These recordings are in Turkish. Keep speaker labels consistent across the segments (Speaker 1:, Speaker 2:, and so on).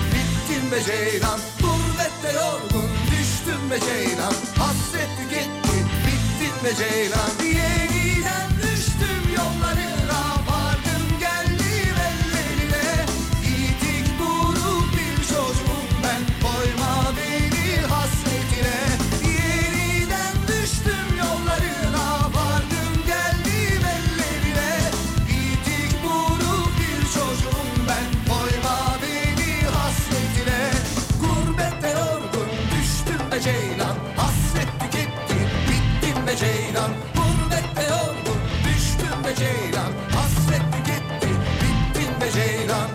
Speaker 1: düştüm be ceylan Gurbette yorgun düştüm be ceylan Hasret tüketti bittin be ceylan Yeniden düştüm yollarına Vardım geldim ellerine Yitik durup bir çocuğum ben Koyma beni hasretine Yeniden düştüm yollarına Vardım geldim ellerine Yitik durup bir çocuğum ben Koyma beni hasretine Gurbette yorgun düştüm be ceylan Hasret tüketti bittim be ceylan Gurbette yorgun düştüm be ceylan Hasret tüketti bittim be ceylan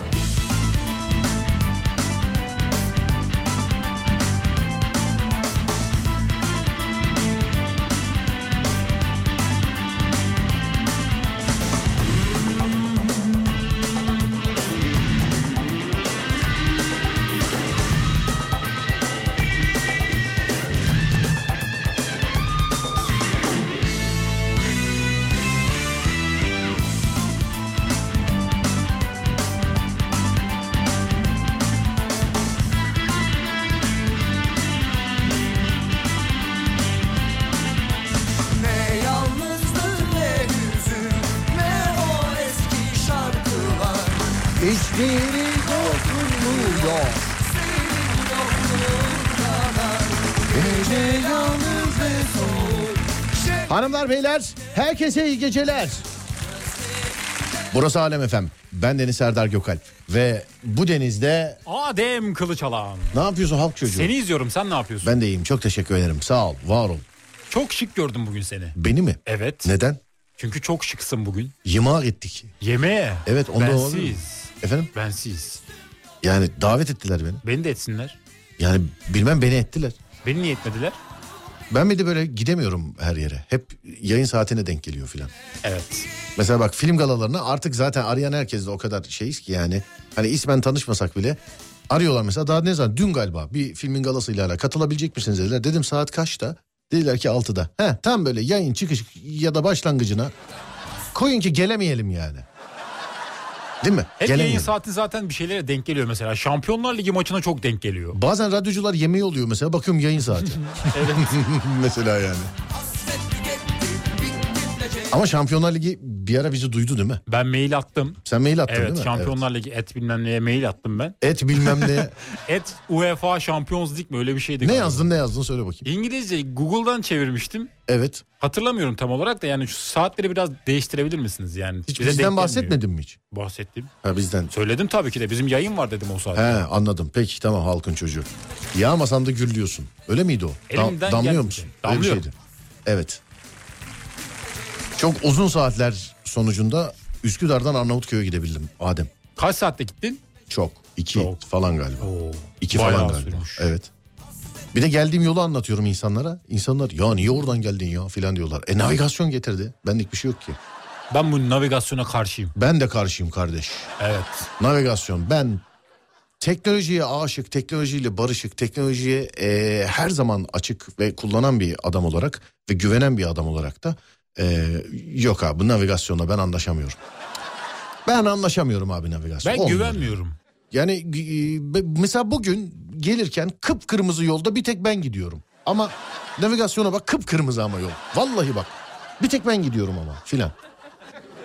Speaker 1: Ne yalnızlık ne hüzün Ne o eski şarkılar
Speaker 2: Hiçbiri dokunmuyor.
Speaker 1: Senin yokluğun kadar Gece yalnız ve soğuk Şey
Speaker 2: Hanımlar beyler herkese iyi geceler. Burası Alem Efem. Ben Deniz Serdar Gökalp. Ve bu denizde
Speaker 3: Adem Kılıçalan.
Speaker 2: ne yapıyorsun halk çocuğu?
Speaker 3: Seni izliyorum sen ne yapıyorsun?
Speaker 2: Ben de iyiyim çok teşekkür ederim. Sağ ol var ol.
Speaker 3: Çok şık gördüm bugün seni.
Speaker 2: Beni mi?
Speaker 3: Evet.
Speaker 2: Neden?
Speaker 3: Çünkü çok şıksın bugün.
Speaker 2: Yımağa gittik.
Speaker 3: Yemeğe.
Speaker 2: Evet onda olabilir mi?
Speaker 3: Bensiz.
Speaker 2: Efendim?
Speaker 3: Bensiz.
Speaker 2: Yani davet ettiler beni.
Speaker 3: Beni de etsinler.
Speaker 2: Yani bilmem beni ettiler.
Speaker 3: Beni niye etmediler?
Speaker 2: Ben bir de böyle gidemiyorum her yere. Hep yayın saatine denk geliyor filan.
Speaker 3: Evet.
Speaker 2: Mesela bak film galalarına artık zaten arayan herkes de o kadar şeyiz ki yani. Hani ismen tanışmasak bile arıyorlar mesela daha ne zaman dün galiba bir filmin galasıyla alakalı katılabilecek misiniz dediler. Dedim saat kaçta? Dediler ki 6'da. He tam böyle yayın çıkış ya da başlangıcına koyun ki gelemeyelim yani. Değil mi?
Speaker 3: Hep yayın
Speaker 2: Gelemeyelim.
Speaker 3: saati zaten bir şeylere denk geliyor mesela. Şampiyonlar Ligi maçına çok denk geliyor.
Speaker 2: Bazen radyocular yemeği oluyor mesela bakıyorum yayın saati. mesela yani.
Speaker 1: hasret tüketti bittim be ceylan
Speaker 2: Ama Şampiyonlar Ligi bir ara bizi duydu değil mi?
Speaker 3: Ben mail attım.
Speaker 2: Sen mail attın değil
Speaker 3: Evet
Speaker 2: mi?
Speaker 3: Şampiyonlar Ligi et bilmem neye mail attım ben.
Speaker 2: Evet. Et bilmem ne.
Speaker 3: Et UEFA Şampiyonuz Lig mi öyle bir şeydi.
Speaker 2: ne
Speaker 3: galiba.
Speaker 2: yazdın ne yazdın söyle bakayım.
Speaker 3: İngilizce Google'dan çevirmiştim.
Speaker 2: Evet.
Speaker 3: Hatırlamıyorum tam olarak da yani şu saatleri biraz değiştirebilir misiniz yani?
Speaker 2: Hiç
Speaker 3: Bize denk
Speaker 2: bizden
Speaker 3: gelmiyor.
Speaker 2: bahsetmedin mi hiç?
Speaker 3: Bahsettim.
Speaker 2: Ha bizden.
Speaker 3: Söyledim tabii ki de bizim yayın var dedim o
Speaker 2: He
Speaker 3: saatte.
Speaker 2: anladım. Peki tamam halkın çocuğu. Yağmasan da gürlüyorsun. Öyle miydi o? Da-
Speaker 3: Elimden
Speaker 2: damlıyor
Speaker 3: gelmedi.
Speaker 2: musun? Öyle bir
Speaker 3: Damlıyorum.
Speaker 2: şeydi. Evet. Çok uzun saatler sonucunda Üsküdar'dan Arnavutköy'e gidebildim Adem.
Speaker 3: Kaç saatte gittin?
Speaker 2: Çok. iki
Speaker 3: Çok.
Speaker 2: falan galiba.
Speaker 3: Oo,
Speaker 2: İki
Speaker 3: bayağı
Speaker 2: falan galiba.
Speaker 3: sürmüş.
Speaker 2: Evet. Bir de geldiğim yolu anlatıyorum insanlara. İnsanlar ya niye oradan geldin ya filan diyorlar. E navigasyon getirdi. Benlik bir şey yok ki.
Speaker 3: Ben bu navigasyona karşıyım.
Speaker 2: Ben de karşıyım kardeş.
Speaker 3: Evet.
Speaker 2: Navigasyon. Ben teknolojiye aşık, teknolojiyle barışık, teknolojiye e, her zaman açık ve kullanan bir adam olarak ve güvenen bir adam olarak da e, yok abi navigasyonla ben anlaşamıyorum. Ben anlaşamıyorum abi navigasyon.
Speaker 3: Ben
Speaker 2: Olmuyor.
Speaker 3: güvenmiyorum.
Speaker 2: Yani e, be- mesela bugün gelirken kıpkırmızı yolda bir tek ben gidiyorum. Ama navigasyona bak kıpkırmızı ama yol. Vallahi bak bir tek ben gidiyorum ama filan.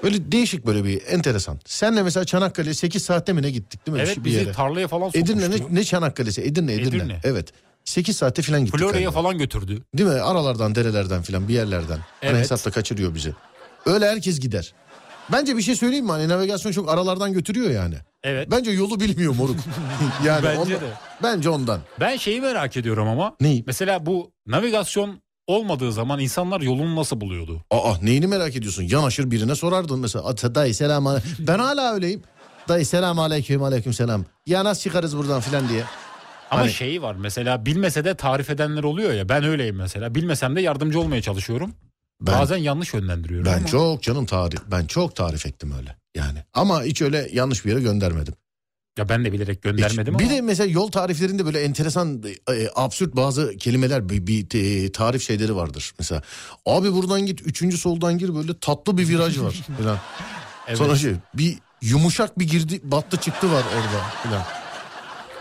Speaker 2: Böyle değişik böyle bir enteresan. Senle mesela Çanakkale 8 saatte mi ne gittik değil mi?
Speaker 3: Evet
Speaker 2: Şu bir
Speaker 3: bizi
Speaker 2: yere.
Speaker 3: tarlaya falan sokmuştu.
Speaker 2: Edirne ne, ne Çanakkale'si? Edirne, Edirne.
Speaker 3: Edirne.
Speaker 2: Evet. 8 saatte filan gittik.
Speaker 3: Florya'ya
Speaker 2: galiba.
Speaker 3: falan götürdü.
Speaker 2: Değil mi? Aralardan, derelerden filan bir yerlerden. Hani
Speaker 3: Evet.
Speaker 2: hesapta kaçırıyor bizi. Öyle herkes gider. Bence bir şey söyleyeyim mi? Hani navigasyon çok aralardan götürüyor yani.
Speaker 3: Evet.
Speaker 2: Bence yolu bilmiyor moruk. yani
Speaker 3: Bence
Speaker 2: ondan-
Speaker 3: de.
Speaker 2: Bence ondan.
Speaker 3: Ben şeyi merak ediyorum ama.
Speaker 2: Neyi?
Speaker 3: Mesela bu navigasyon olmadığı zaman insanlar yolunu nasıl buluyordu?
Speaker 2: Aa neyini merak ediyorsun? Yanaşır birine sorardın mesela. Ata, dayı selam ale- Ben hala öyleyim. Dayı selam aleyküm aleyküm selam. Ya nasıl çıkarız buradan filan diye.
Speaker 3: Ama
Speaker 2: Hani-
Speaker 3: şeyi var mesela bilmese de tarif edenler oluyor ya. Ben öyleyim mesela. Bilmesem de yardımcı olmaya çalışıyorum.
Speaker 2: Ben,
Speaker 3: Bazen yanlış yönlendiriyorum.
Speaker 2: ben
Speaker 3: ama-
Speaker 2: çok canım tarif. Ben çok tarif ettim öyle. Yani. Ama hiç öyle yanlış bir yere göndermedim.
Speaker 3: Ya ben de bilerek
Speaker 2: Hiç.
Speaker 3: göndermedim
Speaker 2: bir
Speaker 3: ama.
Speaker 2: de mesela yol tariflerinde böyle enteresan e, absürt bazı kelimeler bir, bir te- tarif şeyleri vardır. Mesela abi buradan git üçüncü soldan gir böyle tatlı bir viraj var. falan.
Speaker 3: Evet.
Speaker 2: Sonra şey bir yumuşak bir girdi battı çıktı var orada filan.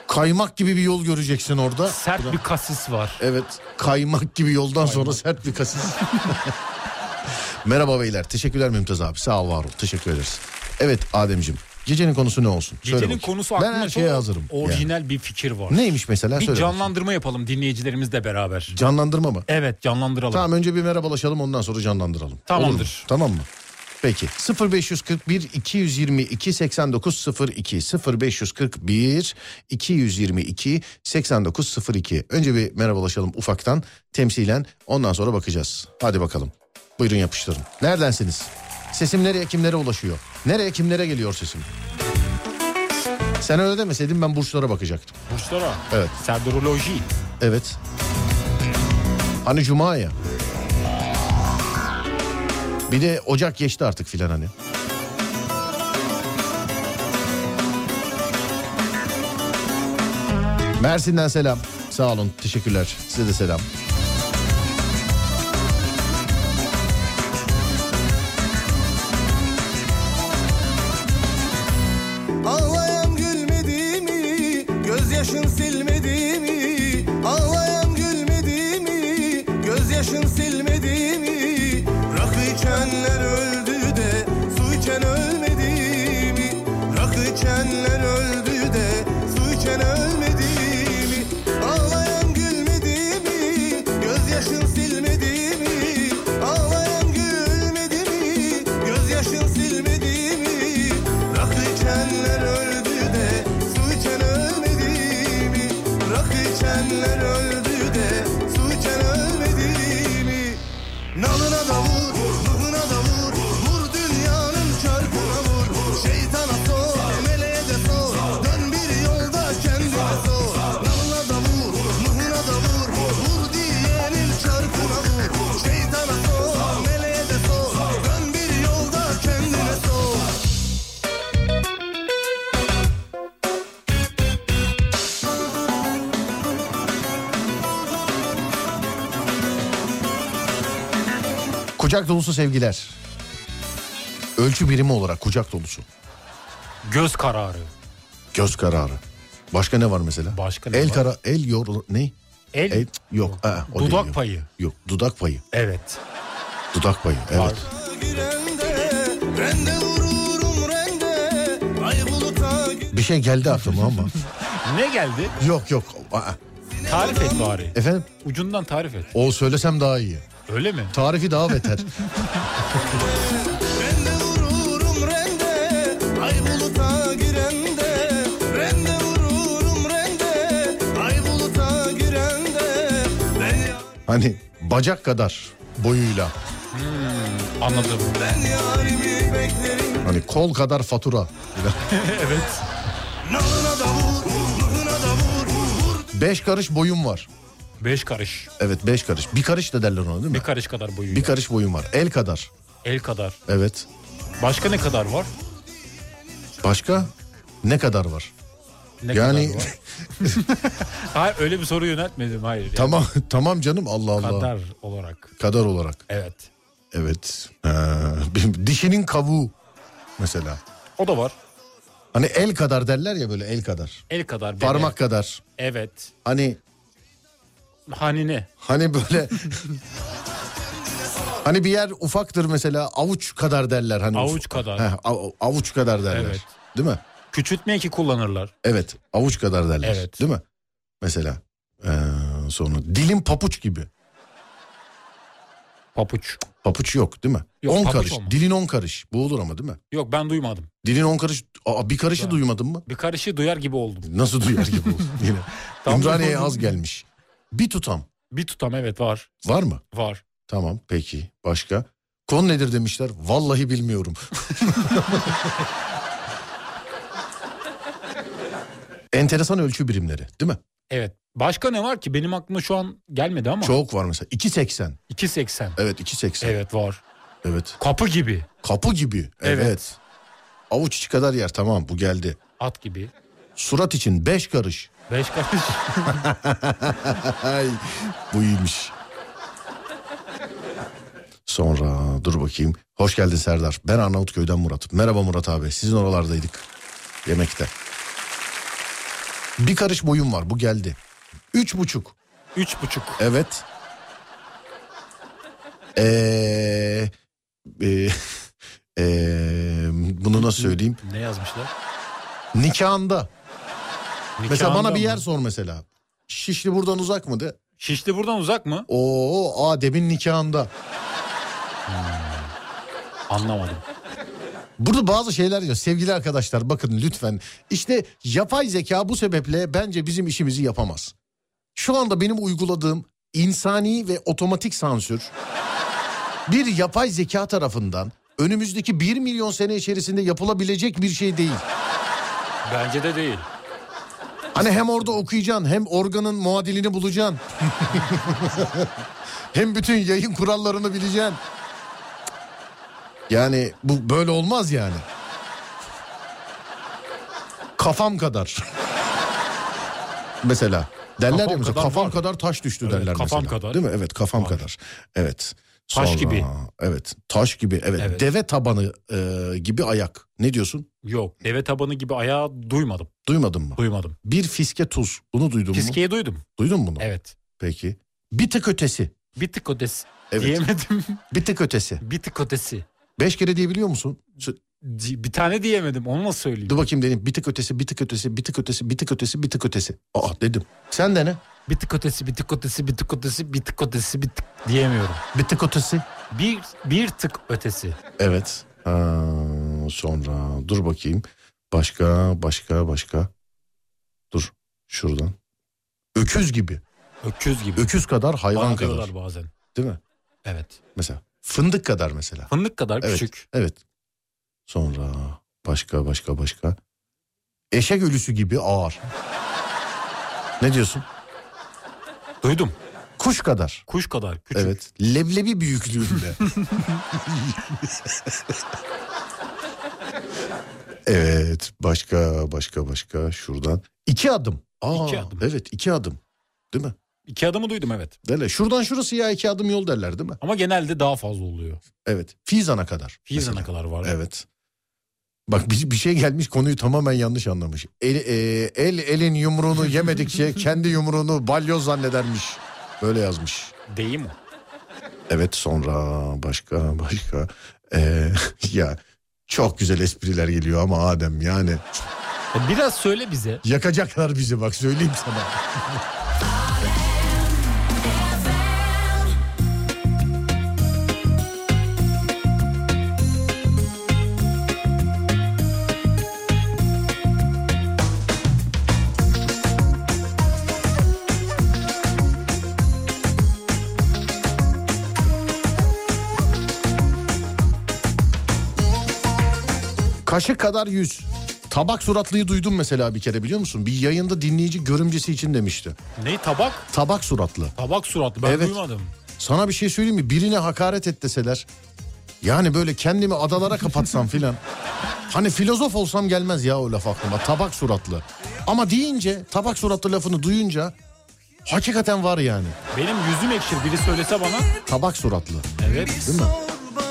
Speaker 2: Kaymak gibi bir yol göreceksin orada.
Speaker 3: Sert bir kasis var.
Speaker 2: Evet kaymak gibi yoldan sonra sert bir kasın. Merhaba beyler. Teşekkürler Mümtaz abi. Sağ ol var ol. Teşekkür ederiz. Evet Ademciğim. Gecenin konusu ne olsun? Söyle
Speaker 3: Gecenin
Speaker 2: bakayım.
Speaker 3: konusu
Speaker 2: Ben
Speaker 3: aklımda
Speaker 2: her
Speaker 3: çok
Speaker 2: şeye hazırım. yani.
Speaker 3: Orijinal bir fikir var.
Speaker 2: Neymiş mesela?
Speaker 3: Bir
Speaker 2: Söyle bakayım.
Speaker 3: canlandırma yapalım dinleyicilerimizle beraber.
Speaker 2: Canlandırma mı?
Speaker 3: Evet canlandıralım.
Speaker 2: Tamam önce bir merhabalaşalım ondan sonra canlandıralım.
Speaker 3: Tamamdır.
Speaker 2: Olur mu? Tamam mı? Peki 0541 222 8902 0541 222 8902 önce bir merhabalaşalım ufaktan temsilen ondan sonra bakacağız. Hadi bakalım buyurun yapıştırın. Neredensiniz? Sesim nereye kimlere ulaşıyor? Nereye kimlere geliyor sesim? Sen öyle demeseydin ben burçlara bakacaktım.
Speaker 3: Burçlara.
Speaker 2: Evet.
Speaker 3: Serdaroloji.
Speaker 2: Evet. Hani cuma ya. Bir de Ocak geçti artık filan hani. Mersin'den selam. Sağ olun. Teşekkürler. Size de selam.
Speaker 1: Ağlayan gülmedi mi? Gözyaşın silmedi mi? Ağlayan gülmedi mi? Gözyaşın silmedi mi? Rakı içenler öldü de su içen ölmedi mi? Rakı içenler öldü de su içen ölmedi mi? Ağlayan gülmedi mi? Gözyaşın silmedi mi? Ağlayan gülmedi mi? Gözyaşın silmedi mi? Rakı içenler öldü de su içen ölmedi mi? Rakı içenler öldü de su içen ölmedi mi? Nalına da vur, ruhuna da vur, vur dünyanın çarkına vur. Şeytana sor, meleğe de sor, dön bir yolda kendine sor. Nalına da vur, ruhuna da vur, vur diyenin çarkına vur. Şeytana sor, meleğe de sor, dön bir yolda kendine sor.
Speaker 2: Kucak dolusu sevgiler. Ölçü birimi olarak kucak dolusu.
Speaker 3: Göz kararı.
Speaker 2: Göz kararı. Başka ne var mesela?
Speaker 3: Başka ne
Speaker 2: el
Speaker 3: var?
Speaker 2: kara el yor ne?
Speaker 3: El.
Speaker 2: El yok. Aa, o değil,
Speaker 3: Dudak
Speaker 2: yok.
Speaker 3: payı.
Speaker 2: Yok. Dudak payı.
Speaker 3: Evet.
Speaker 2: Dudak payı. Evet.
Speaker 3: Var.
Speaker 1: Girende, rende vururum rende, ay buluta gir-
Speaker 2: Bir şey geldi aklıma ama.
Speaker 3: Ne geldi?
Speaker 2: yok yok. Aa,
Speaker 3: Tarif et bari.
Speaker 2: Efendim?
Speaker 3: Ucundan tarif et.
Speaker 2: O söylesem daha iyi.
Speaker 3: Öyle mi?
Speaker 2: Tarifi daha beter.
Speaker 1: Rende vururum rende Ay buluta girende Rende vururum rende Ay buluta girende Ben ya-
Speaker 2: hani bacak kadar boyuyla.
Speaker 3: Anladım.
Speaker 1: ben yarimi beklerim
Speaker 2: Hani kol kadar fatura.
Speaker 3: evet.
Speaker 1: Nalına da vur ruhuna da vur Vur
Speaker 2: Beş karış boyum var.
Speaker 3: Beş karış.
Speaker 2: Evet beş karış. Bir karış da derler ona değil mi?
Speaker 3: Bir karış kadar boyu.
Speaker 2: Bir karış boyum var. El kadar.
Speaker 3: El kadar.
Speaker 2: Evet.
Speaker 3: Başka ne kadar var?
Speaker 2: Başka? Ne kadar var?
Speaker 3: Ne
Speaker 2: Yani-
Speaker 3: kadar var? hayır öyle bir soru yöneltmedim hayır. Yani
Speaker 2: Tamam tamam canım Allah Allah. Kadar,
Speaker 3: kadar olarak.
Speaker 2: olarak.
Speaker 3: Evet.
Speaker 2: Evet. Ee, bir- dişinin kavuğu mesela.
Speaker 3: O da var.
Speaker 2: Hani el kadar derler ya böyle el kadar.
Speaker 3: El kadar. beni-
Speaker 2: Parmak kadar.
Speaker 3: Evet.
Speaker 2: Hani
Speaker 3: Hani ne?
Speaker 2: Hani böyle Hani bir yer ufaktır mesela avuç kadar derler hani.
Speaker 3: Avuç
Speaker 2: uf-
Speaker 3: kadar.
Speaker 2: Heh, av- avuç kadar derler.
Speaker 3: Evet.
Speaker 2: Değil mi?
Speaker 3: Küçültme eki kullanırlar.
Speaker 2: Evet, avuç kadar derler.
Speaker 3: Evet.
Speaker 2: Değil mi? Mesela ee, sonra dilim papuç gibi.
Speaker 3: Papuç.
Speaker 2: Papuç yok değil mi?
Speaker 3: Yok,
Speaker 2: 10
Speaker 3: papuç
Speaker 2: karış.
Speaker 3: olmaz.
Speaker 2: Dilin 10 karış. Bu olur ama değil mi?
Speaker 3: Yok ben duymadım.
Speaker 2: Dilin 10 karış. Aa, bir karışı
Speaker 3: Ben-
Speaker 2: duymadın mı?
Speaker 3: Bir karışı duyar gibi oldum.
Speaker 2: Nasıl duyar gibi oldu yine.
Speaker 3: Tam
Speaker 2: Ümraniye'ye
Speaker 3: duymadım.
Speaker 2: az gelmiş. Bir tutam
Speaker 3: Bir tutam evet var.
Speaker 2: var mı?
Speaker 3: Var.
Speaker 2: Tamam peki başka. Konu nedir demişler. Vallahi bilmiyorum. Enteresan ölçü birimleri değil mi?
Speaker 3: Evet. Başka ne var ki? Benim aklıma şu an gelmedi ama.
Speaker 2: Çok var mesela. 2.80.
Speaker 3: 2.80.
Speaker 2: Evet 2.80. Evet.
Speaker 3: Evet var. Kapı gibi.
Speaker 2: Kapı gibi. Evet.
Speaker 3: Evet.
Speaker 2: Avuç içi kadar yer tamam bu geldi.
Speaker 3: At gibi.
Speaker 2: Surat için 5 karış.
Speaker 3: Beş karış.
Speaker 2: Ay bu iyiymiş. Sonra dur bakayım. Hoş geldin Serdar. Ben Arnavutköy'den Murat. Merhaba Murat abi. Sizin oralardaydık. Yemekte. Bir karış boyum var bu geldi. Üç buçuk.
Speaker 3: Üç buçuk.
Speaker 2: Evet. Ee, e, ee, bunu nasıl söyleyeyim?
Speaker 3: Ne yazmışlar?
Speaker 2: Nikahında. Mesela
Speaker 3: Nikahında
Speaker 2: bana bir
Speaker 3: mı?
Speaker 2: yer sor mesela. Şişli buradan uzak mı de?
Speaker 3: Şişli buradan uzak mı?
Speaker 2: Oo, Adem'in nikahında.
Speaker 3: Anlamadım.
Speaker 2: Burada bazı şeyler diyor. Sevgili arkadaşlar bakın lütfen. İşte yapay zeka bu sebeple bence bizim işimizi yapamaz. Şu anda benim uyguladığım insani ve otomatik sansür bir yapay zeka tarafından önümüzdeki 1 milyon sene içerisinde yapılabilecek bir şey değil.
Speaker 3: Bence de değil.
Speaker 2: Hani hem orada okuyacaksın hem organın muadilini bulacaksın. hem bütün yayın kurallarını bileceksin. Yani bu böyle olmaz yani. Kafam kadar. mesela derler
Speaker 3: Kafam
Speaker 2: ya mesela
Speaker 3: kadar
Speaker 2: kafam
Speaker 3: var."
Speaker 2: kadar taş düştü
Speaker 3: Evet,
Speaker 2: derler
Speaker 3: kafam
Speaker 2: mesela.
Speaker 3: kadar.
Speaker 2: Değil mi? Evet kafam kadar. Evet.
Speaker 3: Taş
Speaker 2: Sonra-
Speaker 3: gibi.
Speaker 2: Evet taş gibi evet,
Speaker 3: Evet.
Speaker 2: deve tabanı e, gibi ayak. Ne diyorsun?
Speaker 3: Yok. Deve tabanı gibi ayağı duymadım.
Speaker 2: Duymadın mı?
Speaker 3: Duymadım.
Speaker 2: Bir fiske tuz. Bunu duydun mu?
Speaker 3: Piskeyi duydum.
Speaker 2: Duydun mu bunu?
Speaker 3: Evet.
Speaker 2: Peki. Bir tık ötesi.
Speaker 3: Bir tık ötesi.
Speaker 2: Evet.
Speaker 3: Diyemedim.
Speaker 2: Bir tık ötesi.
Speaker 3: Bir tık ötesi.
Speaker 2: Beş kere diyebiliyor musun? Sö-
Speaker 3: Di- Bir tane diyemedim. Onu nasıl söyleyeyim?
Speaker 2: Dur bakayım deneyim. Bir tık ötesi, bir tık ötesi, bir tık ötesi, bir tık ötesi, bir tık ötesi. Aa dedim. Sen dene.
Speaker 3: Bir tık ötesi, bir tık ötesi, bir tık ötesi, bir tık ötesi, bir tık diyemiyorum.
Speaker 2: Bir tık ötesi.
Speaker 3: Bir, bir tık ötesi.
Speaker 2: Evet. Ha, sonra dur bakayım. Başka, başka, başka. Dur şuradan. Öküz gibi.
Speaker 3: Öküz gibi.
Speaker 2: Öküz kadar hayvan
Speaker 3: Bana
Speaker 2: kadar.
Speaker 3: diyorlar bazen.
Speaker 2: Değil mi?
Speaker 3: Evet.
Speaker 2: Mesela. Fındık kadar mesela.
Speaker 3: Fındık kadar
Speaker 2: Evet.
Speaker 3: küçük.
Speaker 2: Evet. Sonra başka başka başka. Eşek ölüsü gibi ağır. ne diyorsun?
Speaker 3: Duydum.
Speaker 2: Kuş kadar.
Speaker 3: Kuş kadar küçük.
Speaker 2: Evet. Leblebi büyüklüğünde. evet. Başka başka başka şuradan. İki adım. Aa,
Speaker 3: İki adım.
Speaker 2: Evet iki adım. Değil mi?
Speaker 3: İki adımı duydum evet.
Speaker 2: Derler. Şuradan şurası ya iki adım yol derler değil mi?
Speaker 3: Ama genelde daha fazla oluyor.
Speaker 2: Evet. Fizan'a kadar.
Speaker 3: Fizan'a
Speaker 2: mesela.
Speaker 3: kadar var.
Speaker 2: Evet. Bak bir, bir şey gelmiş konuyu tamamen yanlış anlamış. El, e, el elin yumruğunu yemedikçe kendi yumruğunu balyoz zannedermiş. Böyle yazmış.
Speaker 3: Değil mi?
Speaker 2: Evet sonra başka başka. Ee, ya çok güzel espriler geliyor ama Adem yani
Speaker 3: Ya E, Biraz söyle bize.
Speaker 2: yakacaklar bizi bak söyleyeyim sana. Kaşık kadar yüz. Tabak suratlıyı duydum mesela bir kere biliyor musun? Bir yayında dinleyici görümcesi için demişti.
Speaker 3: Ne tabak?
Speaker 2: Tabak suratlı.
Speaker 3: Tabak suratlı. Ben
Speaker 2: Evet.
Speaker 3: duymadım.
Speaker 2: Sana bir şey söyleyeyim mi? Birine hakaret et deseler. Yani böyle kendimi adalara kapatsam filan. Hani filozof olsam gelmez ya o laf aklıma. Tabak suratlı. Ama deyince tabak suratlı lafını duyunca hakikaten var yani.
Speaker 3: Benim yüzüm ekşir biri söylese bana.
Speaker 2: Tabak suratlı.
Speaker 3: Evet.
Speaker 2: Değil mi?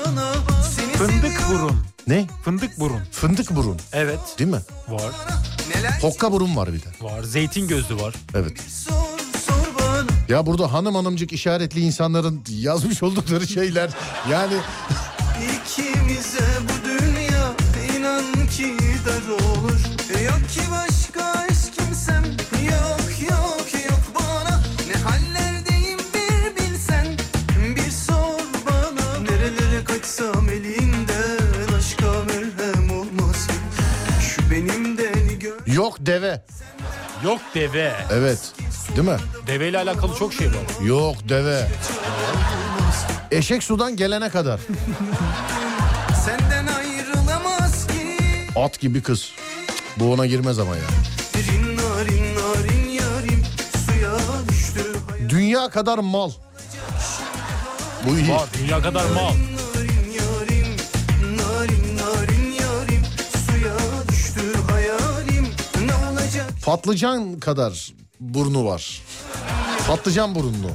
Speaker 1: bana seni
Speaker 3: Fındık burun.
Speaker 2: Ne?
Speaker 3: Fındık burun.
Speaker 2: Fındık burun.
Speaker 3: Evet.
Speaker 2: Değil mi?
Speaker 3: Var.
Speaker 1: neler
Speaker 2: Hokka burun var bir de.
Speaker 3: Var. Zeytin gözlü var.
Speaker 2: Evet.
Speaker 1: sor sor bana
Speaker 2: Ya burada hanım hanımcık işaretli insanların yazmış oldukları şeyler. Yani
Speaker 1: İkimize bu dünya inan ki dar olur Yok ki başka hiç kimsem Yok yok yok bana Ne hallerdeyim bir bilsen Bir sor bana Nerelere kaçsam elinden Aşka merhem olmasın Şu benim deli gör
Speaker 2: yok deve.
Speaker 3: Yok deve.
Speaker 2: Evet. Değil mi?
Speaker 3: Deveyle alakalı çok şey var.
Speaker 2: Yok deve. Eşek sudan gelene kadar.
Speaker 1: Senden ayrılamaz ki
Speaker 2: At gibi kız. Bu ona girmez ama ya.
Speaker 1: Rin narin narin yarim Suya düştü hayal
Speaker 2: Dünya kadar mal. Bu iyi.
Speaker 3: Var. Dünya kadar mal.
Speaker 1: Narin yarim, narin narin yarim Suya düştü hayalim Ne olacak
Speaker 2: Patlıcan kadar burnu var. Patlıcan burunlu.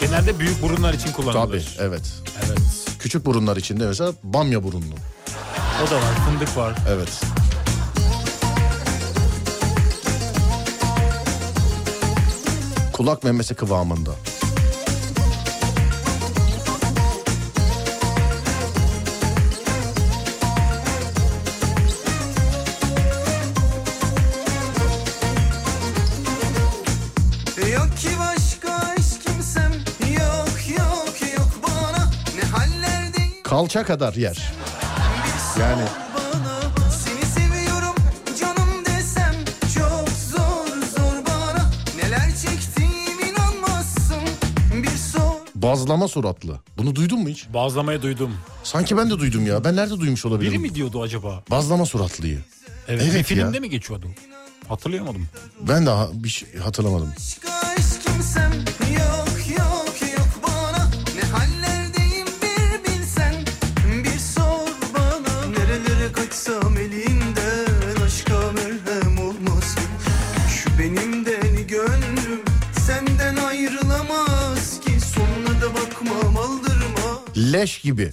Speaker 3: Genelde büyük burunlar için
Speaker 2: Tabii
Speaker 3: kullanılır.
Speaker 2: evet.
Speaker 3: Evet.
Speaker 2: Küçük burunlar içinde mesela bamya burunlu.
Speaker 3: O da var. Fındık var.
Speaker 2: Evet. Kulak memesi kıvamında.
Speaker 1: Yok ki başka hiç kimsem Yok yok yok bana Ne hallerdeyim
Speaker 2: Kalça kadar yer. Yani
Speaker 1: bana Seni seviyorum canım desem Çok zor zor bana Neler çektiğim inanmazsın Bir sor
Speaker 2: bazlama suratlı. Bunu duydun mu hiç?
Speaker 3: Bazlamayı duydum.
Speaker 2: Sanki ben de duydum ya. Ben nerede duymuş olabilirim?
Speaker 3: Biri mi diyordu acaba?
Speaker 2: Bazlama suratlıyı.
Speaker 3: Evet.
Speaker 2: Evet
Speaker 3: bir
Speaker 2: ya.
Speaker 3: filmde mi geçiyordu? Hatırlayamadım.
Speaker 2: Ben de ha- bir şey hatırlamadım.
Speaker 1: Kaç kimsem yok yok yok bana Ne hallerdeyim bir bilsen Bir sor bana Nerelere kaçsam elinden aşka merhem olmasın Şu benim deli gönlüm senden ayrılamaz ki Sonuna da bakmam aldırma
Speaker 2: Leş gibi.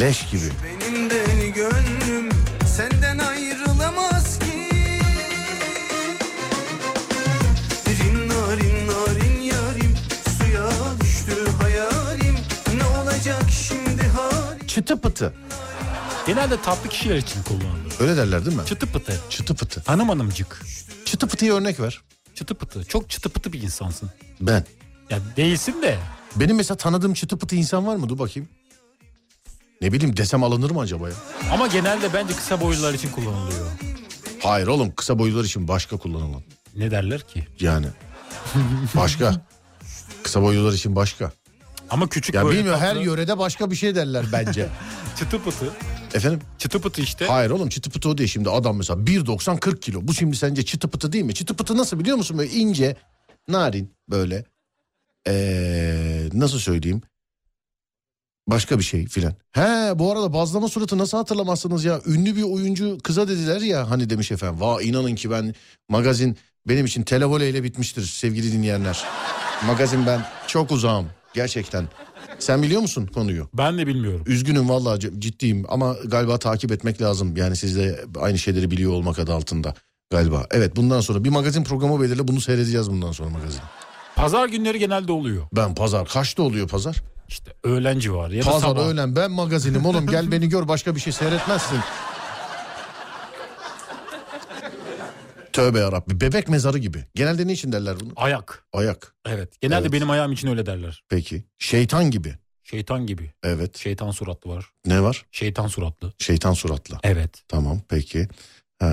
Speaker 2: Leş gibi.
Speaker 1: Benim deli gönlüm senden ayrılamaz ki Rin narin narin yarim suya düştü hayalim Ne olacak şimdi halim
Speaker 2: Çıtı pıtı.
Speaker 3: Genelde tatlı kişiler için kullanılır.
Speaker 2: Öyle derler değil mi?
Speaker 3: Çıtı pıtı.
Speaker 2: Çıtı pıtı.
Speaker 3: Hanım hanımcık.
Speaker 2: Çıtı pıtıya örnek ver.
Speaker 3: Çıtı pıtı. Çok çıtı pıtı bir insansın.
Speaker 2: Ben.
Speaker 3: Ya değilsin de.
Speaker 2: Benim mesela tanıdığım çıtı pıtı insan var mı? Dur bakayım. Ne bileyim desem alınır mı acaba ya?
Speaker 3: Ama genelde bence kısa boylular için kullanılıyor.
Speaker 2: Hayır oğlum kısa boylular için başka kullanılan.
Speaker 3: Ne derler ki?
Speaker 2: Yani. Başka. Kısa boylular için başka.
Speaker 3: Ama küçük
Speaker 2: Ya
Speaker 3: böyle
Speaker 2: bilmiyorum her
Speaker 3: tatlı-
Speaker 2: yörede başka bir şey derler bence.
Speaker 3: çıtı pıtı.
Speaker 2: Efendim?
Speaker 3: Çıtı pıtı işte.
Speaker 2: Hayır oğlum çıtı pıtı o değil şimdi adam mesela 1.90 40 kilo. Bu şimdi sence çıtı pıtı değil mi? Çıtı pıtı nasıl biliyor musun? Böyle ince, narin böyle. Ee, nasıl söyleyeyim? Başka bir şey filan. He bu arada bazlama suratı nasıl hatırlamazsınız ya? Ünlü bir oyuncu kıza dediler ya hani demiş efendim. Va inanın ki ben magazin benim için televoleyle bitmiştir sevgili dinleyenler. Magazin ben çok uzağım gerçekten. Sen biliyor musun konuyu?
Speaker 3: Ben de bilmiyorum.
Speaker 2: Üzgünüm vallahi c- ciddiyim ama galiba takip etmek lazım. Yani siz de aynı şeyleri biliyor olmak adı altında galiba. Evet bundan sonra bir magazin programı belirle bunu seyredeceğiz bundan sonra magazin.
Speaker 3: Pazar günleri genelde oluyor.
Speaker 2: Ben pazar kaçta oluyor pazar?
Speaker 3: İşte öğlen civarı ya da
Speaker 2: pazar
Speaker 3: sabah.
Speaker 2: öğlen ben magazinim oğlum gel beni gör başka bir şey seyretmezsin. Tövbe yarabbi bebek mezarı gibi. Genelde ne için derler bunu?
Speaker 3: Ayak.
Speaker 2: Ayak
Speaker 3: Evet. Genelde
Speaker 2: Evet.
Speaker 3: benim ayağım için öyle derler.
Speaker 2: peki. Şeytan gibi.
Speaker 3: Şeytan gibi.
Speaker 2: Evet
Speaker 3: Şeytan suratlı var.
Speaker 2: ne var?
Speaker 3: Şeytan suratlı.
Speaker 2: Şeytan suratlı.
Speaker 3: Evet.
Speaker 2: Tamam peki. Ee,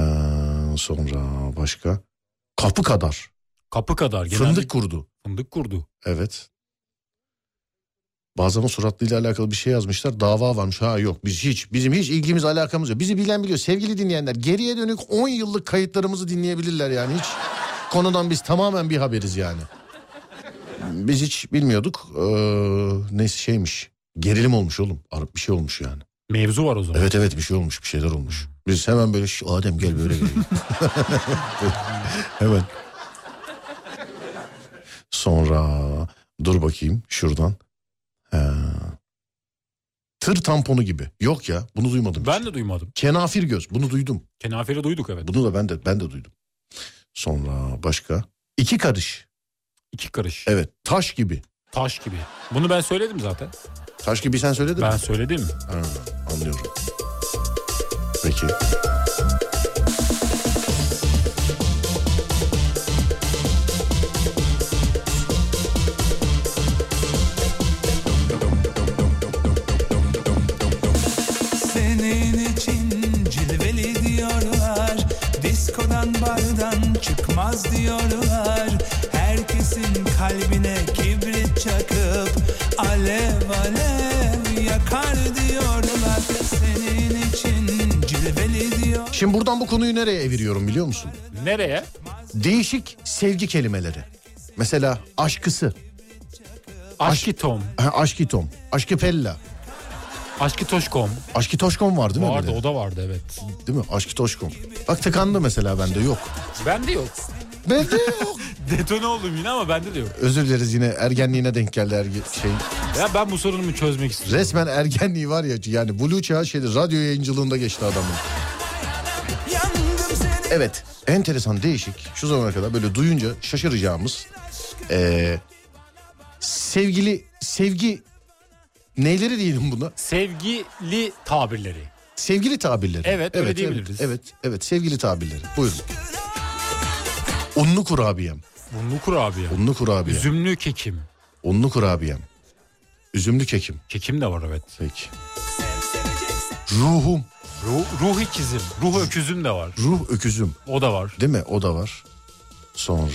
Speaker 2: sonra başka. Kapı kadar.
Speaker 3: Kapı kadar genelde
Speaker 2: Fındık
Speaker 3: fındık,
Speaker 2: kurdu.
Speaker 3: kurdu.
Speaker 2: Evet. Bazlama suratlıyla alakalı bir şey yazmışlar. Dava varmış. Ha yok biz hiç bizim hiç ilgimiz alakamız yok. Bizi bilen biliyor. Sevgili dinleyenler geriye dönük 10 yıllık kayıtlarımızı dinleyebilirler yani. Hiç konudan biz tamamen bir haberiz yani. Biz hiç bilmiyorduk. Ee, neyse şeymiş. Gerilim olmuş oğlum. Ar- Bir şey olmuş yani.
Speaker 3: Mevzu var o zaman.
Speaker 2: Evet evet bir şey olmuş bir şeyler olmuş. Biz hemen böyle "Şş, Adem gel böyle gel. hemen. Sonra dur bakayım şuradan. Ee, tır tamponu gibi. Yok ya bunu duymadım. hiç.
Speaker 3: Ben de duymadım.
Speaker 2: Kenafir göz bunu duydum.
Speaker 3: Kenaferi duyduk evet.
Speaker 2: Bunu da ben de ben de duydum. Sonra başka. İki karış.
Speaker 3: İki karış.
Speaker 2: Evet taş gibi.
Speaker 3: Taş gibi. Bunu ben söyledim zaten.
Speaker 2: Taş gibi sen söyledin mi?
Speaker 3: Ben söyledim.
Speaker 2: Ha, anlıyorum. Peki.
Speaker 4: Senin için cilveli diyorlar Diskodan bardan çıkmaz diyorlar Herkesin kalbine kibrit çakıp Alev alev yakar diyorlar Senin için cilveli diyor
Speaker 2: Şimdi buradan bu konuyu nereye eviriyorum biliyor musun?
Speaker 3: Nereye?
Speaker 2: Değişik sevgi kelimeleri. Mesela aşkısı,
Speaker 3: Aşkitom.
Speaker 2: ha, aşkitom, aşkipella,
Speaker 3: Aşkitoşkom.
Speaker 2: aşkitoşkom var değil mi?
Speaker 3: Vardı
Speaker 2: bir de?
Speaker 3: o da vardı evet.
Speaker 2: Değil mi? Aşkitoşkom. Bak tıkandı mesela bende yok.
Speaker 3: Bende yok.
Speaker 2: Bende yok.
Speaker 3: Detone oldum yine ama bende de yok.
Speaker 2: Özür dileriz yine ergenliğine denk geldi erge- şey.
Speaker 3: Ya ben bu sorunumu çözmek istiyorum.
Speaker 2: Resmen ergenliği var ya yani Blue Çağ şeydi radyo yayıncılığında geçti adamın.
Speaker 4: Yandım seni
Speaker 2: Evet enteresan değişik şu zamana kadar böyle duyunca şaşıracağımız ee, sevgili sevgi neyleri diyelim buna?
Speaker 3: Sevgili tabirleri.
Speaker 2: Sevgili tabirleri.
Speaker 3: Evet, öyle diyebiliriz.
Speaker 2: Evet, evet, evet, sevgili tabirleri. Buyurun. Unlu kurabiyem.
Speaker 3: Bunlu kurabiye.
Speaker 2: Unlu kurabiye.
Speaker 3: Üzümlü kekim.
Speaker 2: Unlu kurabiyem. Üzümlü kekim.
Speaker 3: Kekim de var evet.
Speaker 2: Peki. Ruhum.
Speaker 3: Ruh, ruh ikizim. Ruh öküzüm de var.
Speaker 2: Ruh öküzüm.
Speaker 3: O da var.
Speaker 2: Değil mi? O da var. Sonra...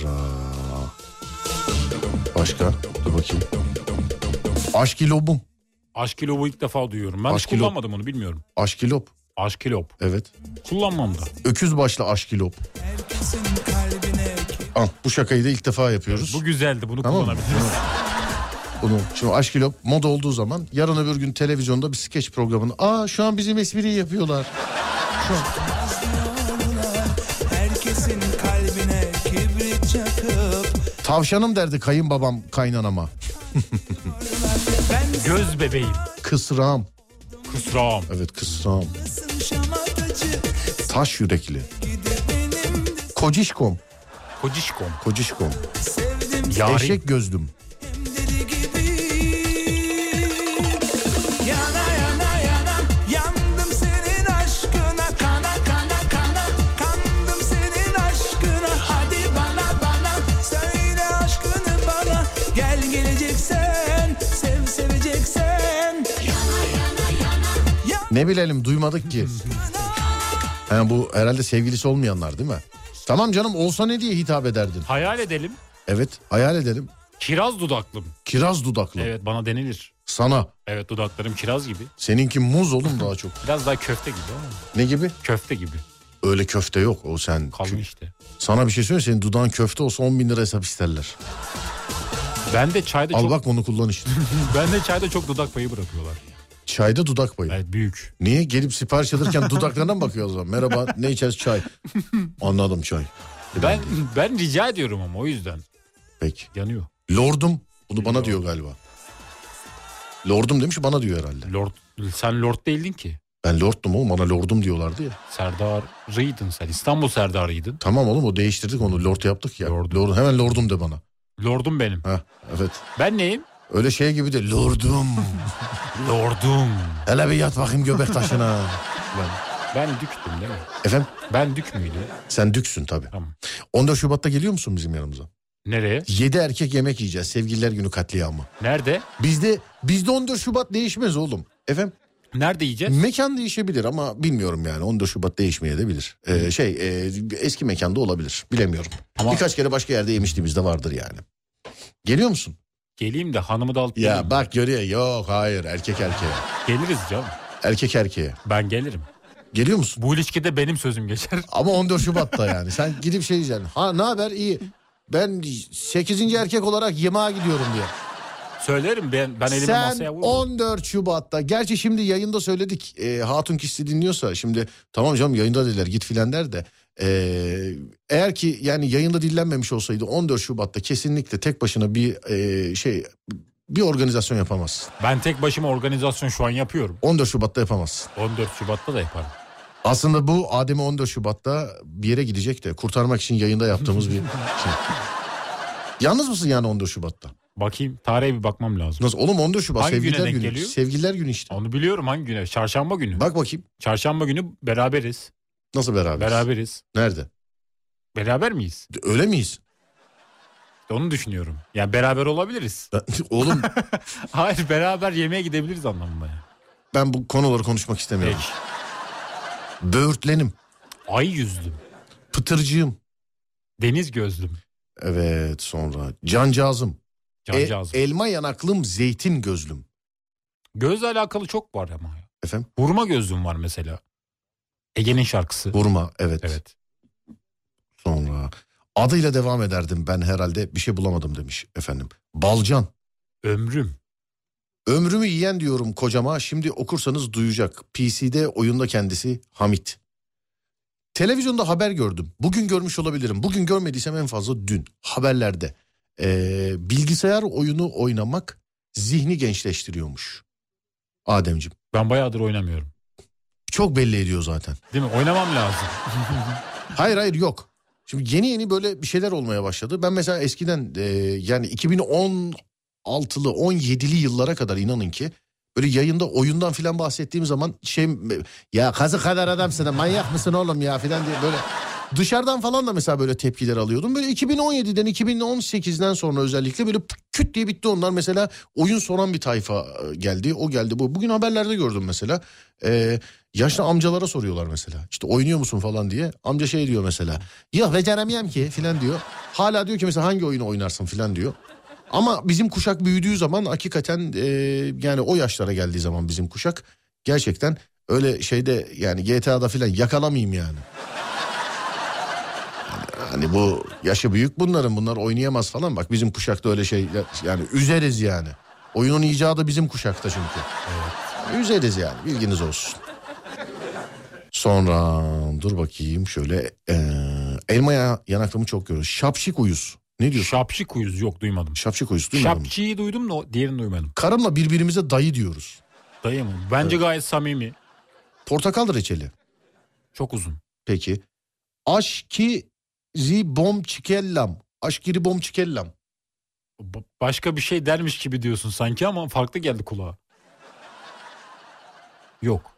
Speaker 2: Başka? Dur bakayım. Aşkilobum.
Speaker 3: Aşkilobu ilk defa duyuyorum. Ben hiç
Speaker 2: Aşkilop.
Speaker 3: kullanmadım onu bilmiyorum.
Speaker 2: Aşkilop.
Speaker 3: Aşkilop.
Speaker 2: Evet.
Speaker 3: Kullanmam da.
Speaker 2: Öküz başlı aşkilop.
Speaker 4: Herkesin kalbine ki
Speaker 2: Al bu şakayı da ilk defa yapıyoruz.
Speaker 3: Bu güzeldi bunu
Speaker 2: Tamam.
Speaker 3: kullanabiliriz.
Speaker 2: Bunu şimdi aşkilop moda olduğu zaman yarın öbür gün televizyonda bir skeç programını aa şu an bizim espriyi yapıyorlar.
Speaker 4: diyorlar Herkesin kalbine kibrit çakıp
Speaker 2: Tavşanım derdi kayınbabam kaynanama.
Speaker 4: Ben
Speaker 3: Göz bebeğim.
Speaker 2: Kısram.
Speaker 3: Kusrağım.
Speaker 2: Evet kısram.
Speaker 4: sın şamatacı
Speaker 2: Taş yürekli.
Speaker 4: Gide benim de
Speaker 2: Kocişkom.
Speaker 3: Kocişkom.
Speaker 2: Kocişkom.
Speaker 4: sevdim
Speaker 3: Yarim.
Speaker 2: Eşek gözlüm.
Speaker 4: deli gibi Yana yana yana yandım senin aşkına Kana kana kana kandım senin aşkına Hadi bana bana söyle aşkını bana Gel geleceksen sev seveceksen
Speaker 2: Ne bilelim duymadık ki. Ha, bu herhalde sevgilisi olmayanlar değil mi? Tamam canım olsa ne diye hitap ederdin?
Speaker 3: Hayal edelim.
Speaker 2: Evet hayal edelim.
Speaker 3: Kiraz dudaklım.
Speaker 2: Kiraz dudaklı.
Speaker 3: Evet bana denilir.
Speaker 2: Sana.
Speaker 3: Evet dudaklarım kiraz gibi.
Speaker 2: Seninki muz oğlum daha çok.
Speaker 3: Biraz daha köfte gibi ama.
Speaker 2: Ne gibi?
Speaker 3: Köfte gibi.
Speaker 2: Öyle köfte yok. O sen
Speaker 3: Kalın işte.
Speaker 2: Sana bir şey söyleyeyim senin dudağın köfte olsa 10 bin lira hesap isterler.
Speaker 3: Ben de çayda
Speaker 2: Al
Speaker 3: E çok
Speaker 2: bak bunu kullan işte.
Speaker 3: ben de çayda çok dudak payı bırakıyorlar.
Speaker 2: Çayda dudak payı.
Speaker 3: Evet büyük.
Speaker 2: Niye? Gelip sipariş alırken dudaklarına mı bakıyor o zaman? Merhaba ne içeriz çay. Anladım çay.
Speaker 3: E Ben ben rica ediyorum ama o yüzden
Speaker 2: Peki.
Speaker 3: yanıyor.
Speaker 2: Lordum. Bunu bana diyor galiba. Lordum demiş bana diyor herhalde.
Speaker 3: Lord sen lord değildin ki.
Speaker 2: Ben lordum oğlum bana lordum diyorlardı ya.
Speaker 3: Serdarıydın sen. İstanbul serdarıydın.
Speaker 2: Tamam oğlum o değiştirdik onu lord yaptık ya. Lordum. hemen lordum de bana.
Speaker 3: Lordum benim.
Speaker 2: Ha evet.
Speaker 3: Ben neyim?
Speaker 2: Öyle şey gibi de lordum.
Speaker 3: Lordum.
Speaker 2: Hele bir yat bakayım göbek taşına. Ben-
Speaker 3: Ben düktüm değil mi?
Speaker 2: Efendim
Speaker 3: Ben dük müydüm?
Speaker 2: sen düksün tabii.
Speaker 3: Tamam.
Speaker 2: 14 Şubat'ta geliyor musun bizim yanımıza?
Speaker 3: Nereye?
Speaker 2: 7 erkek yemek yiyeceğiz sevgililer günü katliamı.
Speaker 3: Nerede?
Speaker 2: Bizde bizde 14 Şubat değişmez oğlum. Efendim
Speaker 3: Nerede yiyeceğiz?
Speaker 2: mekan değişebilir ama bilmiyorum yani 14 Şubat değişmeyebilir. Ee, şey e, eski mekanda olabilir bilemiyorum.
Speaker 3: Hmm. Ama-
Speaker 2: Birkaç kere başka yerde yemiştiğimiz de vardır yani. Geliyor musun?
Speaker 3: Geleyim de hanımı da alıp
Speaker 2: Ya
Speaker 3: geleyim.
Speaker 2: bak görüyor yok hayır erkek erkeğe.
Speaker 3: Geliriz canım.
Speaker 2: Erkek erkeğe.
Speaker 3: Ben gelirim.
Speaker 2: Geliyor musun?
Speaker 3: Bu ilişkide benim sözüm geçer.
Speaker 2: Ama 14 Şubat'ta yani sen gidip şey diyeceksin. Ha ne haber iyi. Ben 8. erkek olarak yemeğe gidiyorum diye.
Speaker 3: Söylerim ben ben Hani elimi
Speaker 2: Sen
Speaker 3: masaya vururum.
Speaker 2: 14 Şubat'ta gerçi şimdi yayında söyledik e, Hatun Kişi dinliyorsa şimdi tamam canım yayında dediler git filan der de e, eğer ki yani yayında dinlenmemiş olsaydı 14 Şubat'ta kesinlikle tek başına bir e, şey bir organizasyon yapamazsın.
Speaker 3: Ben tek başıma organizasyon şu an yapıyorum.
Speaker 2: 14 Şubat'ta yapamazsın.
Speaker 3: 14 Şubat'ta da yaparım.
Speaker 2: Aslında bu Adem'i 14 Şubat'ta bir yere gidecek de kurtarmak için yayında yaptığımız bir şey. Yalnız mısın yani 14 Şubat'ta?
Speaker 3: Bakayım tarihe bir bakmam lazım.
Speaker 2: Nasıl oğlum 14 Şubat
Speaker 3: Hangi güne
Speaker 2: sevgililer
Speaker 3: denk
Speaker 2: günü.
Speaker 3: geliyor?
Speaker 2: Sevgililer günü işte.
Speaker 3: Onu biliyorum hangi güne? Çarşamba günü.
Speaker 2: Bak bakayım
Speaker 3: Çarşamba günü beraberiz.
Speaker 2: nasıl beraber?
Speaker 3: Beraberiz.
Speaker 2: Nerede?
Speaker 3: Beraber miyiz?
Speaker 2: Öyle miyiz?
Speaker 3: Onu düşünüyorum. Yani beraber olabiliriz.
Speaker 2: Ben- Oğlum
Speaker 3: Hayır beraber yemeğe gidebiliriz anlamında. ya.
Speaker 2: ben bu konuları konuşmak istemiyorum.
Speaker 3: Peki.
Speaker 2: Böğürtlenim,
Speaker 3: Ay yüzlüm.
Speaker 2: pıtırcığım.
Speaker 3: Deniz gözlüm.
Speaker 2: Evet sonra cancağızım. E-
Speaker 3: Cancağızım.
Speaker 2: elma yanaklım, zeytin gözlüm.
Speaker 3: Gözle alakalı çok var ama. ya.
Speaker 2: Efendim?
Speaker 3: Hurma gözlüm var mesela. Ege'nin şarkısı.
Speaker 2: Vurma evet.
Speaker 3: Evet.
Speaker 2: Sonra adıyla devam ederdim ben herhalde bir şey bulamadım demiş efendim. Balcan.
Speaker 3: Ömrüm.
Speaker 2: Ömrümü yiyen diyorum kocama şimdi okursanız duyacak. PC'de oyunda kendisi Hamit. Televizyonda haber gördüm. Bugün görmüş olabilirim. Bugün görmediysem en fazla dün haberlerde. Ee, bilgisayar oyunu oynamak zihni gençleştiriyormuş. Ademcim
Speaker 3: Ben bayağıdır oynamıyorum.
Speaker 2: çok belli ediyor zaten.
Speaker 3: Değil mi? Oynamam lazım.
Speaker 2: Hayır hayır yok. Şimdi yeni yeni böyle bir şeyler olmaya başladı. Ben mesela eskiden e, yani 2016'lı 17'li yıllara kadar inanın ki böyle yayında oyundan filan bahsettiğim zaman şey ya kazı kadar adamsın ha, manyak mısın oğlum ya filan diye böyle dışarıdan falan da mesela böyle tepkiler alıyordum. Böyle 2017'den 2018'den sonra özellikle böyle küt diye bitti onlar mesela oyun soran bir tayfa e, geldi o geldi bu. Bugün haberlerde gördüm mesela. Ee, yaşlı amcalara soruyorlar mesela. İşte oynuyor musun falan diye. Amca şey diyor mesela. Yok beceremeyem ki filan diyor. Hala diyor ki mesela hangi oyunu oynarsın filan diyor. Ama bizim kuşak büyüdüğü zaman hakikaten e, yani o yaşlara geldiği zaman bizim kuşak gerçekten öyle şeyde yani GTA'da filan yakalamayayım yani. Yani Hani bu yaşı büyük bunların bunlar oynayamaz falan bak bizim kuşakta öyle şey yani üzeriz yani. Oyunun icadı bizim kuşakta çünkü. Üzeriz yani bilginiz olsun. Sonra dur bakayım şöyle elmaya elma ya- yanaklığımı çok görüyoruz. Şapşik uyuz. Ne diyorsun?
Speaker 3: Şapşik uyuz yok duymadım.
Speaker 2: Şapşik uyuz duymadın mı?
Speaker 3: Şapçıyı duydum da o- diğerini duymadım.
Speaker 2: Karımla birbirimize dayı diyoruz.
Speaker 3: Dayı mı? Bence gayet samimi.
Speaker 2: Portakal reçeli.
Speaker 3: Çok uzun.
Speaker 2: Peki. Aşki zibom çikellam. Aşkiri bom çikellam.
Speaker 3: Ba- Başka bir şey dermiş gibi diyorsun sanki ama farklı geldi kulağa. Yok.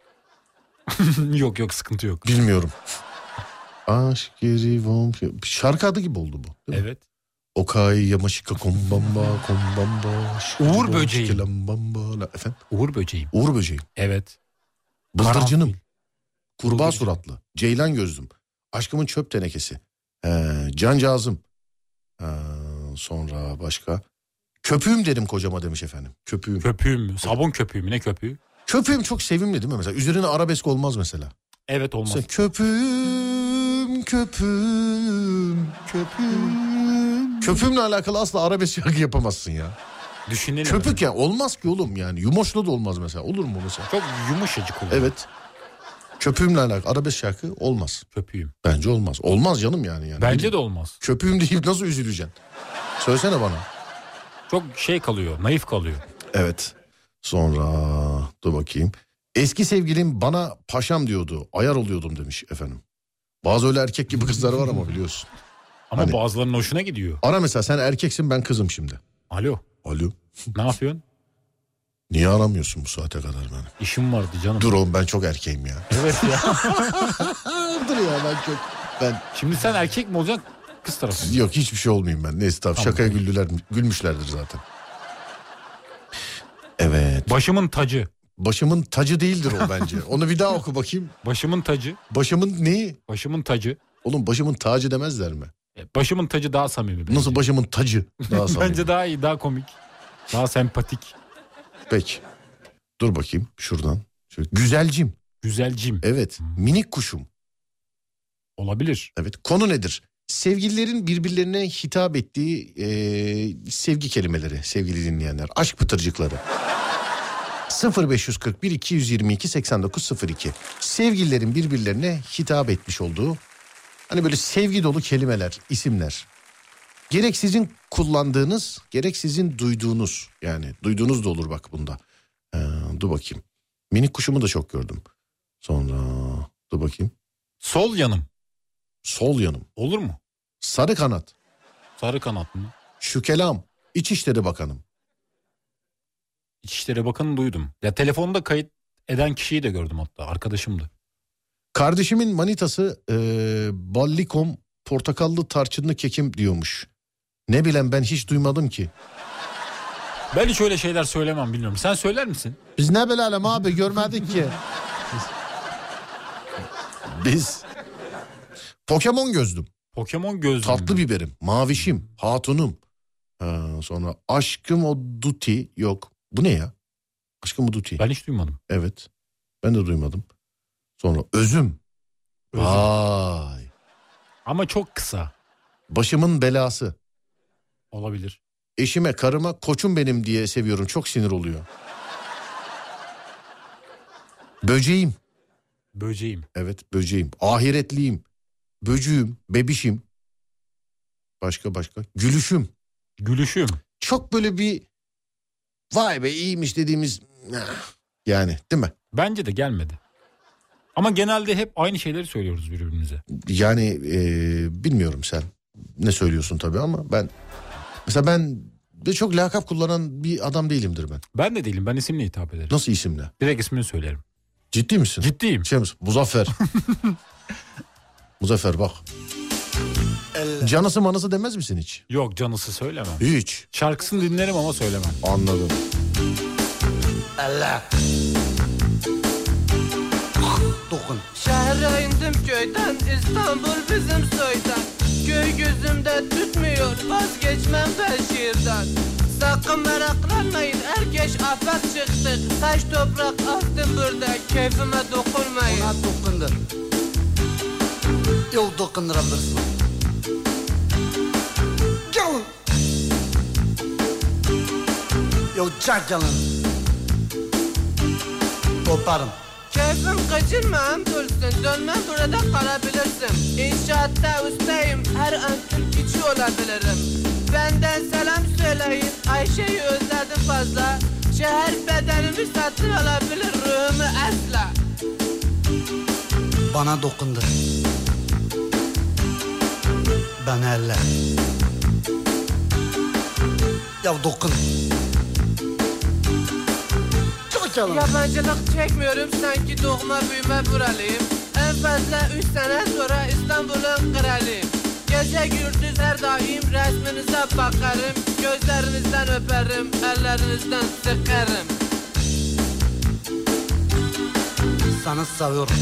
Speaker 3: yok yok sıkıntı yok.
Speaker 2: Bilmiyorum. Aşkiri bom çi- şey- Şarkı adı gibi oldu bu. Değil mi?
Speaker 3: Evet.
Speaker 2: Okay yamaşika kombamba kombamba. aşkiri
Speaker 3: Uğur
Speaker 2: bom
Speaker 3: böceği.
Speaker 2: çikelam bamba. La- Efendim?
Speaker 3: Uğur böceğim.
Speaker 2: Uğur böceği.
Speaker 3: Evet.
Speaker 2: Bıldırcınım.
Speaker 3: Karanfil.
Speaker 2: Kurbağa
Speaker 3: Bıldırcın.
Speaker 2: suratlı. Ceylan gözlüm. Aşkımın çöp tenekesi. Ee, cancağızım. Ee, sonra başka. Köpüğüm derim kocama demiş efendim. Köpüğüm.
Speaker 3: Köpüğüm mü? Sabun köpüğü mü? Ne köpüğü?
Speaker 2: Köpüğüm çok sevimli değil mi mesela? Üzerine arabesk olmaz mesela.
Speaker 3: Evet olmaz.
Speaker 2: Mesela köpüğüm, köpüğüm, köpüğüm. Köpüğümle alakalı asla arabesk şarkı yapamazsın ya.
Speaker 3: Düşünelim.
Speaker 2: Köpük ya olmaz ki oğlum yani. Yumoşla da olmaz mesela. Olur mu mesela?
Speaker 3: Çok yumuşacık oluyor.
Speaker 2: Evet. Köpüğümle alakalı arabesk şarkı olmaz.
Speaker 3: Köpüğüm.
Speaker 2: Bence olmaz. Olmaz canım yani. yani.
Speaker 3: Bence de olmaz.
Speaker 2: Köpüğüm deyip nasıl üzüleceksin? Söylesene bana.
Speaker 3: Çok şey kalıyor. Naif kalıyor.
Speaker 2: Evet. Sonra dur bakayım. Eski sevgilim bana paşam diyordu. Ayar oluyordum demiş efendim. Bazı öyle erkek gibi kızlar var ama biliyorsun.
Speaker 3: Ama
Speaker 2: Hani-
Speaker 3: bazılarının hoşuna gidiyor.
Speaker 2: Ara mesela sen erkeksin ben kızım şimdi.
Speaker 3: Alo.
Speaker 2: Alo.
Speaker 3: Ne yapıyorsun?
Speaker 2: Niye aramıyorsun bu saate kadar beni?
Speaker 3: İşim vardı canım.
Speaker 2: Dur oğlum ben çok erkeğim ya.
Speaker 3: Evet ya.
Speaker 2: dur ya ben çok... Ben
Speaker 3: Şimdi sen erkek mi olacaksın? Kız tarafı. mı?
Speaker 2: Yok hiçbir şey olmayayım ben. Neyse tamam,
Speaker 3: Tamam.
Speaker 2: şakaya güldüler, gülmüşlerdir zaten. Evet.
Speaker 3: Başımın tacı.
Speaker 2: Başımın tacı değildir o bence. Onu bir daha oku bakayım.
Speaker 3: Başımın tacı.
Speaker 2: Başımın neyi?
Speaker 3: Başımın tacı.
Speaker 2: Oğlum başımın tacı demezler mi?
Speaker 3: E, Başımın tacı daha samimi. bence.
Speaker 2: Nasıl başımın tacı? Daha samimi.
Speaker 3: Bence daha iyi, daha komik. Daha sempatik.
Speaker 2: Peki. Dur bakayım şuradan. Şöyle. Güzelcim.
Speaker 3: Güzelcim.
Speaker 2: Evet. Minik kuşum.
Speaker 3: Olabilir.
Speaker 2: Evet. Konu nedir? Sevgililerin birbirlerine hitap ettiği eee, sevgi kelimeleri sevgili dinleyenler. Aşk pıtırcıkları. 0541 222 8902. Sevgililerin birbirlerine hitap etmiş olduğu hani böyle sevgi dolu kelimeler, isimler. Gerek sizin kullandığınız, gerek sizin duyduğunuz yani duyduğunuz da olur bak bunda. Ee, dur bakayım. Minik kuşumu da çok gördüm. Sonra dur bakayım.
Speaker 3: Sol yanım.
Speaker 2: Sol yanım.
Speaker 3: Olur mu?
Speaker 2: Sarı kanat.
Speaker 3: Sarı kanat mı?
Speaker 2: Şükelam. İçişleri Bakanım.
Speaker 3: İçişleri Bakanı duydum. Ya telefonda kayıt eden kişiyi de gördüm hatta. Arkadaşımdı.
Speaker 2: Kardeşimin manitası e, ballikom portakallı tarçınlı kekim diyormuş. Ne bileyim ben hiç duymadım ki.
Speaker 3: Ben hiç öyle şeyler söylemem bilmiyorum. Sen söyler misin?
Speaker 2: Biz ne bilelim abi görmedik ki. Biz. Pokemon gözlüm.
Speaker 3: Pokemon gözlüğü.
Speaker 2: Tatlı biberim. Mavişim. Hatunum. Ha, sonra aşkım o duti yok. Bu ne ya? Aşkım o duti.
Speaker 3: Ben hiç duymadım.
Speaker 2: Evet. Ben de duymadım. Sonra özüm.
Speaker 3: Özüm.
Speaker 2: Vay.
Speaker 3: Ama çok kısa
Speaker 2: Başımın belası.
Speaker 3: olabilir.
Speaker 2: Eşime, karıma, koçum benim diye seviyorum. Çok sinir oluyor. Böceğim.
Speaker 3: Böceğim.
Speaker 2: Evet, böceğim. Ahiretliyim. Böcüğüm, bebişim. Başka başka. Gülüşüm.
Speaker 3: Gülüşüm.
Speaker 2: Çok böyle bir vay be iyiymiş dediğimiz yani değil mi?
Speaker 3: Bence de gelmedi. Ama genelde hep aynı şeyleri söylüyoruz birbirimize.
Speaker 2: Yani e, bilmiyorum sen ne söylüyorsun tabii ama ben mesela ben de çok lakap kullanan bir adam değilimdir ben.
Speaker 3: Ben de değilim ben isimle hitap ederim.
Speaker 2: Nasıl isimle?
Speaker 3: Direkt ismini söylerim.
Speaker 2: Ciddi misin?
Speaker 3: Ciddiyim.
Speaker 2: Şey misin? Muzaffer. Muzaffer bak. Canısı manası demez misin hiç?
Speaker 3: Yok canısı söylemem.
Speaker 2: Hiç.
Speaker 3: Şarkısını dinlerim ama söylemem.
Speaker 2: Anladım.
Speaker 1: Dokun.
Speaker 5: Şehre indim köyden İstanbul bizim soydan Köy gözümde tutmuyor vazgeçmem ben şiirden Sakın meraklanmayın erkeş afet çıktı Taş toprak attım burada keyfime dokunmayın
Speaker 1: Ona dokundur. Yol dokundurabilirsin. Gelin. Yo çak gelin. Koparım.
Speaker 5: Keyfim kaçırma hem dursun dönmem burada kalabilirsin İnşaatta ustayım her an Türk içi olabilirim Benden selam söyleyin Ayşe'yi özledim fazla Şehir bedenimi satın alabilir ruhumu asla
Speaker 1: Bana dokundur. Ben elle. Ya dokun. Çak gelin.
Speaker 5: Yabancılık çekmiyorum sanki doğma büyüme buralıyım En fazla üç sene sonra İstanbul'un kralıyım Gece gündüz her daim resminize bakarım Gözlerinizden öperim, ellerinizden sıkarım
Speaker 1: Sana seviyorum.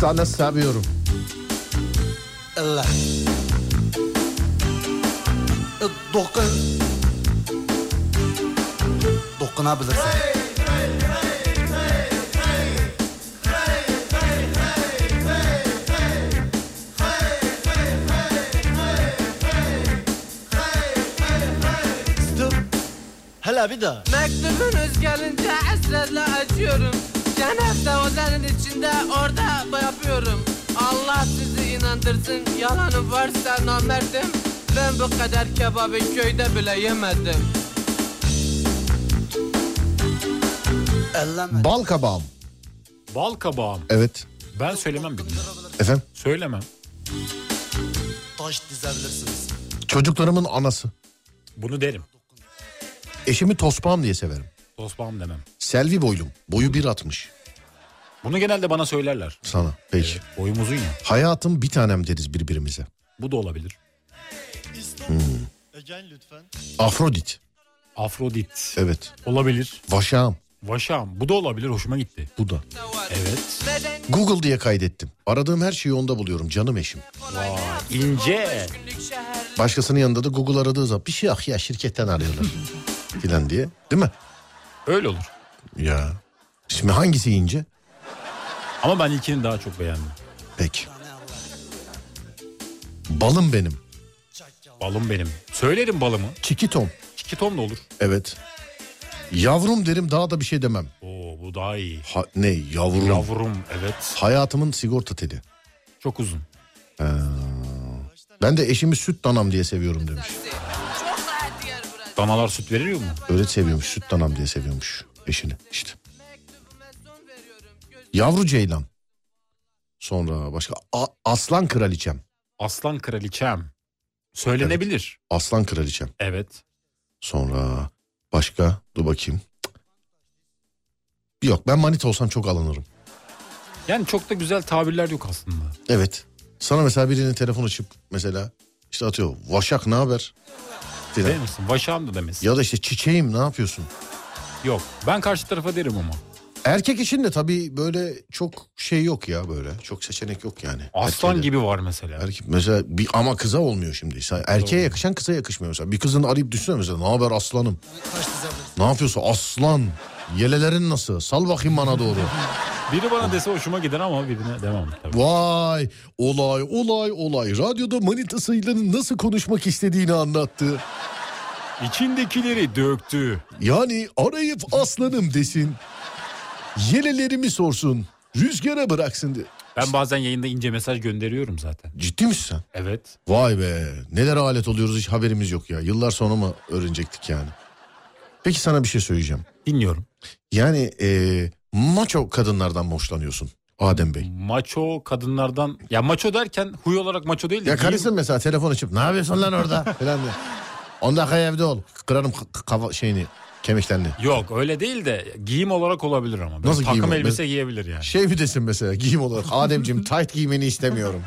Speaker 2: Sana seviyorum.
Speaker 1: Elle. E, dokun. Dokunabilirsin. Stop. Hele bir daha.
Speaker 5: Mektubunuz gelince hasretle açıyorum Cennet odanın içinde orada yapıyorum Allah sizi inandırsın Yalanı varsa namerdim Ben bu kadar kebabı köyde bile yemedim
Speaker 1: Elleme.
Speaker 2: Bal kabağım.
Speaker 3: Bal kabağım.
Speaker 2: Evet.
Speaker 3: Ben söylemem birini.
Speaker 2: Efendim?
Speaker 3: Söylemem.
Speaker 1: Taş dizebilirsiniz.
Speaker 2: Çocuklarımın anası.
Speaker 3: Bunu derim.
Speaker 2: Eşimi tospağım diye severim.
Speaker 3: Tosbağım demem.
Speaker 2: Selvi boylum. Boyu 1.60
Speaker 3: Bunu genelde bana söylerler.
Speaker 2: sana. Peki.
Speaker 3: Boyum uzun ya.
Speaker 2: Hayatım bir tanem deriz birbirimize.
Speaker 3: Bu da olabilir.
Speaker 2: Afrodit.
Speaker 3: Afrodit.
Speaker 2: Evet.
Speaker 3: Olabilir.
Speaker 2: Vaşağım.
Speaker 3: Vaşam. Bu da olabilir. Hoşuma gitti.
Speaker 2: Bu da.
Speaker 3: Evet.
Speaker 5: Neden
Speaker 2: Google diye kaydettim. Aradığım her şeyi onda buluyorum canım eşim.
Speaker 5: kolay ne yapsın
Speaker 3: ince.
Speaker 5: 15 günlük şehir
Speaker 2: Başkasının yanında da Google aradığı zaman bir şey yok ya şirketten arıyorlar filan diye. Değil mi?
Speaker 3: Öyle olur.
Speaker 2: Ya. Şimdi hangisi ince?
Speaker 3: Ama ben ilkini daha çok beğendim.
Speaker 2: Peki. Balım benim.
Speaker 3: Balım benim. Söylerim balımı.
Speaker 2: Çikitom.
Speaker 3: İki ton da olur.
Speaker 2: Evet. Yavrum derim daha da bir şey demem.
Speaker 3: Oo bu daha iyi.
Speaker 2: Ha- ne yavrum.
Speaker 3: Yavrum evet.
Speaker 2: Hayatımın sigorta teli.
Speaker 3: Çok uzun.
Speaker 2: Ben de eşimi süt danam diye seviyorum demiş.
Speaker 5: taksi. Çok rahat yer burası
Speaker 3: Danalar süt veriyor mu?
Speaker 2: Öyle seviyormuş süt danam diye seviyormuş eşini işte.
Speaker 5: Mektubuma son veriyorum Göz-
Speaker 2: Yavru ceylan. Sonra başka A- aslan kraliçem.
Speaker 3: Aslan kraliçem. Söylenebilir.
Speaker 2: Aslan kraliçem.
Speaker 3: Evet.
Speaker 2: Sonra başka dur bakayım. Cık. Yok ben manita olsam çok alınırım.
Speaker 3: Yani çok da güzel tabirler yok aslında.
Speaker 2: Evet. Sana mesela birinin telefon açıp mesela işte atıyor Vaşak ne haber? Filan.
Speaker 3: Değil misin? Vaşam da demesin.
Speaker 2: Ya da işte çiçeğim ne yapıyorsun?
Speaker 3: Yok. Ben karşı tarafa derim ama.
Speaker 2: Erkek için de tabii böyle çok şey yok ya böyle. Çok seçenek yok yani.
Speaker 3: Aslan
Speaker 2: Erkeğe de-
Speaker 3: gibi var mesela.
Speaker 2: Erkek mesela bir ama kıza olmuyor şimdi. Sen- Erkeğe yakışan kıza yakışmıyor mesela. Bir kızın arayıp düşünsene mesela ne haber aslanım?
Speaker 1: Taş dizebilirsin.
Speaker 2: Ne yapıyorsun aslan? Yelelerin nasıl? Sal bakayım bana doğru.
Speaker 3: Biri bana dese hoşuma gider ama birine demem tabii.
Speaker 2: Vay olay olay olay. Radyoda manitasıyla nasıl konuşmak istediğini anlattı.
Speaker 3: İçindekileri döktü.
Speaker 2: Yani arayıp aslanım desin. Yelelerimi sorsun. Rüzgara bıraksın de.
Speaker 3: Ben bazen yayında ince mesaj gönderiyorum zaten.
Speaker 2: Ciddi misin sen?
Speaker 3: Evet.
Speaker 2: Vay be neler alet oluyoruz hiç haberimiz yok ya. Yıllar sonra mı öğrenecektik yani? Peki sana bir şey söyleyeceğim.
Speaker 3: Dinliyorum.
Speaker 2: Yani e, maço kadınlardan mı hoşlanıyorsun? Adem Bey.
Speaker 3: Maço kadınlardan ya maço derken huy olarak maço değil de
Speaker 2: Ya
Speaker 3: giyim-
Speaker 2: karısı mesela telefon açıp ne yapıyorsun lan orada falan diye. 10 dakika evde ol. Kırarım k- k- kafa şeyini kemiklerini.
Speaker 3: Yok öyle değil de giyim olarak olabilir ama. Böyle
Speaker 2: Nasıl
Speaker 3: takım
Speaker 2: giyim?
Speaker 3: elbise giyebilir yani.
Speaker 2: Şey mi desin mesela giyim olarak Ademciğim tight giymeni istemiyorum.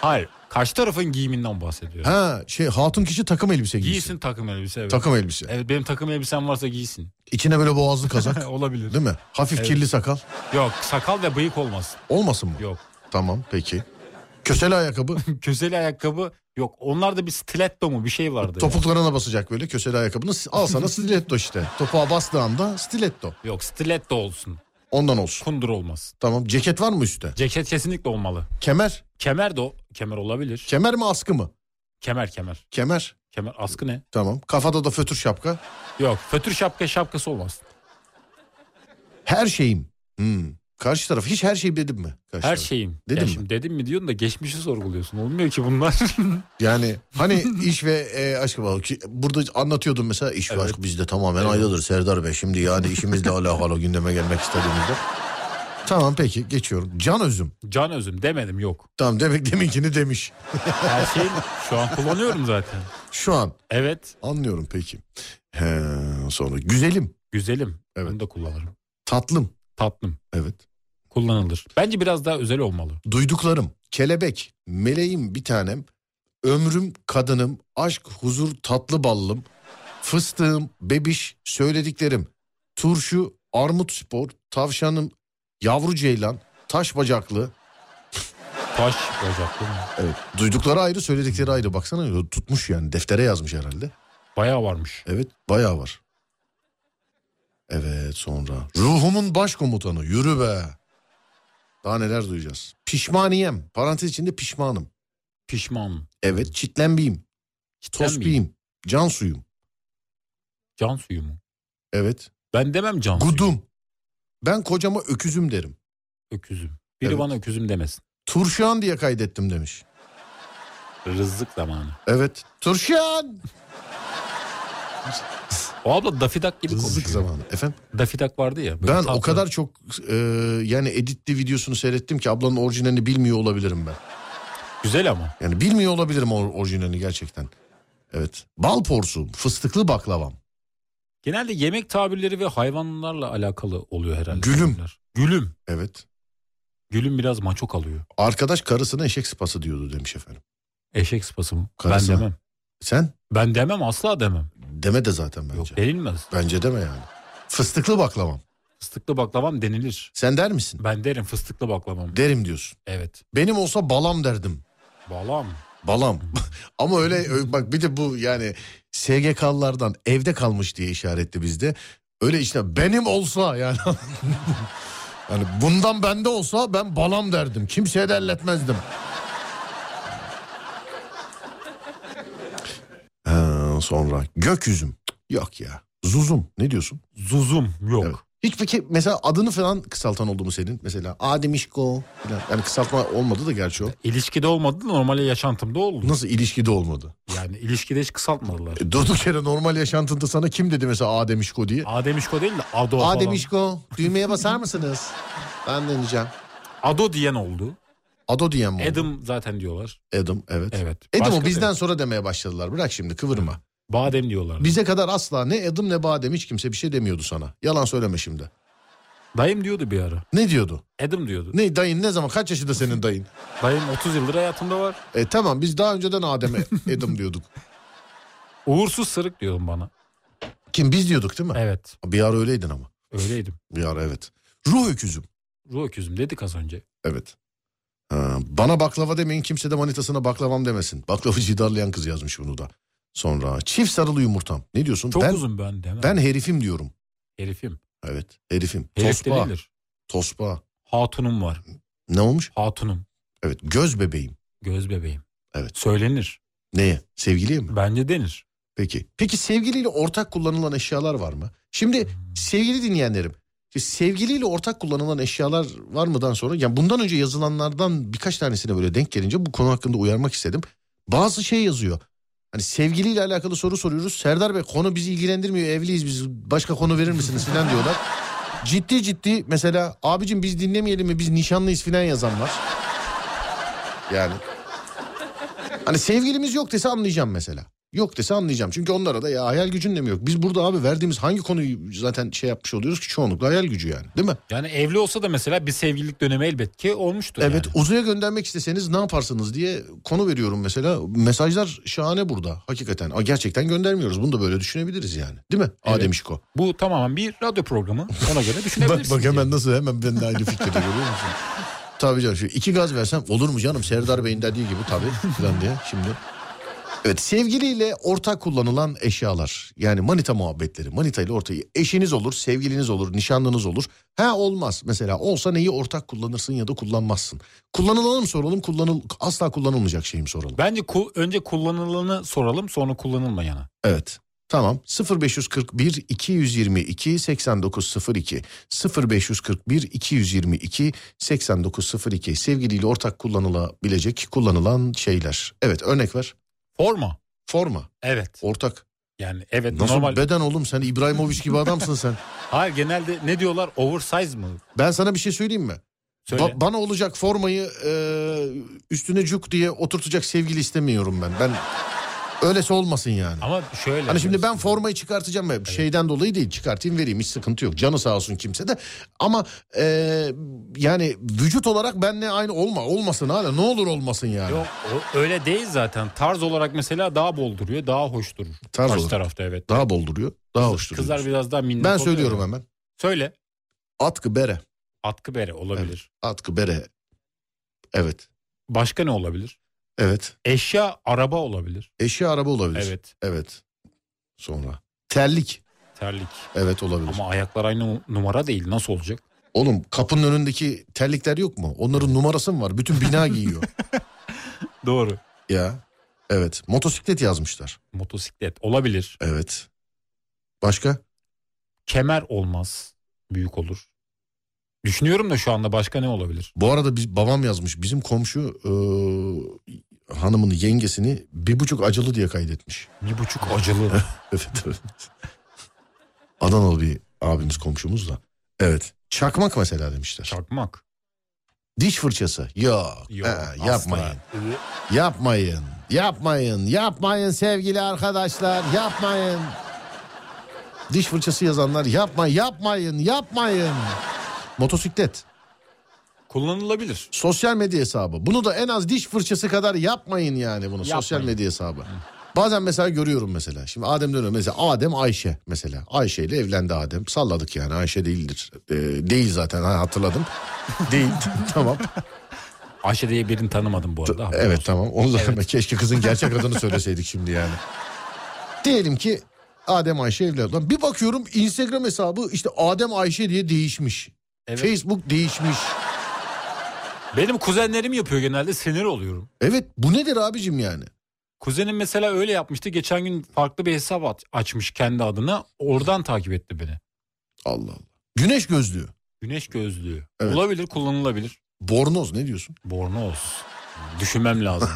Speaker 3: Hayır. Karşı tarafın giyiminden bahsediyorum.
Speaker 2: Ha şey hatun kişi takım elbise giysin.
Speaker 3: Giysin takım elbise. Evet.
Speaker 2: Takım elbise.
Speaker 3: Evet benim takım elbisem varsa giysin.
Speaker 2: İçine böyle boğazlı kazak.
Speaker 3: Olabilir.
Speaker 2: Değil mi? Hafif kirli sakal.
Speaker 3: Yok sakal ve bıyık olmaz.
Speaker 2: Olmasın mı?
Speaker 3: Yok.
Speaker 2: Tamam peki. Köseli ayakkabı.
Speaker 3: Köseli ayakkabı yok. Onlarda bir stiletto mu bir şey vardı. ya.
Speaker 2: Topuklarına basacak böyle köseli ayakkabını. Al sana stiletto işte. Topuğa bastığı anda stiletto.
Speaker 3: Yok stiletto olsun.
Speaker 2: Ondan olsun.
Speaker 3: Kundur olmaz.
Speaker 2: Tamam ceket var mı üstte?
Speaker 3: Ceket kesinlikle olmalı.
Speaker 2: Kemer.
Speaker 3: Kemer de o. Kemer olabilir.
Speaker 2: Kemer mi askı mı?
Speaker 3: kemer kemer.
Speaker 2: Kemer.
Speaker 3: Kemer askı ne?
Speaker 2: Tamam. Kafada da fötür şapka.
Speaker 3: Yok fötür şapka şapkası olmaz.
Speaker 2: Her şeyim. Hmm. Karşı taraf hiç her şey dedim mi? Karşı
Speaker 3: Her
Speaker 2: taraf.
Speaker 3: şeyim.
Speaker 2: Dedim
Speaker 3: ya
Speaker 2: mi?
Speaker 3: şimdi dedim mi diyorsun da geçmişi sorguluyorsun. Olmuyor ki bunlar.
Speaker 2: Yani hani iş ve e, aşk var. Ki Burada anlatıyordum mesela iş ve aşk bizde tamamen ayrıdır Serdar Bey. Şimdi yani işimizle alakalı gündeme gelmek istediğimizde. Tamam peki geçiyorum. Can özüm.
Speaker 3: Can özüm demedim yok.
Speaker 2: Tamam demek deminkini demiş.
Speaker 3: Her şeyi şu an kullanıyorum zaten.
Speaker 2: Şu an
Speaker 3: Evet
Speaker 2: anlıyorum peki. He, sonra güzelim,
Speaker 3: güzelim.
Speaker 2: Evet.
Speaker 3: Bunu da kullanırım.
Speaker 2: tatlım.
Speaker 3: Tatlım
Speaker 2: Evet.
Speaker 3: kullanılır. Bence biraz daha özel olmalı.
Speaker 2: Duyduklarım, kelebek, meleğim bir tanem, ömrüm, kadınım, aşk, huzur, tatlı ballım, fıstığım, bebiş, söylediklerim, turşu, armut spor, tavşanım, yavru ceylan, taş bacaklı.
Speaker 3: Taş olacak değil mi?
Speaker 2: Evet. Duydukları ayrı, söyledikleri ayrı. Baksana tutmuş yani deftere yazmış herhalde.
Speaker 3: Bayağı varmış.
Speaker 2: Evet bayağı var. Evet sonra. Ruhumun başkomutanı yürü be. Daha neler duyacağız. Pişmaniyem. Parantez içinde pişmanım.
Speaker 3: Pişman.
Speaker 2: Evet çitlenbiyim. Tospiyim. Can suyum.
Speaker 3: Can suyu mu?
Speaker 2: Evet.
Speaker 3: Ben demem can suyu.
Speaker 2: Gudum. Ben kocama öküzüm derim.
Speaker 3: Öküzüm. Biri
Speaker 2: Evet.
Speaker 3: bana öküzüm demesin.
Speaker 2: Turşan diye kaydettim demiş.
Speaker 3: Rızlık zamanı.
Speaker 2: Evet. Turşan.
Speaker 3: O abla Dafidak gibi
Speaker 2: Rızık
Speaker 3: konuşuyor.
Speaker 2: zamanı. Efendim
Speaker 3: Dafidak vardı ya. böyle
Speaker 2: ben o
Speaker 3: tatlı.
Speaker 2: kadar çok e, yani editli videosunu seyrettim ki ablanın orijinalini bilmiyor olabilirim ben.
Speaker 3: Güzel ama.
Speaker 2: Yani bilmiyor olabilirim or- orijinalini gerçekten. Evet. Bal porsu, fıstıklı baklavam.
Speaker 3: Genelde yemek tabirleri ve hayvanlarla alakalı oluyor herhalde.
Speaker 2: Gülüm.
Speaker 3: bunlar. Gülüm.
Speaker 2: Evet.
Speaker 3: Gülüm biraz maço kalıyor.
Speaker 2: Arkadaş karısına eşek sıpası diyordu demiş efendim.
Speaker 3: Eşek sıpası mı?
Speaker 2: Karısı.
Speaker 3: Ben demem.
Speaker 2: Sen
Speaker 3: Ben demem asla demem.
Speaker 2: deme de zaten bence.
Speaker 3: Yok denilmez.
Speaker 2: Bence deme yani. Fıstıklı baklavam.
Speaker 3: Fıstıklı baklavam denilir.
Speaker 2: Sen der misin?
Speaker 3: Ben derim fıstıklı baklavam.
Speaker 2: Derim diyorsun.
Speaker 3: evet.
Speaker 2: Benim olsa balam derdim.
Speaker 3: Balam.
Speaker 2: Balam. Ama öyle ö- bak bir de bu yani SGK'lardan evde kalmış diye işaretli bizde. Öyle işte benim olsa yani. yani bundan bende olsa ben balam derdim. Kimseye de elletmezdim. Ha, sonra gökyüzüm. Cık, Yok ya. Zuzum. Ne diyorsun?
Speaker 3: Zuzum yok.
Speaker 2: Evet. Hiç peki mesela adını falan kısaltan oldu mu senin? Mesela Adem İşko falan. Yani kısaltma olmadı da gerçi o.
Speaker 3: İlişkide olmadı da normal yaşantımda oldu.
Speaker 2: Nasıl ilişkide olmadı?
Speaker 3: Yani ilişkide hiç kısaltmadılar.
Speaker 2: E, Durduk yere normal yaşantında sana kim dedi mesela Adem İşko diye?
Speaker 3: Adem İşko değil de Ado
Speaker 2: Adem
Speaker 3: falan.
Speaker 2: İşko düğmeye basar mısınız? Ben deneyeceğim.
Speaker 3: Ado diyen oldu.
Speaker 2: Ado diyen mi? oldu?
Speaker 3: Adam zaten diyorlar.
Speaker 2: Adam evet.
Speaker 3: Evet.
Speaker 2: Adam'ı
Speaker 3: Başka
Speaker 2: bizden
Speaker 3: bir-
Speaker 2: sonra demeye başladılar. Bırak şimdi kıvırma.
Speaker 3: Badem diyorlar.
Speaker 2: Bize kadar asla ne Adam ne Badem hiç kimse bir şey demiyordu sana. Yalan söyleme şimdi.
Speaker 3: Dayım diyordu bir ara.
Speaker 2: Ne diyordu?
Speaker 3: Adam diyordu.
Speaker 2: Ne dayın ne zaman kaç yaşında senin dayın?
Speaker 3: Dayım 30 yıldır hayatımda var.
Speaker 2: E tamam biz daha önceden Adem'e Adam diyorduk.
Speaker 3: Uğursuz sırık diyordum bana.
Speaker 2: Kim biz diyorduk değil mi?
Speaker 3: Evet.
Speaker 2: Bir ara öyleydin ama.
Speaker 3: Öyleydim.
Speaker 2: Bir ara evet. Ruh öküzüm.
Speaker 3: Ruh öküzüm dedik az önce.
Speaker 2: Evet. Ha, bana baklava demeyin kimse de manitasına baklavam demesin. Baklavacıyı darlayan kız yazmış bunu da. Sonra çift sarılı yumurtam. Ne diyorsun?
Speaker 3: Çok
Speaker 2: ben,
Speaker 3: uzun ben demem.
Speaker 2: Ben herifim diyorum.
Speaker 3: Herifim.
Speaker 2: Evet herifim.
Speaker 3: Herif de
Speaker 2: tospa.
Speaker 3: değildir.
Speaker 2: Tospa.
Speaker 3: Hatunum var.
Speaker 2: Ne olmuş?
Speaker 3: Hatunum.
Speaker 2: Evet göz bebeğim.
Speaker 3: Göz bebeğim.
Speaker 2: Evet.
Speaker 3: Söylenir.
Speaker 2: Neye? Sevgiliye mi?
Speaker 3: Bence denir.
Speaker 2: Peki. Peki sevgiliyle ortak kullanılan eşyalar var mı? Şimdi sevgili dinleyenlerim. şimdi Sevgiliyle ortak kullanılan eşyalar var mıdan sonra yani bundan önce yazılanlardan birkaç tanesine böyle denk gelince bu konu hakkında uyarmak istedim. Bazı şey yazıyor. Hani sevgiliyle alakalı soru soruyoruz. Serdar Bey konu bizi ilgilendirmiyor evliyiz biz başka konu verir misiniz falan diyorlar. Ciddi ciddi mesela abicim biz dinlemeyelim mi biz nişanlıyız filan yazan var. Yani. Hani sevgilimiz yok dese anlayacağım mesela. Yok dese anlayacağım. Çünkü onlara da ya hayal gücün de mi yok? Biz burada abi verdiğimiz hangi konuyu zaten şey yapmış oluyoruz ki çoğunlukla hayal gücü yani değil mi?
Speaker 3: Yani evli olsa da mesela bir sevgililik dönemi elbet ki olmuştur
Speaker 2: Evet
Speaker 3: yani.
Speaker 2: uzaya göndermek isteseniz ne yaparsınız diye konu veriyorum mesela. Mesajlar şahane burada hakikaten. Aa, Gerçekten göndermiyoruz bunu da böyle düşünebiliriz yani değil mi Adem Şiko?
Speaker 3: Bu tamamen bir radyo programı. Ona göre
Speaker 2: Bak,
Speaker 3: düşünebilirsiniz.
Speaker 2: bak
Speaker 3: yani.
Speaker 2: hemen nasıl hemen ben de aynı fikirde görüyor musun? Tabii canım şu iki gaz versem olur mu canım Serdar Bey'in dediği gibi tabii falan diye şimdi. Evet sevgiliyle ortak kullanılan eşyalar yani manita muhabbetleri manita ile ortaya eşiniz olur sevgiliniz olur nişanlınız olur. Ha olmaz mesela olsa neyi ortak kullanırsın ya da kullanmazsın. Kullanılanı mı soralım kullanıl asla kullanılmayacak şeyi mi soralım?
Speaker 3: Bence ku- önce kullanılanı soralım sonra kullanılmayanı.
Speaker 2: Evet. Tamam 0541 222 8902 0541 222 8902 sevgiliyle ortak kullanılabilecek kullanılan şeyler. Evet örnek ver.
Speaker 3: Forma.
Speaker 2: Forma
Speaker 3: Evet.
Speaker 2: ortak.
Speaker 3: Yani evet
Speaker 2: Nasıl
Speaker 3: normal.
Speaker 2: beden oğlum sen İbrahimovic gibi adamsın sen.
Speaker 3: Hayır genelde ne diyorlar? Oversize mı?
Speaker 2: Ben sana bir şey söyleyeyim mi?
Speaker 3: Söyle.
Speaker 2: Ba- bana olacak formayı e, üstüne cuk diye oturtacak sevgili istemiyorum ben. Ben öylesi olmasın yani.
Speaker 3: Ama şöyle.
Speaker 2: Hani şimdi ben formayı çıkartacağım ve şeyden dolayı değil çıkartayım vereyim hiç sıkıntı yok. Canı sağ olsun kimse de ama e, yani vücut olarak benle aynı olma olmasın hala ne olur olmasın yani.
Speaker 3: Yok o- öyle değil zaten. Tarz olarak mesela daha bol duruyor, daha hoş durur.
Speaker 2: Tarz
Speaker 3: Karşı
Speaker 2: olarak.
Speaker 3: tarafta evet.
Speaker 2: Daha bol duruyor daha hoş duruyor.
Speaker 3: Kızlar biraz daha minnet
Speaker 2: Ben
Speaker 3: oluyor
Speaker 2: söylüyorum
Speaker 3: ya.
Speaker 2: hemen
Speaker 3: Söyle.
Speaker 2: atkı bere
Speaker 3: Atkı bere olabilir.
Speaker 2: atkı bere evet
Speaker 3: Başka ne olabilir?
Speaker 2: evet
Speaker 3: Eşya araba olabilir.
Speaker 2: eşya araba olabilir.
Speaker 3: Evet.
Speaker 2: Evet sonra terlik
Speaker 3: Terlik.
Speaker 2: evet olabilir.
Speaker 3: Ama ayaklar aynı numara değil. Nasıl olacak?
Speaker 2: Oğlum kapının önündeki terlikler yok mu? Onların numarası mı var? Bütün bina giyiyor.
Speaker 3: Doğru.
Speaker 2: ya evet motosiklet yazmışlar.
Speaker 3: Motosiklet olabilir.
Speaker 2: Evet. Başka?
Speaker 3: Kemer olmaz. Büyük olur. Düşünüyorum da şu anda başka ne olabilir?
Speaker 2: Bu arada biz, babam yazmış. Bizim komşu eee, hanımın yengesini bir buçuk acılı diye kaydetmiş.
Speaker 3: Bir buçuk acılı.
Speaker 2: Evet evet. Adanalı bir abimiz komşumuz da. Evet. Çakmak mesela demişler.
Speaker 3: Çakmak.
Speaker 2: Diş fırçası. Yok.
Speaker 3: Yok.
Speaker 2: ha,
Speaker 3: asla.
Speaker 2: Ee,
Speaker 3: Ee,
Speaker 2: yapmayın. Yapmayın. Yapmayın. Yapmayın sevgili arkadaşlar. Yapmayın. Diş fırçası yazanlar yapma yapmayın yapmayın. Motosiklet.
Speaker 3: Kullanılabilir.
Speaker 2: Sosyal medya hesabı. Bunu da en az diş fırçası kadar yapmayın yani bunu. Sosyal
Speaker 3: Yapmayın.
Speaker 2: medya hesabı. Bazen mesela görüyorum mesela. Şimdi Adem dönüyor mesela Adem Ayşe mesela. Ayşe ile evlendi Adem. Salladık yani Ayşe değildir. Ee, değil zaten ha, hatırladım. değil tamam.
Speaker 3: Ayşe diye birini tanımadım bu arada. haberin
Speaker 2: Evet
Speaker 3: olsun.
Speaker 2: tamam. Onu da keşke kızın gerçek adını söyleseydik şimdi yani. Diyelim ki Adem Ayşe evlendi. Lan Bir bakıyorum Instagram hesabı işte Adem Ayşe diye değişmiş.
Speaker 3: Evet.
Speaker 2: Facebook değişmiş.
Speaker 3: Benim kuzenlerim yapıyor genelde sinir oluyorum.
Speaker 2: Evet bu nedir abicim yani?
Speaker 3: Kuzenim mesela öyle yapmıştı. Geçen gün farklı bir hesap at- açmış kendi adına. Oradan takip etti beni.
Speaker 2: Allah Allah. Güneş gözlüğü.
Speaker 3: Güneş gözlüğü.
Speaker 2: Evet.
Speaker 3: Olabilir, kullanılabilir.
Speaker 2: Bornoz ne diyorsun?
Speaker 3: Bornoz. Düşünmem lazım.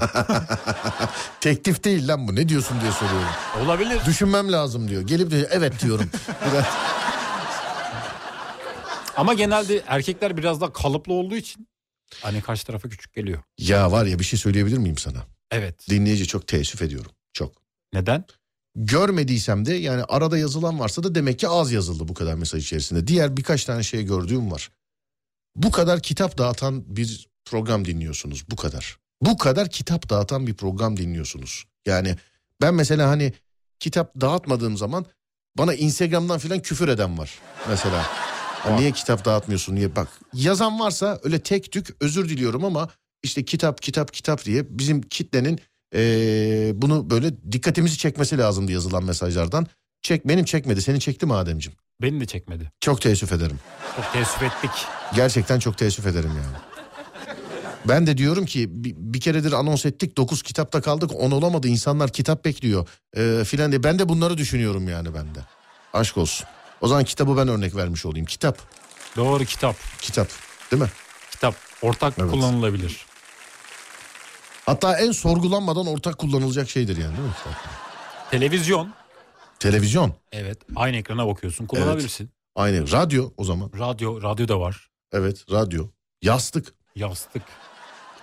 Speaker 2: Teklif değil lan bu ne diyorsun diye soruyorum.
Speaker 3: Olabilir.
Speaker 2: Düşünmem lazım diyor. Gelip de evet diyorum. Biraz-
Speaker 3: Ama genelde erkekler biraz daha kalıplı olduğu için hani karşı tarafa küçük geliyor.
Speaker 2: ya var ya bir şey söyleyebilir miyim sana?
Speaker 3: Evet.
Speaker 2: Dinleyici çok teessüf ediyorum. Çok.
Speaker 3: Neden?
Speaker 2: görmediysem de yani arada yazılan varsa da demek ki az yazıldı bu kadar mesaj içerisinde. Diğer birkaç tane şey gördüğüm var. Bu kadar kitap dağıtan bir program dinliyorsunuz bu kadar. Bu kadar kitap dağıtan bir program dinliyorsunuz. Yani ben mesela hani kitap dağıtmadığım zaman bana Instagram'dan filan küfür eden var mesela. Ya niye kitap dağıtmıyorsun diye bak. Yazan varsa öyle tek tük özür diliyorum ama işte kitap kitap kitap diye bizim kitlenin ee, bunu böyle dikkatimizi çekmesi lazımdı yazılan mesajlardan. Çek benim çekmedi. Seni çekti mi Ademciğim?
Speaker 3: Beni de çekmedi.
Speaker 2: Çok teessüf ederim.
Speaker 3: Çok teessüf ettik.
Speaker 2: Gerçekten çok teessüf ederim yani. Ben de diyorum ki bi- bir, keredir anons ettik 9 kitapta kaldık 10 olamadı insanlar kitap bekliyor ee, filan diye. Ben de bunları düşünüyorum yani ben de. Aşk olsun. O zaman kitabı ben örnek vermiş olayım. Kitap,
Speaker 3: Doğru kitap.
Speaker 2: kitap değil mi?
Speaker 3: Kitap ortak
Speaker 2: Evet.
Speaker 3: kullanılabilir.
Speaker 2: Hatta en sorgulanmadan ortak kullanılacak şeydir yani değil mi? kitap?
Speaker 3: Televizyon.
Speaker 2: Televizyon.
Speaker 3: Evet. Aynı ekrana bakıyorsun. Kullanabilirsin.
Speaker 2: Aynı radyo o zaman.
Speaker 3: Radyo, radyo da var.
Speaker 2: Evet radyo. Yastık.
Speaker 3: Yastık.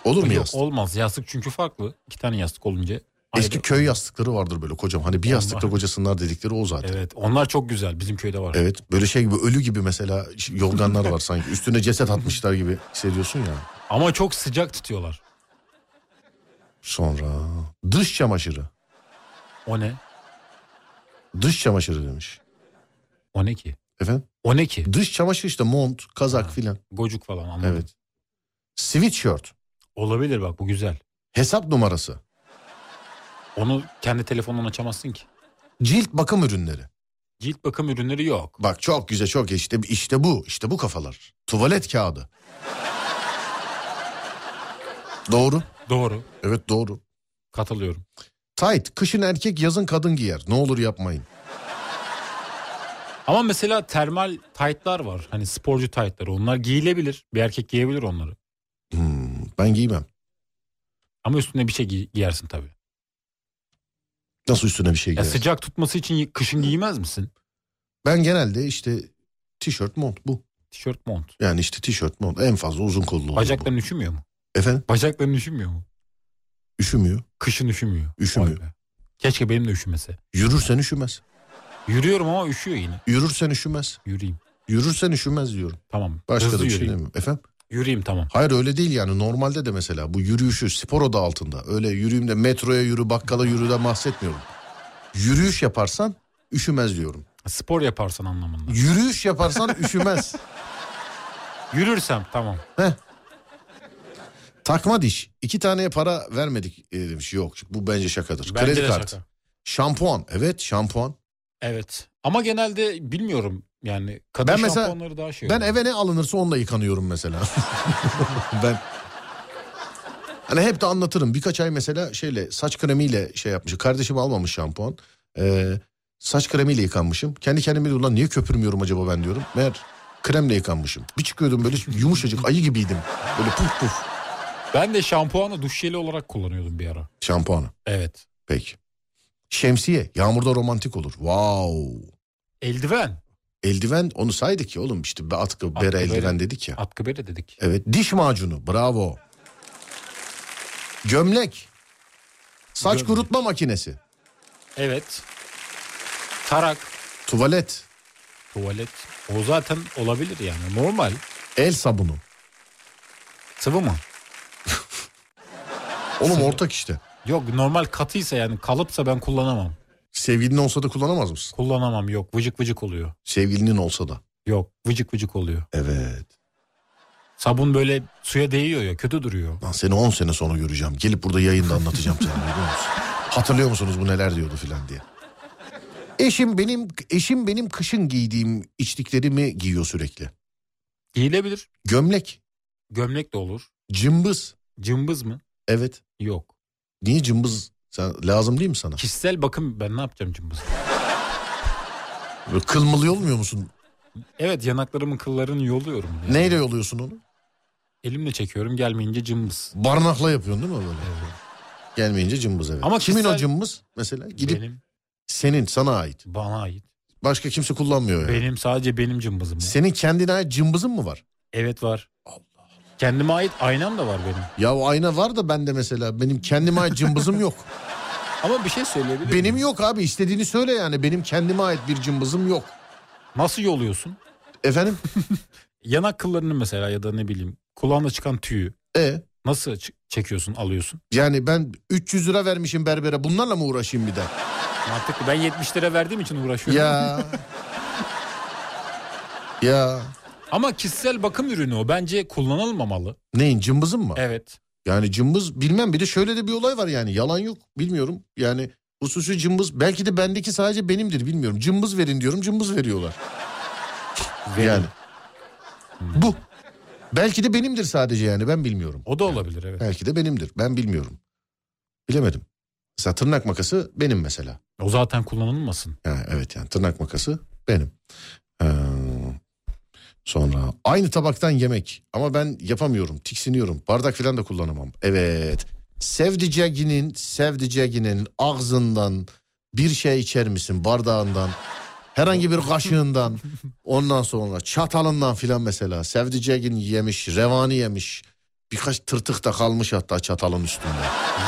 Speaker 2: Olur mu
Speaker 3: Yok,
Speaker 2: yastık?
Speaker 3: Olmaz. Yastık çünkü farklı. İki tane yastık olunca.
Speaker 2: Eski
Speaker 3: ayrı.
Speaker 2: köy yastıkları vardır böyle kocam. Hani bir yastıkta
Speaker 3: Onlar.
Speaker 2: kocasınlar dedikleri o zaten. Evet.
Speaker 3: Evet. Onlar çok güzel. Bizim köyde var.
Speaker 2: böyle şey gibi ölü gibi mesela ş- yorganlar var sanki. Üstüne ceset atmışlar gibi hissediyorsun ya.
Speaker 3: Ama çok sıcak tutuyorlar.
Speaker 2: Sonra dış çamaşırı.
Speaker 3: O ne?
Speaker 2: Dış çamaşırı demiş.
Speaker 3: O ne ki?
Speaker 2: Efendim?
Speaker 3: O ne ki?
Speaker 2: Dış çamaşır işte mont, kazak
Speaker 3: Ha.
Speaker 2: filan.
Speaker 3: Gocuk falan anladım.
Speaker 2: Evet. Sweatshirt.
Speaker 3: Olabilir bak bu güzel.
Speaker 2: Hesap numarası.
Speaker 3: Onu kendi telefondan açamazsın ki.
Speaker 2: Cilt bakım ürünleri.
Speaker 3: Cilt bakım ürünleri yok.
Speaker 2: Bak çok güzel çok işte işte bu işte bu kafalar. Tuvalet kağıdı. doğru.
Speaker 3: Doğru.
Speaker 2: Evet doğru.
Speaker 3: Katılıyorum.
Speaker 2: Tight kışın erkek yazın kadın giyer. Ne olur yapmayın.
Speaker 3: Ama mesela termal taytlar var. Hani sporcu taytları. Onlar giyilebilir. Bir erkek giyebilir onları.
Speaker 2: Hmm, ben giymem.
Speaker 3: Ama üstüne bir şey gi- giyersin tabii.
Speaker 2: Nasıl üstüne bir şey
Speaker 3: Ya
Speaker 2: giyer?
Speaker 3: sıcak tutması için y- kışın giymez misin?
Speaker 2: Ben genelde işte tişört mont bu.
Speaker 3: Tişört mont.
Speaker 2: Yani işte tişört mont en fazla uzun kollu olur bu.
Speaker 3: Bacakların üşümüyor mu?
Speaker 2: Efendim
Speaker 3: Bacakların üşümüyor mu?
Speaker 2: üşümüyor.
Speaker 3: Kışın üşümüyor.
Speaker 2: Üşümüyor.
Speaker 3: Vay be. Keşke benim de üşümese.
Speaker 2: Yürürsen üşümez.
Speaker 3: Yürüyorum ama üşüyor yine.
Speaker 2: Yürürsen üşümez.
Speaker 3: Yürüyeyim.
Speaker 2: Yürürsen üşümez diyorum.
Speaker 3: Tamam.
Speaker 2: Başka
Speaker 3: Hızlı
Speaker 2: da bir şey
Speaker 3: yürüyeyim.
Speaker 2: demiyorum. Efendim?
Speaker 3: Yürüyeyim tamam.
Speaker 2: Hayır öyle değil yani normalde de mesela bu yürüyüşü spor oda altında öyle yürüyeyim de metroya yürü bakkala yürü de bahsetmiyorum. Yürüyüş yaparsan üşümez diyorum.
Speaker 3: Spor yaparsan anlamında.
Speaker 2: Yürüyüş yaparsan üşümez.
Speaker 3: Yürürsem tamam.
Speaker 2: Takma diş. İki taneye para vermedik e, demiş. Yok bu bence şakadır.
Speaker 3: Bence
Speaker 2: Kredi
Speaker 3: de
Speaker 2: kartı.
Speaker 3: şaka.
Speaker 2: Şampuan. Evet şampuan.
Speaker 3: Evet. Ama genelde bilmiyorum yani kadın
Speaker 2: Ben mesela-
Speaker 3: şampuanları daha şey.
Speaker 2: Ben
Speaker 3: oluyor.
Speaker 2: eve ne alınırsa onunla yıkanıyorum mesela. ben Hani hep de anlatırım. Birkaç ay mesela şeyle saç kremiyle şey yapmışım. Kardeşim almamış şampuan. Ee, saç kremiyle yıkanmışım. Kendi kendime de ulan niye köpürmüyorum acaba ben diyorum. Meğer kremle yıkanmışım. Bir çıkıyordum böyle yumuşacık ayı gibiydim. Böyle puf puf
Speaker 3: Ben de şampuanı duş jeli olarak kullanıyordum bir ara.
Speaker 2: şampuanı.
Speaker 3: Evet.
Speaker 2: Peki. Şemsiye. Yağmurda romantik olur. Wow.
Speaker 3: Eldiven.
Speaker 2: Eldiven onu saydık ya oğlum işte atkı, bere,
Speaker 3: bere.
Speaker 2: eldiven dedik ya.
Speaker 3: Atkı bere dedik.
Speaker 2: Evet diş macunu bravo. Gömlek. Saç
Speaker 3: Gömlek.
Speaker 2: kurutma makinesi.
Speaker 3: Evet. Tarak.
Speaker 2: Tuvalet.
Speaker 3: Tuvalet. O zaten olabilir yani. Normal.
Speaker 2: El sabunu.
Speaker 3: Sıvı mı?
Speaker 2: Oğlum ortak işte.
Speaker 3: Yok normal katıysa yani kalıpsa ben kullanamam.
Speaker 2: Sevgilinin olsa da kullanamaz mısın?
Speaker 3: Kullanamam yok. Vıcık vıcık oluyor.
Speaker 2: Sevgilinin olsa da.
Speaker 3: Yok vıcık vıcık oluyor.
Speaker 2: Evet.
Speaker 3: Sabun böyle suya değiyor ya kötü duruyor.
Speaker 2: Lan seni 10 sene sonra göreceğim. Gelip burada yayında anlatacağım sana biliyor musun? Hatırlıyor musunuz bu neler diyordu filan diye. Eşim benim eşim benim kışın giydiğim içliklerimi giyiyor sürekli.
Speaker 3: Giyilebilir.
Speaker 2: Gömlek,
Speaker 3: Gömlek de olur.
Speaker 2: cımbız.
Speaker 3: Cımbız mı?
Speaker 2: Evet.
Speaker 3: Yok.
Speaker 2: Niye cımbız? Sen, lazım değil mi sana?
Speaker 3: Kişisel bakım ben ne yapacağım cımbız?
Speaker 2: Böyle kılmalı yolmuyor musun?
Speaker 3: Evet yanaklarımın kıllarını yoluyorum. Yani.
Speaker 2: Neyle yoluyorsun onu?
Speaker 3: Elimle çekiyorum gelmeyince cımbız.
Speaker 2: Barnakla yapıyorsun değil mi böyle?
Speaker 3: Evet.
Speaker 2: Gelmeyince cımbız evet. Ama
Speaker 3: Ama
Speaker 2: kimin o
Speaker 3: kişisel-
Speaker 2: cımbız mesela? Gidip
Speaker 3: Benim
Speaker 2: senin sana ait.
Speaker 3: bana ait.
Speaker 2: Başka kimse kullanmıyor yani.
Speaker 3: Benim sadece benim cımbızım. var.
Speaker 2: Senin kendine ait cımbızın mı var?
Speaker 3: Evet var. Kendime ait aynam da var benim.
Speaker 2: Ya o ayna var da bende mesela benim kendime ait cımbızım yok.
Speaker 3: Ama bir şey söyleyebilir miyim?
Speaker 2: Benim yok abi istediğini söyle yani benim kendime ait bir cımbızım yok.
Speaker 3: Nasıl yoluyorsun?
Speaker 2: Efendim?
Speaker 3: Yanak kıllarını mesela ya da ne bileyim kulağına çıkan tüyü
Speaker 2: E
Speaker 3: nasıl ç- çekiyorsun alıyorsun?
Speaker 2: yani ben 300 lira vermişim berbere bunlarla mı uğraşayım bir de?
Speaker 3: Mantıklı ben 70 lira verdiğim için uğraşıyorum.
Speaker 2: Ya. ya.
Speaker 3: Ama kişisel bakım ürünü o bence kullanılmamalı.
Speaker 2: Neyin cımbızın mı?
Speaker 3: Evet.
Speaker 2: Yani cımbız bilmem bir de şöyle de bir olay var yani yalan yok bilmiyorum. Yani hususi cımbız belki de bendeki sadece benimdir bilmiyorum. Cımbız verin diyorum cımbız veriyorlar. Yani. Bu. Belki de benimdir sadece yani ben bilmiyorum.
Speaker 3: O da olabilir evet.
Speaker 2: Belki de benimdir ben bilmiyorum. Bilemedim. Mesela tırnak makası benim mesela.
Speaker 3: O zaten kullanılmasın.
Speaker 2: Ha, evet yani tırnak makası benim. Ee, sonra aynı tabaktan yemek ama ben yapamıyorum tiksiniyorum bardak falan da kullanamam. Evet sevdiceğinin sevdiceğinin ağzından bir şey içer misin bardağından Herhangi bir kaşığından ondan sonra çatalından filan mesela sevdiceğin yemiş, revani yemiş. Birkaç tırtık da kalmış hatta çatalın üstünde.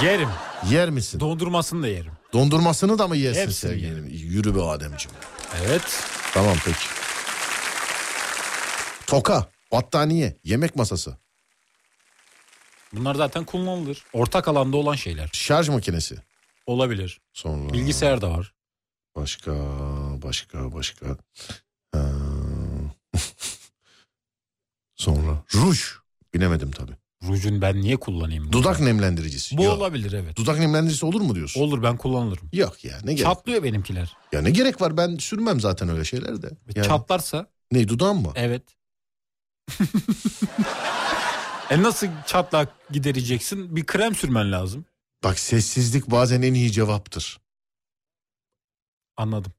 Speaker 3: Yerim.
Speaker 2: Yer misin?
Speaker 3: Dondurmasını da yerim.
Speaker 2: Dondurmasını da mı yersin
Speaker 3: Hepsini
Speaker 2: sevgilim? Yürü be Ademciğim.
Speaker 3: Evet.
Speaker 2: Tamam peki. Toka, battaniye, yemek masası,
Speaker 3: Bunlar zaten kullanılır. Ortak alanda olan şeyler.
Speaker 2: şarj makinesi.
Speaker 3: Olabilir.
Speaker 2: Sonra
Speaker 3: Bilgisayar da var.
Speaker 2: başka başka başka. Ee, Sonra ruj. Bilemedim tabii.
Speaker 3: Rujun ben niye kullanayım? bunu?
Speaker 2: Dudak nemlendiricisi.
Speaker 3: Bu
Speaker 2: Yok.
Speaker 3: olabilir evet.
Speaker 2: Dudak nemlendiricisi olur mu diyorsun?
Speaker 3: Olur ben kullanılırım.
Speaker 2: Yok ya ne gerek.
Speaker 3: Çatlıyor benimkiler.
Speaker 2: Ya ne gerek var ben sürmem zaten öyle şeyler de. Yani,
Speaker 3: Çatlarsa
Speaker 2: Ne dudağım mı?
Speaker 3: evet. e nasıl çatlak gidereceksin? Bir krem sürmen lazım.
Speaker 2: Bak sessizlik bazen en iyi cevaptır.
Speaker 3: Anladım.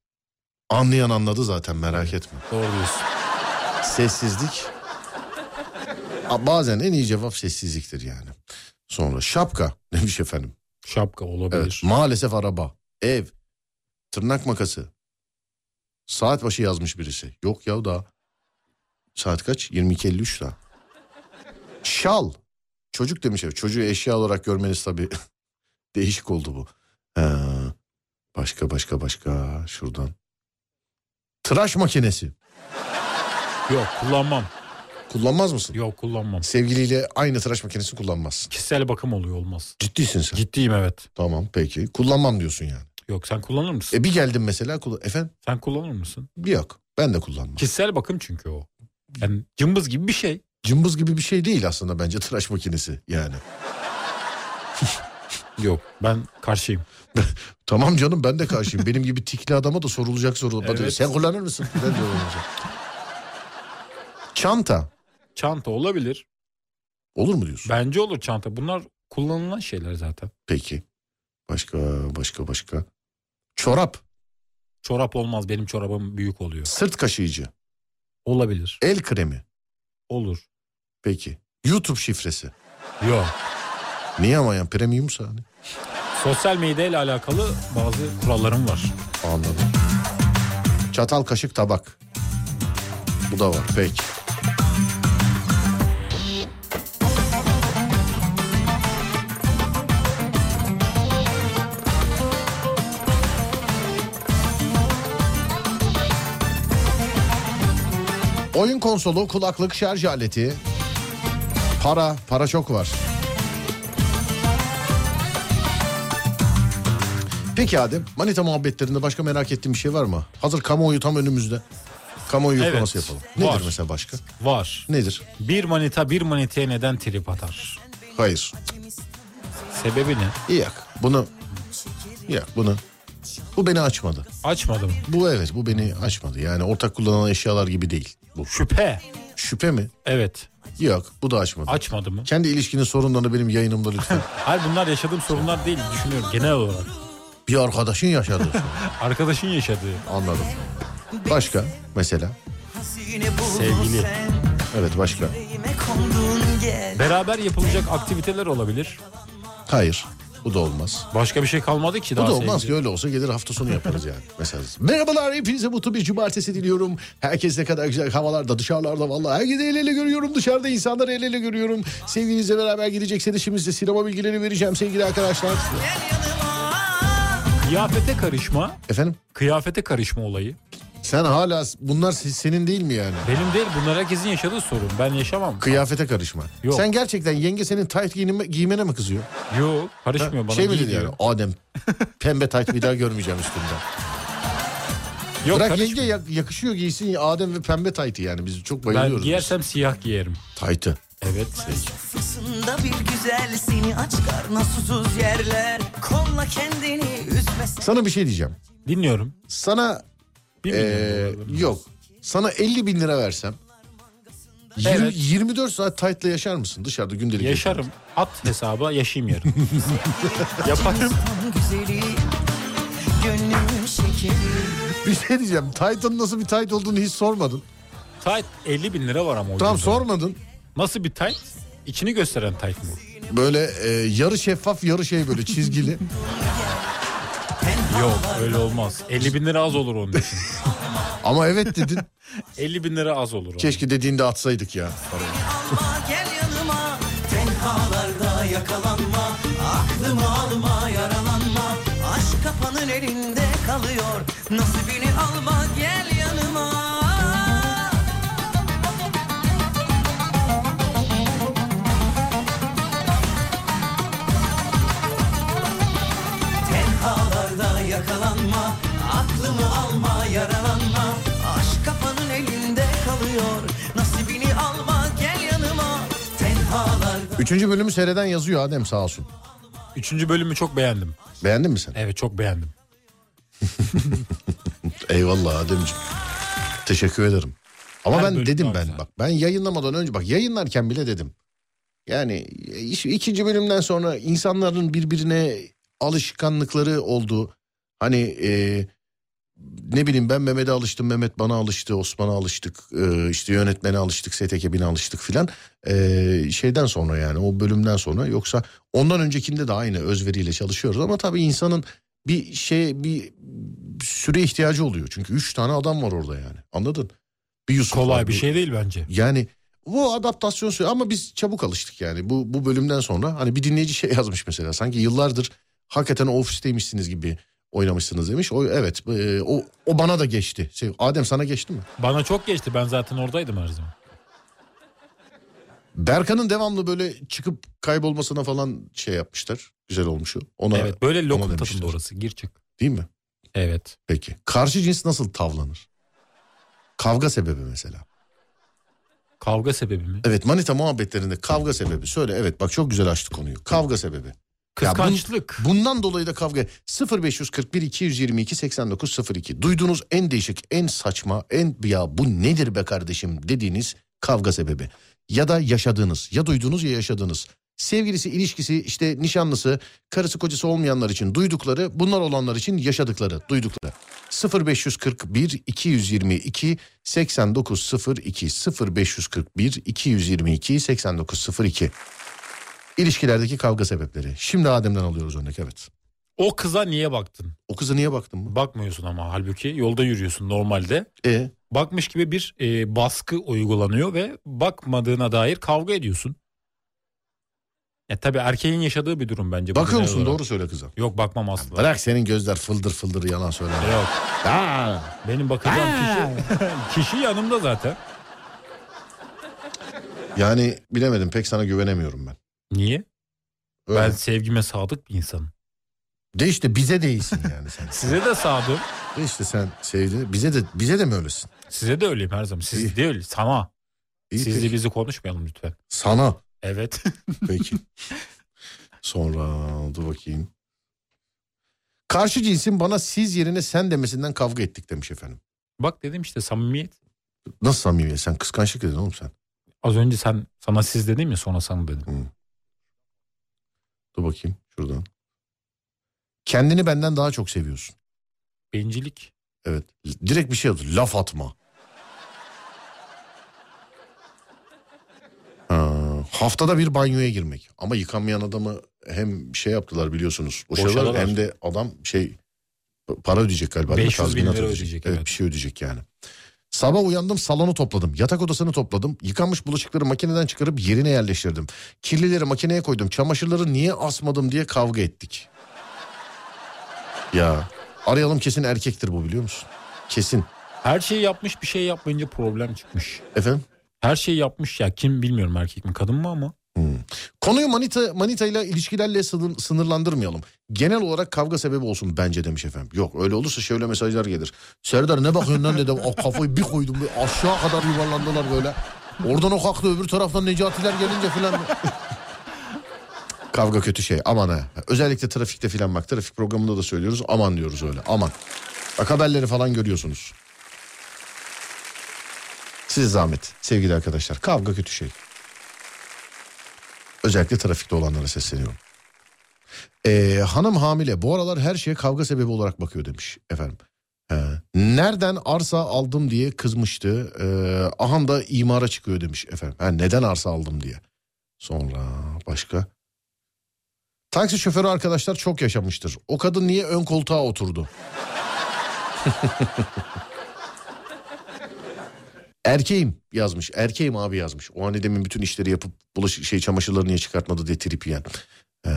Speaker 2: Anlayan anladı zaten merak etme.
Speaker 3: Doğru diyorsun.
Speaker 2: Sessizlik. A- Bazen en iyi cevap sessizliktir yani. Sonra şapka demiş efendim.
Speaker 3: Şapka
Speaker 2: Evet,
Speaker 3: olabilir.
Speaker 2: maalesef araba, ev, tırnak makası. Saat başı yazmış birisi. Yok ya da. Saat kaç? 22.53 daha. Şal. Çocuk demiş ev. Çocuğu eşya olarak görmeniz tabii değişik oldu bu. Ee, başka başka başka şuradan. Tıraş makinesi.
Speaker 3: Yok kullanmam.
Speaker 2: Kullanmaz mısın?
Speaker 3: Yok kullanmam.
Speaker 2: Sevgiliyle aynı tıraş makinesini kullanmazsın.
Speaker 3: Kişisel bakım oluyor olmaz.
Speaker 2: Ciddisin sen.
Speaker 3: Ciddiyim evet.
Speaker 2: Tamam peki. Kullanmam diyorsun yani.
Speaker 3: Yok sen kullanır mısın?
Speaker 2: E bir geldim mesela. Kullan... Efendim?
Speaker 3: Sen kullanır mısın?
Speaker 2: Yok. Ben de kullanmam.
Speaker 3: Kişisel bakım çünkü o. Yani cımbız gibi bir şey.
Speaker 2: Cımbız gibi bir şey değil aslında bence tıraş makinesi yani.
Speaker 3: Yok ben karşıyım.
Speaker 2: Tamam canım ben de karşıyım. Benim gibi tikli adama da sorulacak soru.
Speaker 3: Evet.
Speaker 2: Bana Sen kullanır mısın? Ben de kullanacağım. Çanta.
Speaker 3: Çanta olabilir.
Speaker 2: Olur mu diyorsun?
Speaker 3: Bence olur çanta. Bunlar kullanılan şeyler zaten.
Speaker 2: Peki. Başka başka başka. Çorap.
Speaker 3: Çorap olmaz. Benim çorabım büyük oluyor.
Speaker 2: Sırt kaşıyıcı.
Speaker 3: Olabilir.
Speaker 2: El kremi.
Speaker 3: Olur.
Speaker 2: Peki. YouTube şifresi.
Speaker 3: Yok.
Speaker 2: Niye ama yani premiumsa hani?
Speaker 3: Sosyal medya ile alakalı bazı kurallarım var.
Speaker 2: Anladım. Çatal kaşık tabak. Bu da var peki. Oyun konsolu, kulaklık, şarj aleti. Para, para çok var. Peki Adem, manita muhabbetlerinde başka merak ettiğin bir şey var mı? Hazır kamuoyu tam önümüzde. Kamuoyu
Speaker 3: Evet,
Speaker 2: yoklaması yapalım. Nedir
Speaker 3: var.
Speaker 2: mesela başka?
Speaker 3: Var.
Speaker 2: Nedir?
Speaker 3: Bir manita bir manitaya neden trip atar?
Speaker 2: Hayır.
Speaker 3: Sebebi ne?
Speaker 2: Yok. Bunu yok bunu. Bu beni açmadı.
Speaker 3: Açmadım.
Speaker 2: Bu evet bu beni açmadı. Yani ortak kullanılan eşyalar gibi değil. Bu
Speaker 3: Şüphe.
Speaker 2: şüphe mi?
Speaker 3: Evet.
Speaker 2: Yok bu da açmadı.
Speaker 3: Açmadı mı?
Speaker 2: Kendi ilişkinin sorunlarını benim yayınımda lütfen.
Speaker 3: Hayır bunlar yaşadığım sorunlar değil düşünüyorum genel olarak.
Speaker 2: bir arkadaşın yaşadı.
Speaker 3: Arkadaşın yaşadığı.
Speaker 2: Anladım. Başka mesela.
Speaker 3: Sevgili.
Speaker 2: Evet başka.
Speaker 3: Beraber yapılacak aktiviteler olabilir.
Speaker 2: Hayır. Bu da olmaz.
Speaker 3: Başka bir şey kalmadı ki
Speaker 2: Bu
Speaker 3: daha
Speaker 2: da olmaz ki
Speaker 3: sevgili.
Speaker 2: öyle olsa gelir hafta sonu yaparız yani. Mesela. Merhabalar hepinize mutlu bir cumartesi diliyorum. Herkes ne kadar güzel havalarda dışarılarda vallahi herkesi el ele görüyorum. Dışarıda insanları el ele görüyorum. Sevgilinizle beraber gidecekseniz şimdi size sinema bilgileri vereceğim sevgili arkadaşlar.
Speaker 3: Kıyafete karışma.
Speaker 2: Efendim
Speaker 3: Kıyafete karışma olayı.
Speaker 2: sen hala bunlar siz- senin değil mi yani?
Speaker 3: Benim değil bunlar herkesin yaşadığı sorun. Ben yaşamam.
Speaker 2: Kıyafete karışma.
Speaker 3: Yok.
Speaker 2: Sen gerçekten yenge senin tayt giyinme, giymene mi kızıyor?
Speaker 3: Yok karışmıyor bana.
Speaker 2: şey mi
Speaker 3: giy
Speaker 2: dedi
Speaker 3: diyor.
Speaker 2: yani? Adem pembe tayt bir daha görmeyeceğim üstünden.
Speaker 3: Yok
Speaker 2: Bırak
Speaker 3: karışmıyor.
Speaker 2: yenge ya- yakışıyor giysin ya Adem ve pembe taytı yani biz çok bayılıyoruz.
Speaker 3: Ben giyersem siyah giyerim.
Speaker 2: biz. Taytı.
Speaker 3: Evet.
Speaker 6: Aslında bir güzel seni aç karnına susuz yerler Kolla kendini üzmesin
Speaker 2: Sana bir şey diyeceğim.
Speaker 3: Dinliyorum.
Speaker 2: Sana
Speaker 3: Bir
Speaker 2: Ee,
Speaker 3: milyon dolar.
Speaker 2: yok. Sana 50 bin lira versem. yirmi-
Speaker 3: Evet.
Speaker 2: 24 saat tight'la yaşar mısın dışarıda gündelik? yaşamda?
Speaker 3: Yaşarım. At hesaba yaşayayım yarın. Yaparım.
Speaker 6: tam güzeli Gönlümün şekeri
Speaker 2: Bir şey diyeceğim. Tight'ın nasıl bir tight olduğunu hiç sormadın.
Speaker 3: Tight 50 bin lira var ama. o
Speaker 2: Tamam
Speaker 3: yüzden.
Speaker 2: sormadın.
Speaker 3: Nasıl bir tight? İçini gösteren tight mı?
Speaker 2: Böyle e, yarı şeffaf yarı şey böyle çizgili.
Speaker 3: Yok öyle olmaz. 50 bin lira az olur onun için.
Speaker 2: Ama evet dedin.
Speaker 3: 50 bin lira az olur. Keşke.
Speaker 2: Keşke dediğinde atsaydık ya.
Speaker 6: Alma gel yanıma Tenhalarda yakalanma Aklımı alma yaralanma Aşk kafanın elinde kalıyor Nasibini alma gel yanıma Tenhalarda yakalanma Aklımı alma yaralanma Aşk kafanın elinde kalıyor Nasibini alma gel yanıma Tenhalarda
Speaker 2: Üçüncü bölümü seyreden yazıyor Adem sağ olsun.
Speaker 3: Üçüncü bölümü çok beğendim.
Speaker 2: Beğendin mi sen?
Speaker 3: Evet çok beğendim.
Speaker 2: Eyvallah Ademciğim. Teşekkür ederim. Ama
Speaker 3: Her
Speaker 2: ben
Speaker 3: bölüm
Speaker 2: dedim
Speaker 3: daha
Speaker 2: ben
Speaker 3: güzel.
Speaker 2: bak ben yayınlamadan önce bak yayınlarken bile dedim. Yani iş- ikinci bölümden sonra insanların birbirine alışkanlıkları oldu. Hani e, ne bileyim ben Mehmet'e alıştım, Mehmet bana alıştı, Osman'a alıştık, e, işte yönetmene alıştık, STK ekibine alıştık filan. E, şeyden sonra yani o bölümden sonra yoksa ondan öncekinde de aynı özveriyle çalışıyoruz ama tabii insanın bir şey bir süre ihtiyacı oluyor. Çünkü üç tane adam var orada yani anladın? Bir Yusuf
Speaker 3: Kolay
Speaker 2: var,
Speaker 3: bir
Speaker 2: bu-
Speaker 3: şey değil bence.
Speaker 2: yani bu adaptasyon süreci ama biz çabuk alıştık yani bu bu bölümden sonra hani bir dinleyici şey yazmış mesela sanki yıllardır hakikaten o ofisteymişsiniz gibi oynamışsınız demiş. O evet e, o o bana da geçti. Şey, Adem sana geçti mi?
Speaker 3: Bana çok geçti. Ben zaten oradaydım her zaman.
Speaker 2: Berkan'ın devamlı böyle çıkıp kaybolmasına falan şey yapmışlar. Güzel olmuş o. Ona
Speaker 3: evet böyle
Speaker 2: ona
Speaker 3: lokum
Speaker 2: demişler.
Speaker 3: tadında orası. Gir çık.
Speaker 2: değil mi?
Speaker 3: Evet.
Speaker 2: Peki. Karşı cins nasıl tavlanır? Kavga sebebi mesela.
Speaker 3: Kavga sebebi mi?
Speaker 2: Evet manita muhabbetlerinde kavga sebebi. Söyle evet bak çok güzel açtı konuyu. Kavga sebebi. Ya bun-
Speaker 3: Kıskançlık.
Speaker 2: Bundan dolayı da kavga 0541 222 8902 duyduğunuz en değişik en saçma en ya bu nedir be kardeşim dediğiniz kavga sebebi ya da yaşadığınız ya duyduğunuz ya yaşadığınız sevgilisi ilişkisi işte nişanlısı karısı kocası olmayanlar için duydukları bunlar olanlar için yaşadıkları duydukları 0541 222 8902 0541 222 8902 İlişkilerdeki kavga sebepleri. Şimdi Adem'den alıyoruz örnek evet.
Speaker 3: O kıza niye baktın?
Speaker 2: O kıza niye baktın mı?
Speaker 3: Bakmıyorsun ama halbuki yolda yürüyorsun normalde.
Speaker 2: E
Speaker 3: Bakmış gibi bir e, baskı uygulanıyor ve bakmadığına dair kavga ediyorsun. Ya tabii erkeğin yaşadığı bir durum bence. bu
Speaker 2: bakıyor
Speaker 3: genel
Speaker 2: musun
Speaker 3: olarak.
Speaker 2: doğru söyle kıza.
Speaker 3: Yok bakmam asla.
Speaker 2: Bırak senin gözler fıldır fıldır yalan söyle.
Speaker 3: Yok.
Speaker 2: Aa,
Speaker 3: Benim bakacağım kişi kişi yanımda zaten.
Speaker 2: yani bilemedim pek sana güvenemiyorum ben.
Speaker 3: Niye?
Speaker 2: Öyle.
Speaker 3: Ben sevgime sadık bir insanım.
Speaker 2: De işte bize değilsin yani sen.
Speaker 3: Size de sadığım.
Speaker 2: De işte sen sevdiğini bize de bize de mi öylesin?
Speaker 3: Size de öyleyim her zaman.
Speaker 2: İyi.
Speaker 3: Siz de öyle. Sana.
Speaker 2: İyi
Speaker 3: Siz de
Speaker 2: peki.
Speaker 3: bizi konuşmayalım lütfen.
Speaker 2: Sana
Speaker 3: Evet.
Speaker 2: peki. Sonra dur bakayım. Karşı cinsin bana siz yerine sen demesinden kavga ettik demiş efendim.
Speaker 3: Bak dedim işte samimiyet.
Speaker 2: Nasıl samimi sen kıskançlık dedin oğlum sen.
Speaker 3: Az önce sen sana siz dedim ya sonra sana dedim.
Speaker 2: Dur bakayım şuradan. Kendini benden daha çok seviyorsun.
Speaker 3: Bencillik.
Speaker 2: Evet. Direkt bir şey yazdı. Laf atma. Ha, haftada bir banyoya girmek. Ama yıkanmayan adamı hem şey yaptılar biliyorsunuz. Boşalar
Speaker 3: Boşadılar.
Speaker 2: hem de adam şey para ödeyecek galiba.
Speaker 3: 500 bin
Speaker 2: Tazminat
Speaker 3: lira ödeyecek,
Speaker 2: Evet,
Speaker 3: evet.
Speaker 2: bir şey ödeyecek yani. Sabah uyandım salonu topladım. Yatak odasını topladım. Yıkanmış bulaşıkları makineden çıkarıp yerine yerleştirdim. Kirlileri makineye koydum. Çamaşırları niye asmadım diye kavga ettik. Ya arayalım kesin erkektir bu biliyor musun? Kesin.
Speaker 3: Her şeyi yapmış bir şey yapmayınca problem çıkmış.
Speaker 2: Efendim?
Speaker 3: Her şeyi yapmış ya kim bilmiyorum erkek mi kadın mı ama.
Speaker 2: Konuyu manita, manitayla ilişkilerle sınır- sınırlandırmayalım. Genel olarak kavga sebebi olsun bence demiş efendim. Yok öyle olursa şöyle mesajlar gelir. Serdar ne bakıyorsun lan dedim. O kafayı bir koydum bir aşağı kadar yuvarlandılar böyle. Oradan o kalktı öbür taraftan Necatiler gelince filan. kavga kötü şey aman ha. Özellikle trafikte filan bak trafik programında da söylüyoruz aman diyoruz öyle aman. Bak haberleri falan görüyorsunuz. Size zahmet sevgili arkadaşlar kavga kötü şey. Özellikle trafikte olanlara sesleniyorum. Ee, hanım hamile bu aralar her şeye kavga sebebi olarak bakıyor demiş efendim. Ee, nereden arsa aldım diye kızmıştı. Ee, ahan da imara çıkıyor demiş efendim. Ha, neden arsa aldım diye. Sonra başka. Taksi şoförü arkadaşlar çok yaşamıştır. O kadın niye ön koltuğa oturdu? Erkeğim yazmış. Erkeğim abi yazmış. O hani demin bütün işleri yapıp bulaş şey çamaşırları niye çıkartmadı diye trip yiyen. Ee,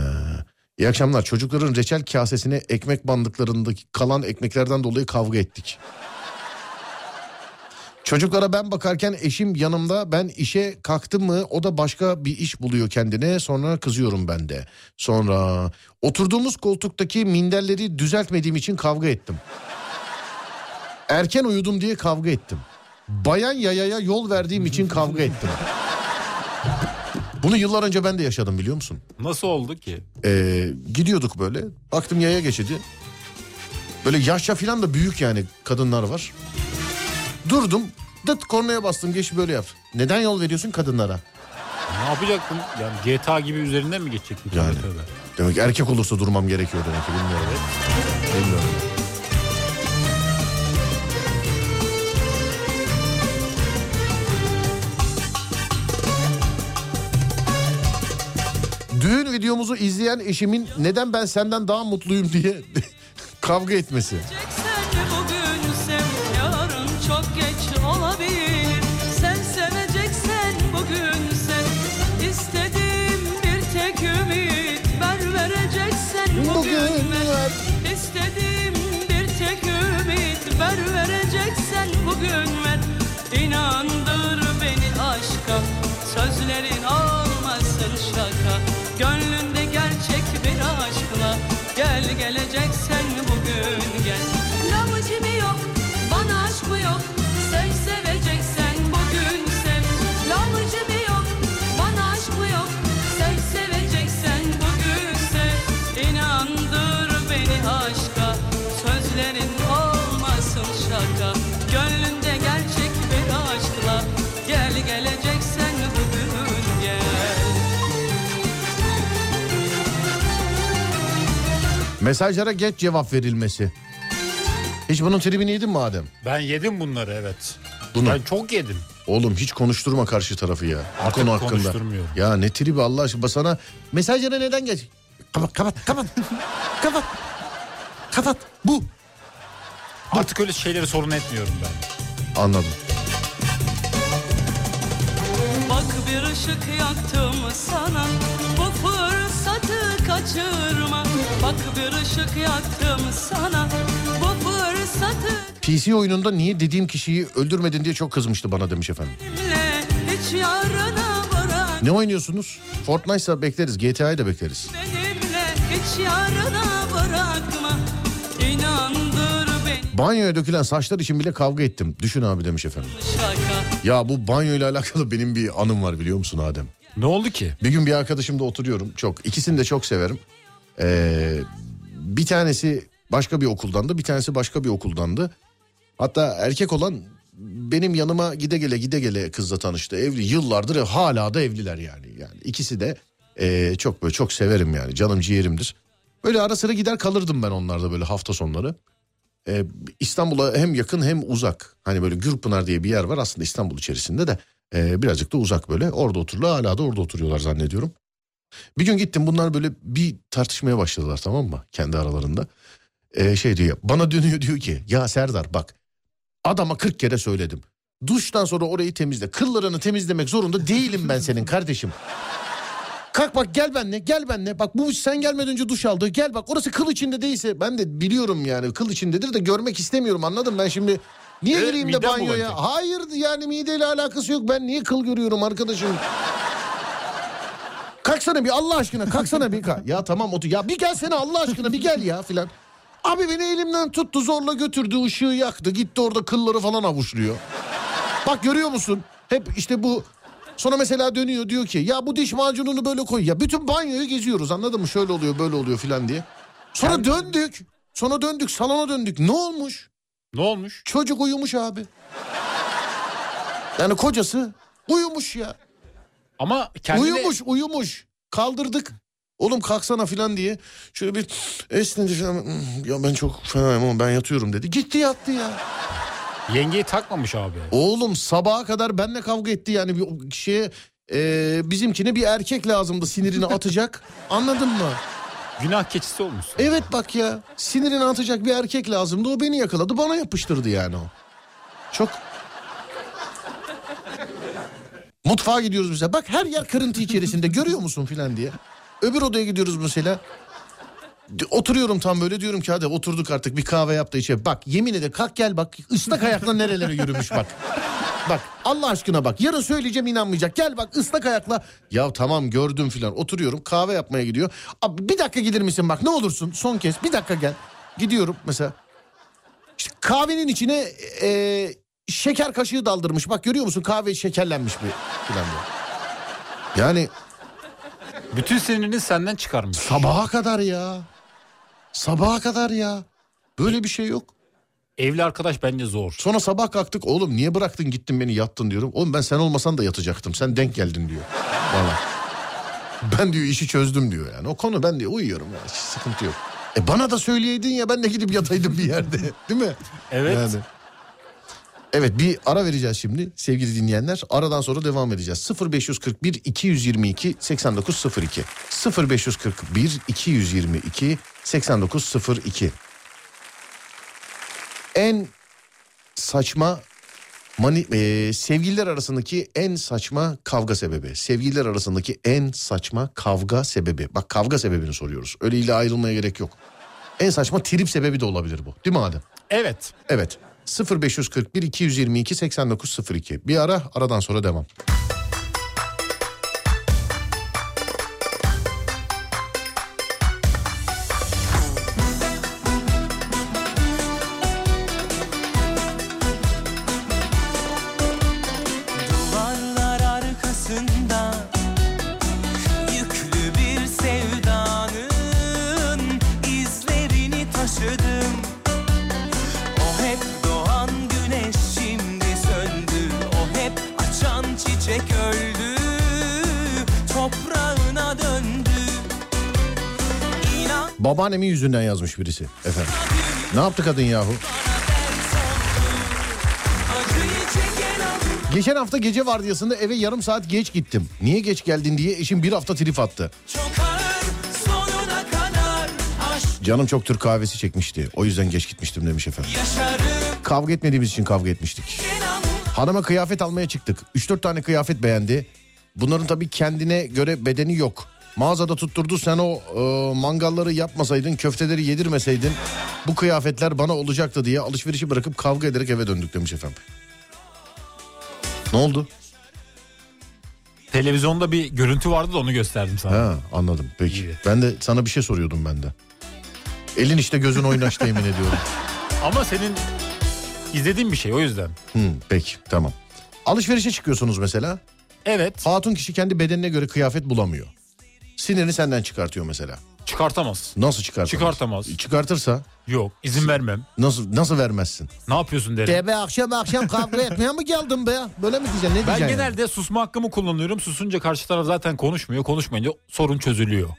Speaker 2: iyi akşamlar. Çocukların reçel kasesine ekmek bandıklarındaki kalan ekmeklerden dolayı kavga ettik. Çocuklara ben bakarken eşim yanımda ben işe kalktı mı o da başka bir iş buluyor kendine sonra kızıyorum ben de. Sonra oturduğumuz koltuktaki minderleri düzeltmediğim için kavga ettim. Erken uyudum diye kavga ettim. Bayan yayaya yol verdiğim için kavga ettim. Bunu yıllar önce ben de yaşadım biliyor musun?
Speaker 3: Nasıl oldu ki?
Speaker 2: Ee, gidiyorduk böyle. Baktım yaya geçidi. Böyle yaşça filan da büyük yani kadınlar var. Durdum. Dıt kornaya bastım. Geç böyle yaptı. Neden yol veriyorsun kadınlara?
Speaker 3: Ne yapacaktın? Yani GTA gibi üzerinden mi geçecek?
Speaker 2: Yani. Demek ki erkek olursa durmam gerekiyor demek ki bilmiyorum. Bilmiyorum. Düğün videomuzu izleyen eşimin neden ben senden daha mutluyum diye kavga etmesi.
Speaker 7: Sen bugün sev, yarın çok geç olabilir. Sen seveceksen bugün sev, istediğim bir tek ümit ver vereceksen bugün ver. İstediğim bir tek ümit ver vereceksen bugün ver. İnandır beni aşka, sözlerin olmasın şaka. Gönlünde gerçek bir aşkla gel geleceksen bugün gel. Lavacı mı yok, bana aşk mı yok? Sev seveceksen bugün sev. Lavacı mı yok, bana aşk mı yok? Sev seveceksen bugün sev. İnandır beni aşka, sözlerin olmasın şaka. Gönlünde gerçek bir aşkla gel geleceksen bugün gel.
Speaker 2: Mesajlara geç cevap verilmesi. Hiç bunun tribini yedin mi Adem?
Speaker 3: Ben yedim bunları evet.
Speaker 2: Bunu.
Speaker 3: Ben çok yedim.
Speaker 2: Oğlum hiç konuşturma karşı tarafı ya. Bu
Speaker 3: Artık
Speaker 2: konu hakkında.
Speaker 3: konuşturmuyorum.
Speaker 2: Ya ne tribi Allah aşkına sana mesajlara neden geç? Kapat kapat kapat. kapat. Kapat bu.
Speaker 3: Artık öyle şeyleri sorun etmiyorum ben.
Speaker 2: Anladım.
Speaker 7: Bak bir ışık yaktım sana Bu fırsatı kaçırma Bak bir ışık yaktım sana Bu fırsatı
Speaker 2: PC oyununda niye dediğim kişiyi öldürmedin diye çok kızmıştı bana demiş efendim.
Speaker 7: kimle Hiç yarına bırak
Speaker 2: Ne oynuyorsunuz? Fortnite'sa bekleriz. GTA'yı da bekleriz.
Speaker 7: benimle Hiç yarına bırakma İnandır beni
Speaker 2: Banyoya dökülen saçlar için bile kavga ettim. Düşün abi demiş efendim.
Speaker 7: şaka
Speaker 2: Ya bu banyoyla alakalı benim bir anım var biliyor musun Adem?
Speaker 3: Ne oldu ki?
Speaker 2: Bir gün bir arkadaşımla oturuyorum çok. İkisini de çok severim. Ee, bir tanesi başka bir okuldandı, bir tanesi başka bir okuldandı. Hatta erkek olan benim yanıma gide gele gide gele kızla tanıştı. Evli yıllardır ev- hala da evliler yani. Yani ikisi de ee, çok böyle çok severim yani canım ciğerimdir. Böyle ara sıra gider kalırdım ben onlarda böyle hafta sonları. Ee, İstanbul'a hem yakın hem uzak. Hani böyle Gürpınar diye bir yer var aslında İstanbul içerisinde de ee, birazcık da uzak böyle. Orada otururlar hala da orada oturuyorlar zannediyorum. Bir gün gittim bunlar böyle bir tartışmaya başladılar tamam mı kendi aralarında. Ee, şey diyor bana dönüyor diyor ki ya Serdar bak adama 40 kere söyledim. Duştan sonra orayı temizle. Kıllarını temizlemek zorunda değilim ben senin kardeşim. Kalk bak gel benle gel benle. Bak bu sen gelmeden önce duş aldı. Gel bak orası kıl içinde değilse. Ben de biliyorum yani kıl içindedir de görmek istemiyorum anladım ben şimdi. Niye
Speaker 3: Ee,
Speaker 2: gireyim de
Speaker 3: midem
Speaker 2: banyoya?
Speaker 3: bulanacak.
Speaker 2: Hayır yani mideyle alakası yok. Ben niye kıl görüyorum arkadaşım? Kalksana bir Allah aşkına kalksana bir kalk. Ya tamam otur. Ya bir gelsene Allah aşkına bir gel ya filan. Abi beni elimden tuttu zorla götürdü ışığı yaktı. Gitti orada kılları falan avuçluyor. Bak görüyor musun? Hep işte bu sonra mesela dönüyor diyor ki ya bu diş macununu böyle koy ya. Bütün banyoyu geziyoruz anladın mı? Şöyle oluyor böyle oluyor filan diye. Sonra döndük. Sonra döndük salona döndük. Ne olmuş?
Speaker 3: Ne olmuş?
Speaker 2: Çocuk uyumuş abi. Yani kocası uyumuş ya.
Speaker 3: Ama kendine...
Speaker 2: Uyumuş uyumuş. Kaldırdık. Oğlum kalksana filan diye. Şöyle bir esnedi filan. "Hmm, Ya ben çok fenayım ama ben yatıyorum dedi. Gitti yattı ya.
Speaker 3: Yengeyi takmamış abi.
Speaker 2: Oğlum sabaha kadar benle kavga etti yani bir şeye e, bizimkine bir erkek lazımdı sinirini atacak. Anladın mı?
Speaker 3: Günah keçisi olmuş.
Speaker 2: Evet bak ya sinirini atacak bir erkek lazımdı o beni yakaladı bana yapıştırdı yani o. Çok Mutfağa gidiyoruz mesela. Bak her yer kırıntı içerisinde görüyor musun filan diye. Öbür odaya gidiyoruz mesela. D- Oturuyorum tam böyle diyorum ki hadi oturduk artık bir kahve yap da içe. Bak yemin ederim kalk gel bak ıslak ayakla nerelere yürümüş bak. Bak Allah aşkına bak yarın söyleyeceğim inanmayacak. Gel bak ıslak ayakla. Ya tamam gördüm filan oturuyorum kahve yapmaya gidiyor. Abi bir dakika gelir misin bak ne olursun son kez bir dakika gel. Gidiyorum mesela. İşte kahvenin içine e, şeker kaşığı daldırmış. Bak görüyor musun kahve şekerlenmiş bir filan diye. Yani E-
Speaker 3: Bütün sinirini senden çıkarmış.
Speaker 2: sabaha kadar ya. Sabaha kadar ya. Böyle bir şey yok.
Speaker 3: Evli arkadaş bence zor.
Speaker 2: Sonra sabah kalktık oğlum niye bıraktın gittin beni yattın diyorum. Oğlum ben sen olmasan da yatacaktım sen denk geldin diyor. Bana. Ben diyor işi çözdüm diyor yani. O konu ben diyor uyuyorum ya hiç sıkıntı yok. E bana da söyleyeydin ya ben de gidip yataydım bir yerde değil mi?
Speaker 3: Evet.
Speaker 2: Yani. Evet bir ara vereceğiz şimdi sevgili dinleyenler. Aradan sonra devam edeceğiz. 0541 222 8902 0541 222 8902 En saçma mani, e, sevgililer arasındaki en saçma kavga sebebi. Sevgililer arasındaki en saçma kavga sebebi. Bak kavga sebebini soruyoruz. Öyle ile ayrılmaya gerek yok. En saçma trip sebebi de olabilir bu. Değil mi Adem?
Speaker 3: Evet.
Speaker 2: Evet. 0541 222 8902. Bir ara aradan sonra devam.
Speaker 6: Duvarlar arkasında Yüklü bir sevdanın izlerini taşıdım O hep doğan güneş şimdi söndü O hep açan çiçek öldü Toprağına döndü İnan
Speaker 2: Babaannemin yüzünden yazmış birisi efendim. Ne yaptı kadın yahu?
Speaker 6: acıyı çeken acı
Speaker 2: Geçen hafta gece vardiyasında eve yarım saat geç gittim. Niye geç geldin diye eşim bir hafta trip attı.
Speaker 6: çok ağır Sonuna kadar aşk
Speaker 2: Canım çok Türk kahvesi çekmişti. O yüzden geç gitmiştim demiş efendim.
Speaker 6: yaşarım
Speaker 2: Kavga etmediğimiz için kavga etmiştik.
Speaker 6: inan
Speaker 2: Hanıma kıyafet almaya çıktık. 3-4 tane kıyafet beğendi. Bunların tabii kendine göre bedeni yok. Mağazada tutturdu sen o e, mangalları yapmasaydın, köfteleri yedirmeseydin bu kıyafetler bana olacaktı diye alışverişi bırakıp kavga ederek eve döndük demiş efendim. Ne oldu?
Speaker 3: Televizyonda bir görüntü vardı da onu gösterdim sana.
Speaker 2: Ha anladım peki.
Speaker 3: İyi.
Speaker 2: Ben de sana bir şey soruyordum ben de. Elin işte gözün oynaştı yemin ediyorum.
Speaker 3: Ama senin izlediğin bir şey o yüzden.
Speaker 2: Hı, peki tamam. Alışverişe çıkıyorsunuz mesela.
Speaker 3: Evet.
Speaker 2: Hatun kişi kendi bedenine göre kıyafet bulamıyor. Sinirini senden çıkartıyor mesela.
Speaker 3: Çıkartamaz.
Speaker 2: Nasıl çıkartamaz? E,
Speaker 3: Çıkartamaz.
Speaker 2: Çıkartırsa
Speaker 3: Yok izin vermem.
Speaker 2: nasıl nasıl vermezsin?
Speaker 3: Ne yapıyorsun derim.
Speaker 2: De be akşam akşam kavga etmeye mi geldin be? Böyle mi diyeceksin? Ne
Speaker 3: ben
Speaker 2: diyeceksin? yani?
Speaker 3: genelde susma hakkımı kullanıyorum. Susunca karşı taraf zaten konuşmuyor. Konuşmayınca sorun çözülüyor.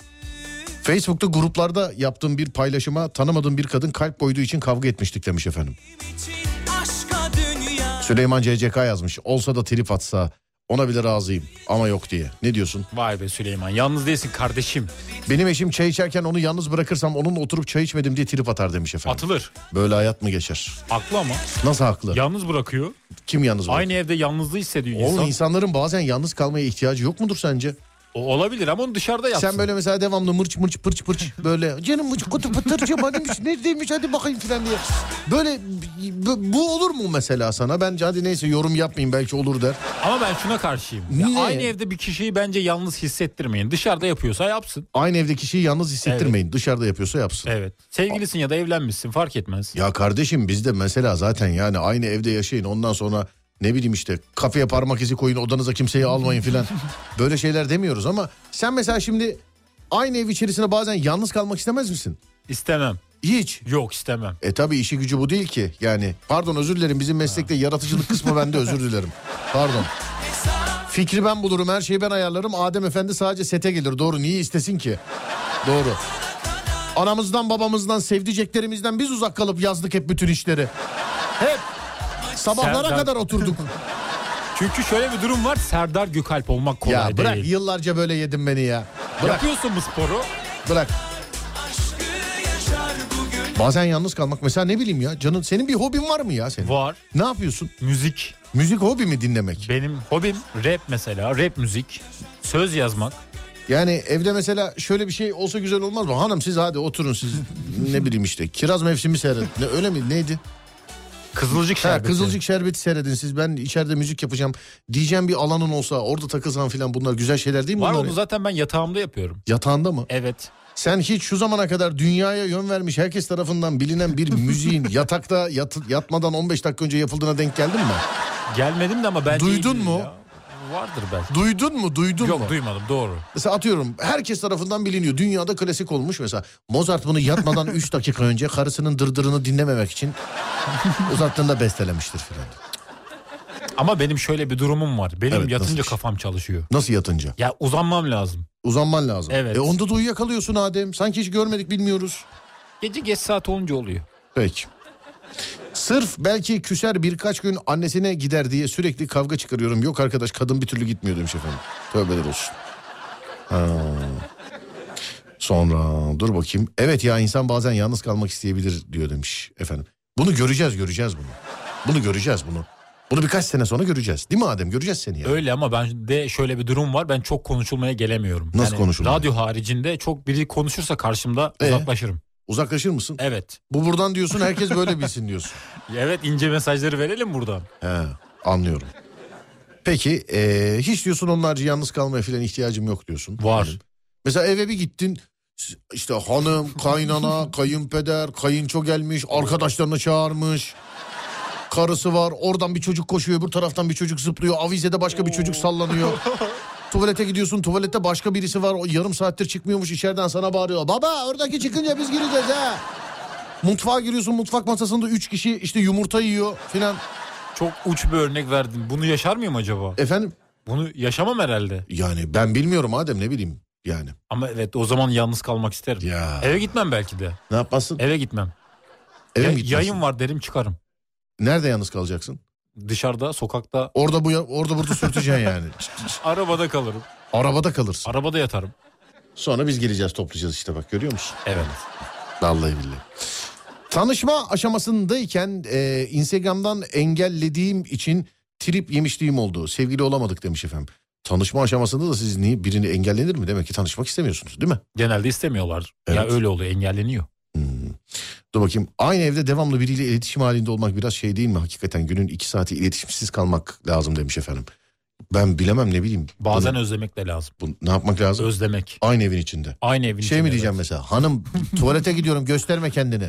Speaker 2: Facebook'ta gruplarda yaptığım bir paylaşıma tanımadığım bir kadın kalp koyduğu için kavga etmiştik demiş efendim.
Speaker 6: için aşka dünya
Speaker 2: Süleyman CCK yazmış. Olsa da trip atsa ona bile razıyım ama yok diye. Ne diyorsun?
Speaker 3: Vay be Süleyman yalnız değilsin kardeşim.
Speaker 2: Benim eşim çay içerken onu yalnız bırakırsam onunla oturup çay içmedim diye trip atar demiş efendim.
Speaker 3: Atılır.
Speaker 2: Böyle hayat mı geçer?
Speaker 3: Haklı ama
Speaker 2: Nasıl haklı?
Speaker 3: yalnız bırakıyor.
Speaker 2: Kim yalnız bırakır?
Speaker 3: Aynı evde yalnızlığı hissediyor
Speaker 2: Oğlum
Speaker 3: insan.
Speaker 2: insanların bazen yalnız kalmaya ihtiyacı yok mudur sence?
Speaker 3: O olabilir ama onu dışarıda yapsın.
Speaker 2: Sen böyle mesela devamlı mırç mırç pırç pırç böyle canım mırç kutu hani pıtırcı bademmiş neredeymiş hadi bakayım filan diye. Böyle bu- bu olur mu mesela sana? Bence hadi neyse yorum yapmayayım belki olur der.
Speaker 3: Ama ben şuna karşıyım. Ya
Speaker 2: Niye?
Speaker 3: aynı evde bir kişiyi bence yalnız hissettirmeyin. Dışarıda yapıyorsa yapsın.
Speaker 2: Aynı evde kişiyi yalnız hissettirmeyin. Dışarıda yapıyorsa yapsın.
Speaker 3: Evet. Sevgilisin ya da evlenmişsin fark etmez.
Speaker 2: Ya kardeşim bizde mesela zaten yani aynı evde yaşayın ondan sonra ne bileyim işte kafeye parmak izi koyun odanıza kimseyi almayın filan. Böyle şeyler demiyoruz ama sen mesela şimdi aynı ev içerisinde bazen yalnız kalmak istemez misin?
Speaker 3: İstemem.
Speaker 2: Hiç.
Speaker 3: Yok istemem.
Speaker 2: E tabi işi gücü bu değil ki. Yani pardon özür dilerim bizim meslekte yaratıcılık kısmı bende özür dilerim. Pardon. Fikri ben bulurum her şeyi ben ayarlarım. Adem Efendi sadece sete gelir doğru niye istesin ki? Doğru. Anamızdan babamızdan sevdiceklerimizden biz uzak kalıp yazdık hep bütün işleri. Hep. Sabahlara
Speaker 3: Serdar-
Speaker 2: kadar oturduk.
Speaker 3: Çünkü şöyle bir durum var. Serdar Gökalp olmak kolay
Speaker 2: ya bırak
Speaker 3: değil.
Speaker 2: yıllarca böyle yedin beni ya. Bırak
Speaker 3: Yapıyorsun bu sporu.
Speaker 2: bırak.
Speaker 6: aşkı yaşar bugün
Speaker 2: Bazen yalnız kalmak mesela ne bileyim ya canın senin bir hobin var mı ya senin?
Speaker 3: Var.
Speaker 2: Ne yapıyorsun?
Speaker 3: Müzik.
Speaker 2: Müzik hobi mi dinlemek?
Speaker 3: Benim hobim rap mesela. Rap müzik. Söz yazmak.
Speaker 2: Yani evde mesela şöyle bir şey olsa güzel olmaz mı? Hanım siz hadi oturun siz ne bileyim işte kiraz mevsimi seyredin. Ne, öyle mi neydi?
Speaker 3: Kızılcık
Speaker 2: Ha,
Speaker 3: şerbeti.
Speaker 2: kızılcık şerbeti seyredin siz ben içeride müzik yapacağım diyeceğim bir alanın olsa orada takılsan filan bunlar güzel şeyler değil mi?
Speaker 3: Var
Speaker 2: bunlar?
Speaker 3: onu zaten ben yatağımda yapıyorum.
Speaker 2: Yatağında mı?
Speaker 3: Evet.
Speaker 2: Sen hiç şu zamana kadar dünyaya yön vermiş herkes tarafından bilinen bir müziğin yatakta yat- yatmadan 15 dakika önce yapıldığına denk geldin mi?
Speaker 3: Gelmedim de ama ben
Speaker 2: Duydun
Speaker 3: iyidir
Speaker 2: mu?
Speaker 3: ya. Vardır belki.
Speaker 2: Duydun mu? Duydun
Speaker 3: Yok
Speaker 2: mu?
Speaker 3: duymadım doğru.
Speaker 2: Mesela atıyorum herkes tarafından biliniyor. Dünyada klasik olmuş mesela. Mozart bunu yatmadan 3 dakika önce karısının dırdırını dinlememek için uzattığında bestelemiştir filan.
Speaker 3: Ama benim şöyle bir durumum var. Benim
Speaker 2: Evet,
Speaker 3: yatınca
Speaker 2: nasıl?
Speaker 3: kafam çalışıyor.
Speaker 2: Nasıl yatınca?
Speaker 3: Ya uzanmam lazım.
Speaker 2: Uzanman lazım.
Speaker 3: Evet.
Speaker 2: E onda da uyuyakalıyorsun Adem. Sanki hiç görmedik bilmiyoruz.
Speaker 3: Gece geç saat olunca oluyor.
Speaker 2: Peki. Sırf belki küser birkaç gün annesine gider diye sürekli kavga çıkarıyorum. Yok arkadaş kadın bir türlü gitmiyor demiş efendim. Tövbeler olsun. Ha. Sonra dur bakayım. Evet ya insan bazen yalnız kalmak isteyebilir diyor demiş efendim. Bunu göreceğiz göreceğiz bunu. Bunu göreceğiz bunu. Bunu birkaç sene sonra göreceğiz. Değil mi Adem? Göreceğiz seni ya.
Speaker 3: Öyle ama ben de şöyle bir durum var. Ben çok konuşulmaya gelemiyorum.
Speaker 2: Nasıl konuşulmaya?
Speaker 3: Radyo haricinde çok biri konuşursa karşımda
Speaker 2: Ee?
Speaker 3: uzaklaşırım.
Speaker 2: Uzaklaşır mısın?
Speaker 3: Evet.
Speaker 2: Bu buradan diyorsun herkes böyle bilsin diyorsun.
Speaker 3: Evet ince mesajları verelim buradan.
Speaker 2: He, anlıyorum. Peki eee, hiç diyorsun onlarca yalnız kalmaya falan ihtiyacım yok diyorsun.
Speaker 3: Var.
Speaker 2: Mesela eve bir gittin s- işte hanım, kaynana, kayınpeder, kayınço gelmiş, arkadaşlarını çağırmış. Karısı var oradan bir çocuk koşuyor öbür taraftan bir çocuk zıplıyor avizede başka bir çocuk sallanıyor. Tuvalete gidiyorsun tuvalette başka birisi var o yarım saattir çıkmıyormuş içeriden sana bağırıyor. Baba oradaki çıkınca biz gireceğiz ha. Mutfağa giriyorsun mutfak masasında üç kişi işte yumurta yiyor filan.
Speaker 3: Çok uç bir örnek verdin. Bunu yaşar mıyım acaba?
Speaker 2: Efendim
Speaker 3: Bunu yaşamam herhalde.
Speaker 2: Yani ben bilmiyorum Adem ne bileyim yani.
Speaker 3: Ama evet o zaman yalnız kalmak isterim.
Speaker 2: Ya.
Speaker 3: Eve gitmem belki de.
Speaker 2: Ne yapmasın?
Speaker 3: Eve gitmem.
Speaker 2: Eve
Speaker 3: Ya-
Speaker 2: mi gitmezsin?
Speaker 3: e- yayın var derim çıkarım.
Speaker 2: Nerede yalnız kalacaksın?
Speaker 3: Dışarıda, sokakta,
Speaker 2: Orada bu ya- orada burada sürteceksin yani.
Speaker 3: arabada kalırım.
Speaker 2: Arabada kalırsın.
Speaker 3: Arabada yatarım.
Speaker 2: Sonra biz geleceğiz toplayacağız işte bak görüyor musun?
Speaker 3: Evet.
Speaker 2: Vallahi billahi. Tanışma aşamasındayken e, Instagram'dan engellediğim için trip yemişliğim oldu. Sevgili olamadık demiş efendim. Tanışma aşamasında da siz niye birini engellenir mi? Demek ki tanışmak istemiyorsunuz değil mi?
Speaker 3: Genelde istemiyorlar. Ya
Speaker 2: Evet.
Speaker 3: öyle oluyor engelleniyor.
Speaker 2: Hmm. Dur bakayım. Aynı evde devamlı biriyle iletişim halinde olmak biraz şey değil mi? Hakikaten günün iki saati iletişimsiz kalmak lazım demiş efendim. Ben bilemem ne bileyim.
Speaker 3: Bazen
Speaker 2: Bunu-
Speaker 3: özlemek de lazım.
Speaker 2: bunu ne yapmak lazım?
Speaker 3: Özlemek.
Speaker 2: Aynı evin içinde.
Speaker 3: Aynı evin
Speaker 2: Şey
Speaker 3: içinde,
Speaker 2: mi
Speaker 3: evet.
Speaker 2: diyeceğim mesela? Hanım tuvalete gidiyorum gösterme kendini.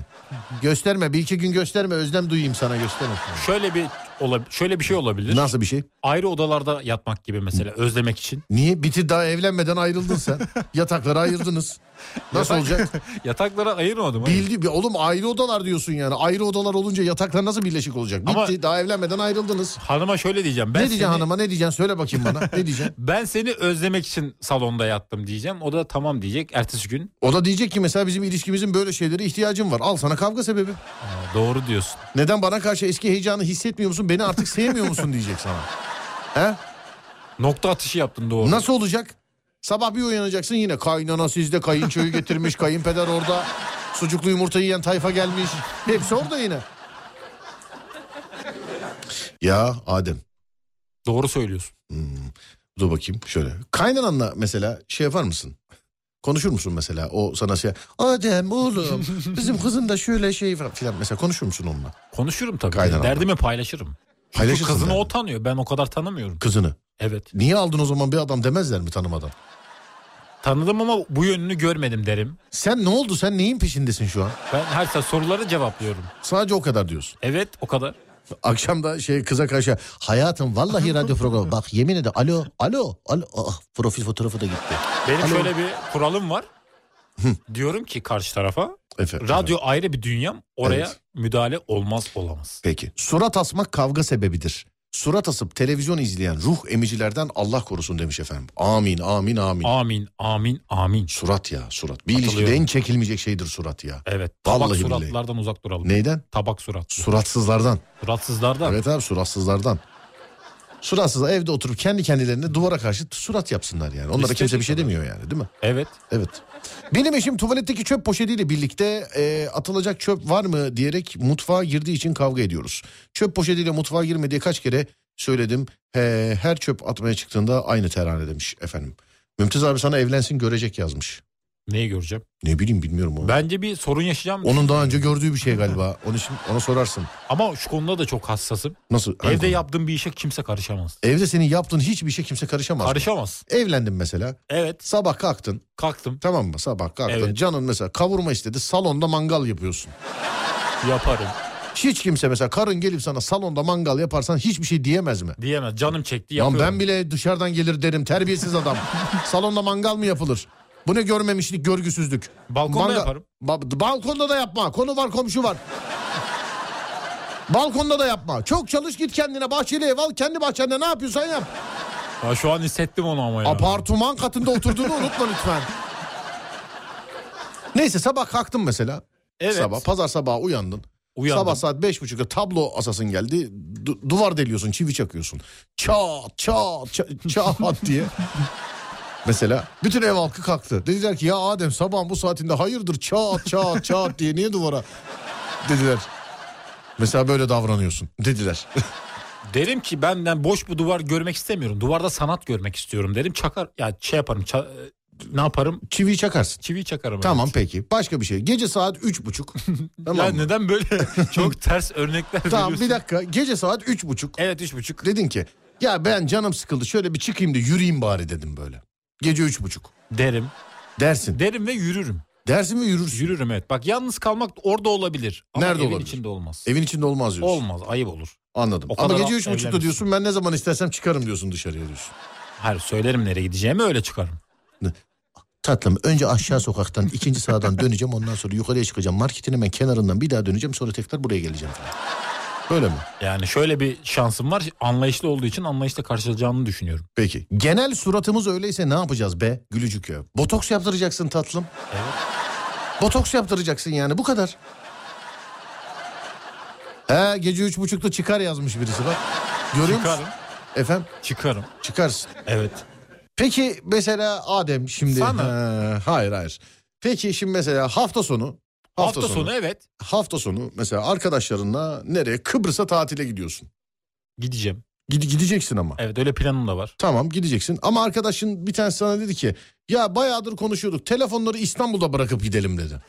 Speaker 2: Gösterme bir iki gün gösterme özlem duyayım sana gösterme.
Speaker 3: Şöyle bir ola- şöyle bir şey olabilir.
Speaker 2: Nasıl bir şey?
Speaker 3: Ayrı odalarda yatmak gibi mesela özlemek için.
Speaker 2: Niye? Bitir daha evlenmeden ayrıldın sen. Yatakları ayırdınız. Nasıl olacak?
Speaker 3: Yataklara ayırmadım. hayır.
Speaker 2: Bildi, bir- oğlum ayrı odalar diyorsun yani. Ayrı odalar olunca yataklar nasıl birleşik olacak? Bitti
Speaker 3: Ama-
Speaker 2: daha evlenmeden ayrıldınız.
Speaker 3: Hanıma şöyle diyeceğim. Ben
Speaker 2: ne diyeceksin
Speaker 3: seni-
Speaker 2: hanıma ne diyeceksin söyle bakayım bana ne diyeceksin?
Speaker 3: Ben seni özlemek için salonda yattım diyeceğim. O da tamam diyecek. Ertesi gün
Speaker 2: O da diyecek ki mesela bizim ilişkimizin böyle şeylere ihtiyacım var. Al sana kavga sebebi.
Speaker 3: "Aa, doğru diyorsun.
Speaker 2: Neden bana karşı eski heyecanı hissetmiyor musun? Beni artık sevmiyor musun diyecek sana. He?
Speaker 3: Nokta atışı yaptın doğru.
Speaker 2: Nasıl olacak? Sabah bir uyanacaksın yine kaynana sizde kayınçoyu getirmiş kayınpeder orada. Sucuklu yumurta yiyen tayfa gelmiş. Hepsi orada yine. Ya Adem
Speaker 3: Doğru söylüyorsun.
Speaker 2: Dur bakayım şöyle. Kaynananla mesela şey yapar mısın? Konuşur musun mesela o sana şey Adem oğlum bizim kızın da şöyle şey falan filan mesela konuşur musun onunla
Speaker 3: Konuşurum tabii.
Speaker 2: Kaynar
Speaker 3: Derdimi paylaşırım. Çünkü
Speaker 2: Paylaşırsın
Speaker 3: kızını
Speaker 2: yani.
Speaker 3: o tanıyor. Ben o kadar tanımıyorum.
Speaker 2: kızını?
Speaker 3: Evet.
Speaker 2: Niye aldın o zaman bir adam demezler mi tanımadan?
Speaker 3: Tanıdım ama bu yönünü görmedim derim.
Speaker 2: Sen ne oldu sen neyin peşindesin şu an?
Speaker 3: Ben her sefer soruları cevaplıyorum.
Speaker 2: Sadece o kadar diyorsun.
Speaker 3: Evet o kadar.
Speaker 2: Akşam da şey kıza karşı hayatım vallahi radyo programı bak yemin ederim alo alo alo ah, profil fotoğrafı da gitti.
Speaker 3: Benim
Speaker 2: Alo.
Speaker 3: şöyle bir kuralım var. Diyorum ki karşı tarafa
Speaker 2: Efendim.
Speaker 3: radyo ayrı bir dünyam oraya
Speaker 2: Evet.
Speaker 3: müdahale olmaz olamaz.
Speaker 2: Peki. Surat asmak kavga sebebidir. Surat asıp televizyon izleyen ruh emicilerden Allah korusun demiş efendim. Amin amin amin.
Speaker 3: Amin amin amin.
Speaker 2: Surat ya surat. Bir
Speaker 3: Katılıyorum.
Speaker 2: ilişkide en çekilmeyecek şeydir surat ya.
Speaker 3: Evet tabak
Speaker 2: Vallahi
Speaker 3: suratlardan uzak duralım.
Speaker 2: Neyden?
Speaker 3: Tabak surat.
Speaker 2: Suratsızlardan.
Speaker 3: Suratsızlardan.
Speaker 2: Evet abi suratsızlardan. Suratsız evde oturup kendi kendilerine duvara karşı surat yapsınlar yani. Onlara
Speaker 3: İstedik
Speaker 2: kimse bir şey
Speaker 3: ama.
Speaker 2: demiyor yani değil mi?
Speaker 3: Evet.
Speaker 2: Evet. Benim eşim tuvaletteki çöp poşetiyle birlikte e, atılacak çöp var mı diyerek mutfağa girdiği için kavga ediyoruz. Çöp poşetiyle mutfağa girme diye kaç kere söyledim. He, her çöp atmaya çıktığında aynı terane demiş efendim. Mümtaz abi sana evlensin görecek yazmış.
Speaker 3: Neyi göreceğim?
Speaker 2: Ne bileyim bilmiyorum onu.
Speaker 3: Bence bir sorun yaşayacağım.
Speaker 2: Onun daha önce gördüğü bir şey galiba. Onun için ona sorarsın.
Speaker 3: Ama şu konuda da çok hassasım.
Speaker 2: Nasıl? Hangi
Speaker 3: Evde
Speaker 2: konu?
Speaker 3: yaptığım bir işe kimse karışamaz.
Speaker 2: Evde senin yaptığın hiçbir şey kimse karışamaz.
Speaker 3: Karışamaz.
Speaker 2: Evlendin mesela.
Speaker 3: Evet.
Speaker 2: Sabah kalktın.
Speaker 3: Kalktım.
Speaker 2: Tamam mı? Sabah kalktın.
Speaker 3: Evet.
Speaker 2: Canın mesela kavurma istedi. Salonda mangal yapıyorsun.
Speaker 3: Yaparım.
Speaker 2: Hiç kimse mesela karın gelip sana salonda mangal yaparsan hiçbir şey diyemez mi?
Speaker 3: Diyemez. Canım çekti
Speaker 2: Lan
Speaker 3: yapıyorum.
Speaker 2: ben bile dışarıdan gelir derim terbiyesiz adam. salonda mangal mı yapılır? Bu ne görmemişlik, görgüsüzlük.
Speaker 3: Balkonda yaparım.
Speaker 2: Ba- balkonda da yapma. Konu var, komşu var. balkonda da yapma. Çok çalış git kendine bahçeli ev al. Kendi bahçende ne yapıyorsan yap.
Speaker 3: Ha, şu an hissettim onu ama ya.
Speaker 2: Apartman katında oturduğunu unutma lütfen. Neyse sabah kalktın mesela.
Speaker 3: Evet.
Speaker 2: Sabah pazar sabahı uyandın.
Speaker 3: Uyandım.
Speaker 2: Sabah saat beş buçukta tablo asasın geldi. Du- duvar deliyorsun, çivi çakıyorsun. Çat çat ça- çat diye. Mesela bütün ev halkı kalktı. Dediler ki ya Adem sabahın bu saatinde hayırdır çat çat çat diye niye duvara dediler. Mesela böyle davranıyorsun dediler.
Speaker 3: Derim ki benden boş bir duvar görmek istemiyorum. Duvarda sanat görmek istiyorum derim. Çakar ya şey yaparım. ça- ne yaparım?
Speaker 2: Çiviyi çakarsın.
Speaker 3: Çivi çakarım.
Speaker 2: Tamam peki. Başka bir şey. Gece saat üç buçuk.
Speaker 3: Evet.
Speaker 2: tamam
Speaker 3: ya
Speaker 2: mı?
Speaker 3: neden böyle çok ters örnekler
Speaker 2: Tamam
Speaker 3: veriyorsun?
Speaker 2: bir dakika. Gece saat üç buçuk.
Speaker 3: Evet üç buçuk.
Speaker 2: Dedin ki ya ben canım sıkıldı şöyle bir çıkayım da yürüyeyim bari dedim böyle. Gece üç buçuk.
Speaker 3: Derim.
Speaker 2: Dersin.
Speaker 3: Derim ve yürürüm.
Speaker 2: Dersin mi yürürsün.
Speaker 3: Yürürüm evet. Bak yalnız kalmak orada olabilir. Ama
Speaker 2: Nerede
Speaker 3: evin
Speaker 2: olabilir?
Speaker 3: içinde olmaz.
Speaker 2: Evin içinde olmaz diyorsun.
Speaker 3: Olmaz ayıp olur.
Speaker 2: Anladım.
Speaker 3: O
Speaker 2: Ama
Speaker 3: kadar
Speaker 2: gece üç buçukta
Speaker 3: evlenmişsin.
Speaker 2: diyorsun ben ne zaman istersem çıkarım diyorsun dışarıya diyorsun.
Speaker 3: Hayır söylerim nereye gideceğimi öyle çıkarım.
Speaker 2: Tatlım önce aşağı sokaktan ikinci sağdan döneceğim ondan sonra yukarıya çıkacağım. Marketin hemen kenarından bir daha döneceğim sonra tekrar buraya geleceğim falan. Böyle mi?
Speaker 3: Yani şöyle bir şansım var. Anlayışlı olduğu için anlayışla karşılayacağını düşünüyorum.
Speaker 2: Peki. Genel suratımız öyleyse ne yapacağız be gülücük ya? Botoks yaptıracaksın tatlım. Botoks yaptıracaksın yani bu kadar. He gece üç buçukta çıkar yazmış birisi bak. Görüyor musun?
Speaker 3: Çıkarım.
Speaker 2: Efendim
Speaker 3: Çıkarım.
Speaker 2: çıkarsın.
Speaker 3: Evet.
Speaker 2: Peki mesela Adem şimdi...
Speaker 3: Sana.
Speaker 2: He, hayır hayır. Peki şimdi mesela hafta sonu...
Speaker 3: Hafta, sonu evet.
Speaker 2: Hafta sonu mesela arkadaşlarınla nereye? Kıbrıs'a tatile gidiyorsun.
Speaker 3: Gideceğim.
Speaker 2: Gide- gideceksin ama.
Speaker 3: Evet öyle planım da var.
Speaker 2: Tamam gideceksin ama arkadaşın bir tanesi sana dedi ki ya bayağıdır konuşuyorduk telefonları İstanbul'da bırakıp gidelim dedi.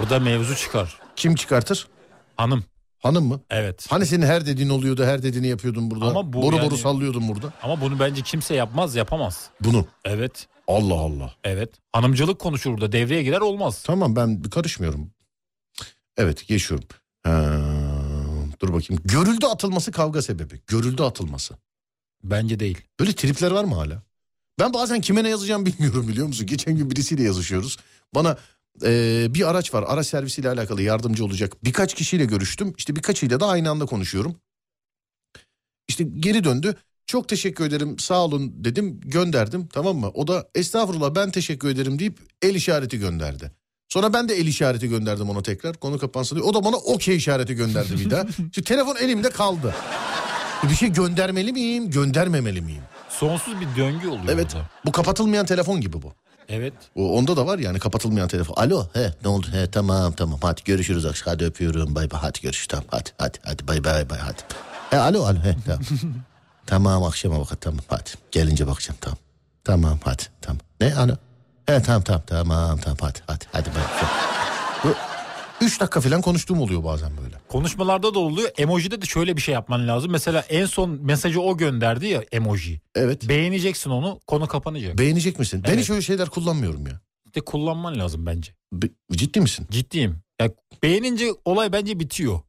Speaker 3: Orada mevzu çıkar.
Speaker 2: Kim çıkartır?
Speaker 3: Hanım.
Speaker 2: Hanım mı?
Speaker 3: Evet.
Speaker 2: Hani senin her dediğin oluyordu her dediğini yapıyordun burada.
Speaker 3: Ama bu
Speaker 2: boru
Speaker 3: yani-
Speaker 2: boru sallıyordun burada.
Speaker 3: Ama bunu bence kimse yapmaz yapamaz.
Speaker 2: Bunu.
Speaker 3: Evet.
Speaker 2: Allah Allah.
Speaker 3: Evet. Hanımcılık konuşur burada. Devreye girer olmaz.
Speaker 2: Tamam ben karışmıyorum. Evet geçiyorum. Ha, dur bakayım. Görüldü atılması kavga sebebi. Görüldü atılması.
Speaker 3: Bence değil.
Speaker 2: Böyle tripler var mı hala? Ben bazen kime ne yazacağım bilmiyorum biliyor musun? Geçen gün birisiyle yazışıyoruz. Bana eee, bir araç var. Araç servisiyle alakalı yardımcı olacak. Birkaç kişiyle görüştüm. İşte birkaçıyla da aynı anda konuşuyorum. İşte geri döndü. Çok teşekkür ederim sağ olun dedim gönderdim tamam mı? O da estağfurullah ben teşekkür ederim deyip el işareti gönderdi. Sonra ben de el işareti gönderdim ona tekrar konu kapansın diye. O da bana okey işareti gönderdi bir daha. Şimdi telefon elimde kaldı. Bir şey göndermeli miyim göndermemeli miyim?
Speaker 3: Sonsuz bir döngü oluyor
Speaker 2: Evet.
Speaker 3: burada.
Speaker 2: Bu kapatılmayan telefon gibi bu.
Speaker 3: Evet.
Speaker 2: O- Onda da var yani kapatılmayan telefon. Alo he ne oldu he tamam tamam hadi görüşürüz akşam hadi öpüyorum bay bay hadi görüş tamam hadi hadi hadi bay bay bay hadi. He alo alo he tamam. tamam akşama bak tamam hadi gelince bakacağım tamam. Tamam hadi tamam. Ne alo? He tamam tamam tamam tamam hadi hadi hadi bay bay. Bu- Üç dakika falan konuştuğum oluyor bazen böyle.
Speaker 3: Konuşmalarda da oluyor. Emoji'de de şöyle bir şey yapman lazım. Mesela en son mesajı o gönderdi ya emoji.
Speaker 2: Evet.
Speaker 3: Beğeneceksin onu konu kapanacak.
Speaker 2: Beğenecek misin? Ben
Speaker 3: Evet.
Speaker 2: hiç öyle şeyler kullanmıyorum ya.
Speaker 3: Bir de kullanman lazım bence.
Speaker 2: Be- ciddi misin?
Speaker 3: Ciddiyim. Ya beğenince olay bence bitiyor.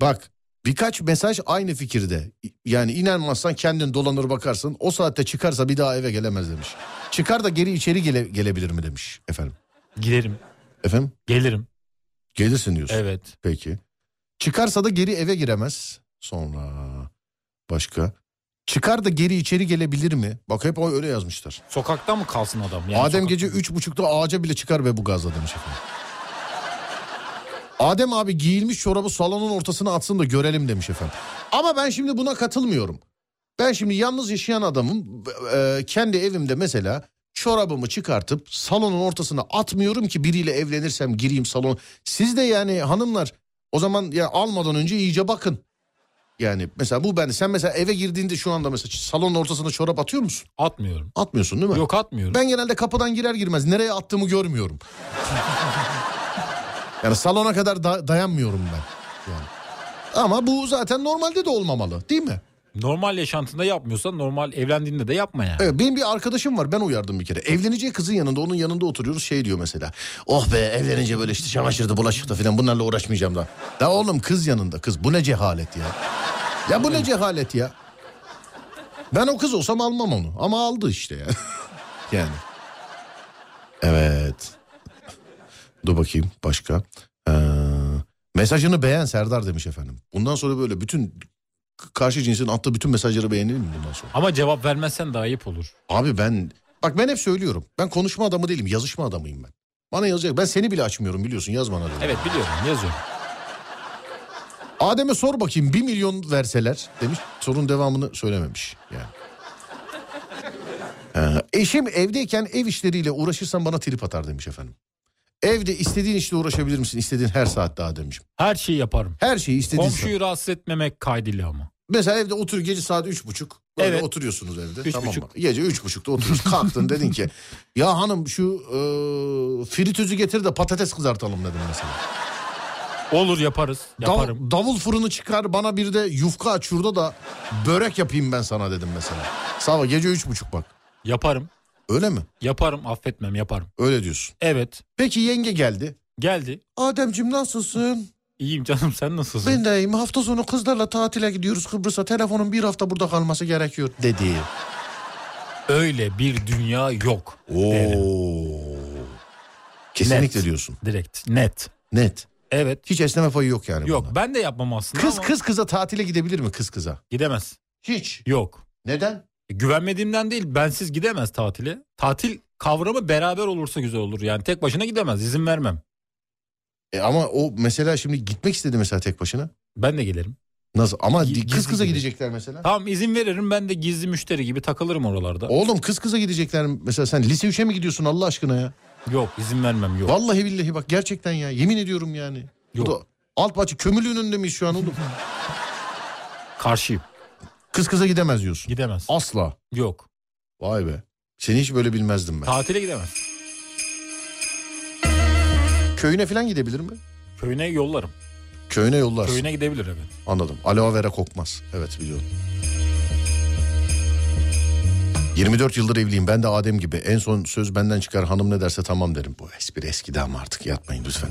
Speaker 2: Bak birkaç mesaj aynı fikirde. Yani inanmazsan kendin dolanır bakarsın. O saatte çıkarsa bir daha eve gelemez demiş. Çıkar da geri içeri gele- gelebilir mi demiş efendim.
Speaker 3: Giderim.
Speaker 2: Efendim
Speaker 3: Gelirim.
Speaker 2: gelirsin diyorsun.
Speaker 3: Evet.
Speaker 2: Peki. Çıkarsa da geri eve giremez. Sonra başka. Çıkar da geri içeri gelebilir mi? Bak hep o öyle yazmışlar.
Speaker 3: Sokakta mı kalsın adam? Yani
Speaker 2: Adem
Speaker 3: sokak-
Speaker 2: gece üç buçukta ağaca bile çıkar ve bu gazla demiş efendim. Adem abi giyilmiş çorabı salonun ortasına atsın da görelim demiş efendim. Ama ben şimdi buna katılmıyorum. Ben şimdi yalnız yaşayan adamım. Eee, kendi evimde mesela çorabımı çıkartıp salonun ortasına atmıyorum ki biriyle evlenirsem gireyim salon. Siz de yani hanımlar o zaman ya almadan önce iyice bakın. Yani mesela bu ben sen mesela eve girdiğinde şu anda mesela salonun ortasına çorap atıyor musun?
Speaker 3: Atmıyorum.
Speaker 2: Atmıyorsun değil mi?
Speaker 3: Yok atmıyorum.
Speaker 2: Ben genelde kapıdan girer girmez nereye attığımı görmüyorum. yani salona kadar da- dayanmıyorum ben. Yani. Ama bu zaten normalde de olmamalı değil mi?
Speaker 3: Normal yaşantında yapmıyorsan normal evlendiğinde de yapma yani.
Speaker 2: Evet, benim bir arkadaşım var ben uyardım bir kere. Evleneceği kızın yanında onun yanında oturuyoruz şey diyor mesela. Oh be evlenince böyle işte çamaşırdı bulaşıktı falan bunlarla uğraşmayacağım da. Da oğlum kız yanında kız bu ne cehalet ya. Ya bu ne cehalet ya. Ben o kız olsam almam onu ama aldı işte ya. yani. Evet. Dur bakayım başka. Ee, mesajını beğen Serdar demiş efendim. Bundan sonra böyle bütün karşı cinsin attığı bütün mesajları beğenelim mi bundan sonra?
Speaker 3: Ama cevap vermezsen de ayıp olur.
Speaker 2: Abi ben bak ben hep söylüyorum. Ben konuşma adamı değilim, yazışma adamıyım ben. Bana yazacak. Ben seni bile açmıyorum biliyorsun yaz bana. diyorum.
Speaker 3: Evet biliyorum yazıyorum.
Speaker 2: Adem'e sor bakayım bir milyon verseler demiş. Sorun devamını söylememiş yani. Ee, eşim evdeyken ev işleriyle uğraşırsan bana trip atar demiş efendim. Evde istediğin işle uğraşabilir misin? İstediğin her saatte Ademciğim.
Speaker 3: Her şeyi yaparım.
Speaker 2: Her şeyi istediğin saat.
Speaker 3: Komşuyu rahatsız etmemek kaydıyla ama.
Speaker 2: Mesela evde otur gece saat üç buçuk. Böyle
Speaker 3: Evet.
Speaker 2: oturuyorsunuz evde.
Speaker 3: Üç
Speaker 2: tamam mı?
Speaker 3: buçuk.
Speaker 2: Gece üç buçukta oturuyorsun. Kalktın dedin ki ya hanım şu e, fritözü getir de patates kızartalım dedim mesela.
Speaker 3: Olur yaparız.
Speaker 2: Dav-
Speaker 3: Yaparım.
Speaker 2: davul fırını çıkar bana bir de yufka aç şurada da börek yapayım ben sana dedim mesela. Sabah gece üç buçuk bak.
Speaker 3: Yaparım.
Speaker 2: Öyle mi?
Speaker 3: Yaparım affetmem yaparım.
Speaker 2: Öyle diyorsun.
Speaker 3: Evet.
Speaker 2: Peki yenge geldi.
Speaker 3: Geldi.
Speaker 2: Ademcim nasılsın?
Speaker 3: İyiyim canım sen nasılsın?
Speaker 2: Ben de iyiyim. Hafta sonu kızlarla tatile gidiyoruz Kıbrıs'a. Telefonun bir hafta burada kalması gerekiyor dedi.
Speaker 3: Öyle bir dünya yok. Derim.
Speaker 2: Oo. Kesinlikle
Speaker 3: Net.
Speaker 2: diyorsun.
Speaker 3: Direkt. Net.
Speaker 2: Net.
Speaker 3: Evet.
Speaker 2: Hiç esneme payı yok yani.
Speaker 3: Yok
Speaker 2: bunda.
Speaker 3: ben de yapmam aslında
Speaker 2: Kız
Speaker 3: ama
Speaker 2: kız kıza tatile gidebilir mi kız kıza?
Speaker 3: gidemez.
Speaker 2: Hiç.
Speaker 3: Yok. E,
Speaker 2: Neden?
Speaker 3: Güvenmediğimden değil bensiz gidemez tatile. Tatil kavramı beraber olursa güzel olur. Yani tek başına gidemez izin vermem.
Speaker 2: E ama o mesela şimdi gitmek istedi mesela tek başına.
Speaker 3: Ben de gelirim.
Speaker 2: Nasıl? Ama
Speaker 3: Gi-
Speaker 2: di- kız
Speaker 3: gizli
Speaker 2: kıza
Speaker 3: gibi.
Speaker 2: gidecekler mesela.
Speaker 3: Tamam izin veririm ben de gizli müşteri gibi takılırım oralarda.
Speaker 2: Oğlum kız kıza gidecekler mesela sen lise 3'e mi gidiyorsun Allah aşkına ya?
Speaker 3: Yok izin vermem yok.
Speaker 2: Vallahi billahi bak gerçekten ya yemin ediyorum yani. Bu
Speaker 3: Yok.
Speaker 2: da alt bahçe kömürlüğün önünde miyiz şu an oğlum?
Speaker 3: Karşıyım.
Speaker 2: kız kıza gidemez diyorsun.
Speaker 3: Gidemez.
Speaker 2: Asla.
Speaker 3: Yok.
Speaker 2: Vay be. Seni hiç böyle bilmezdim ben.
Speaker 3: Tatile gidemez.
Speaker 2: Köyüne falan gidebilir mi?
Speaker 3: Köyüne yollarım.
Speaker 2: Köyüne yollarsın.
Speaker 3: Köyüne gidebilir evet.
Speaker 2: Anladım. Aloe vera kokmaz. Evet biliyorum. 24 yıldır evliyim. Ben de Adem gibi. En son söz benden çıkar hanım ne derse tamam derim. Bu espri eskidi ama artık yatmayın lütfen.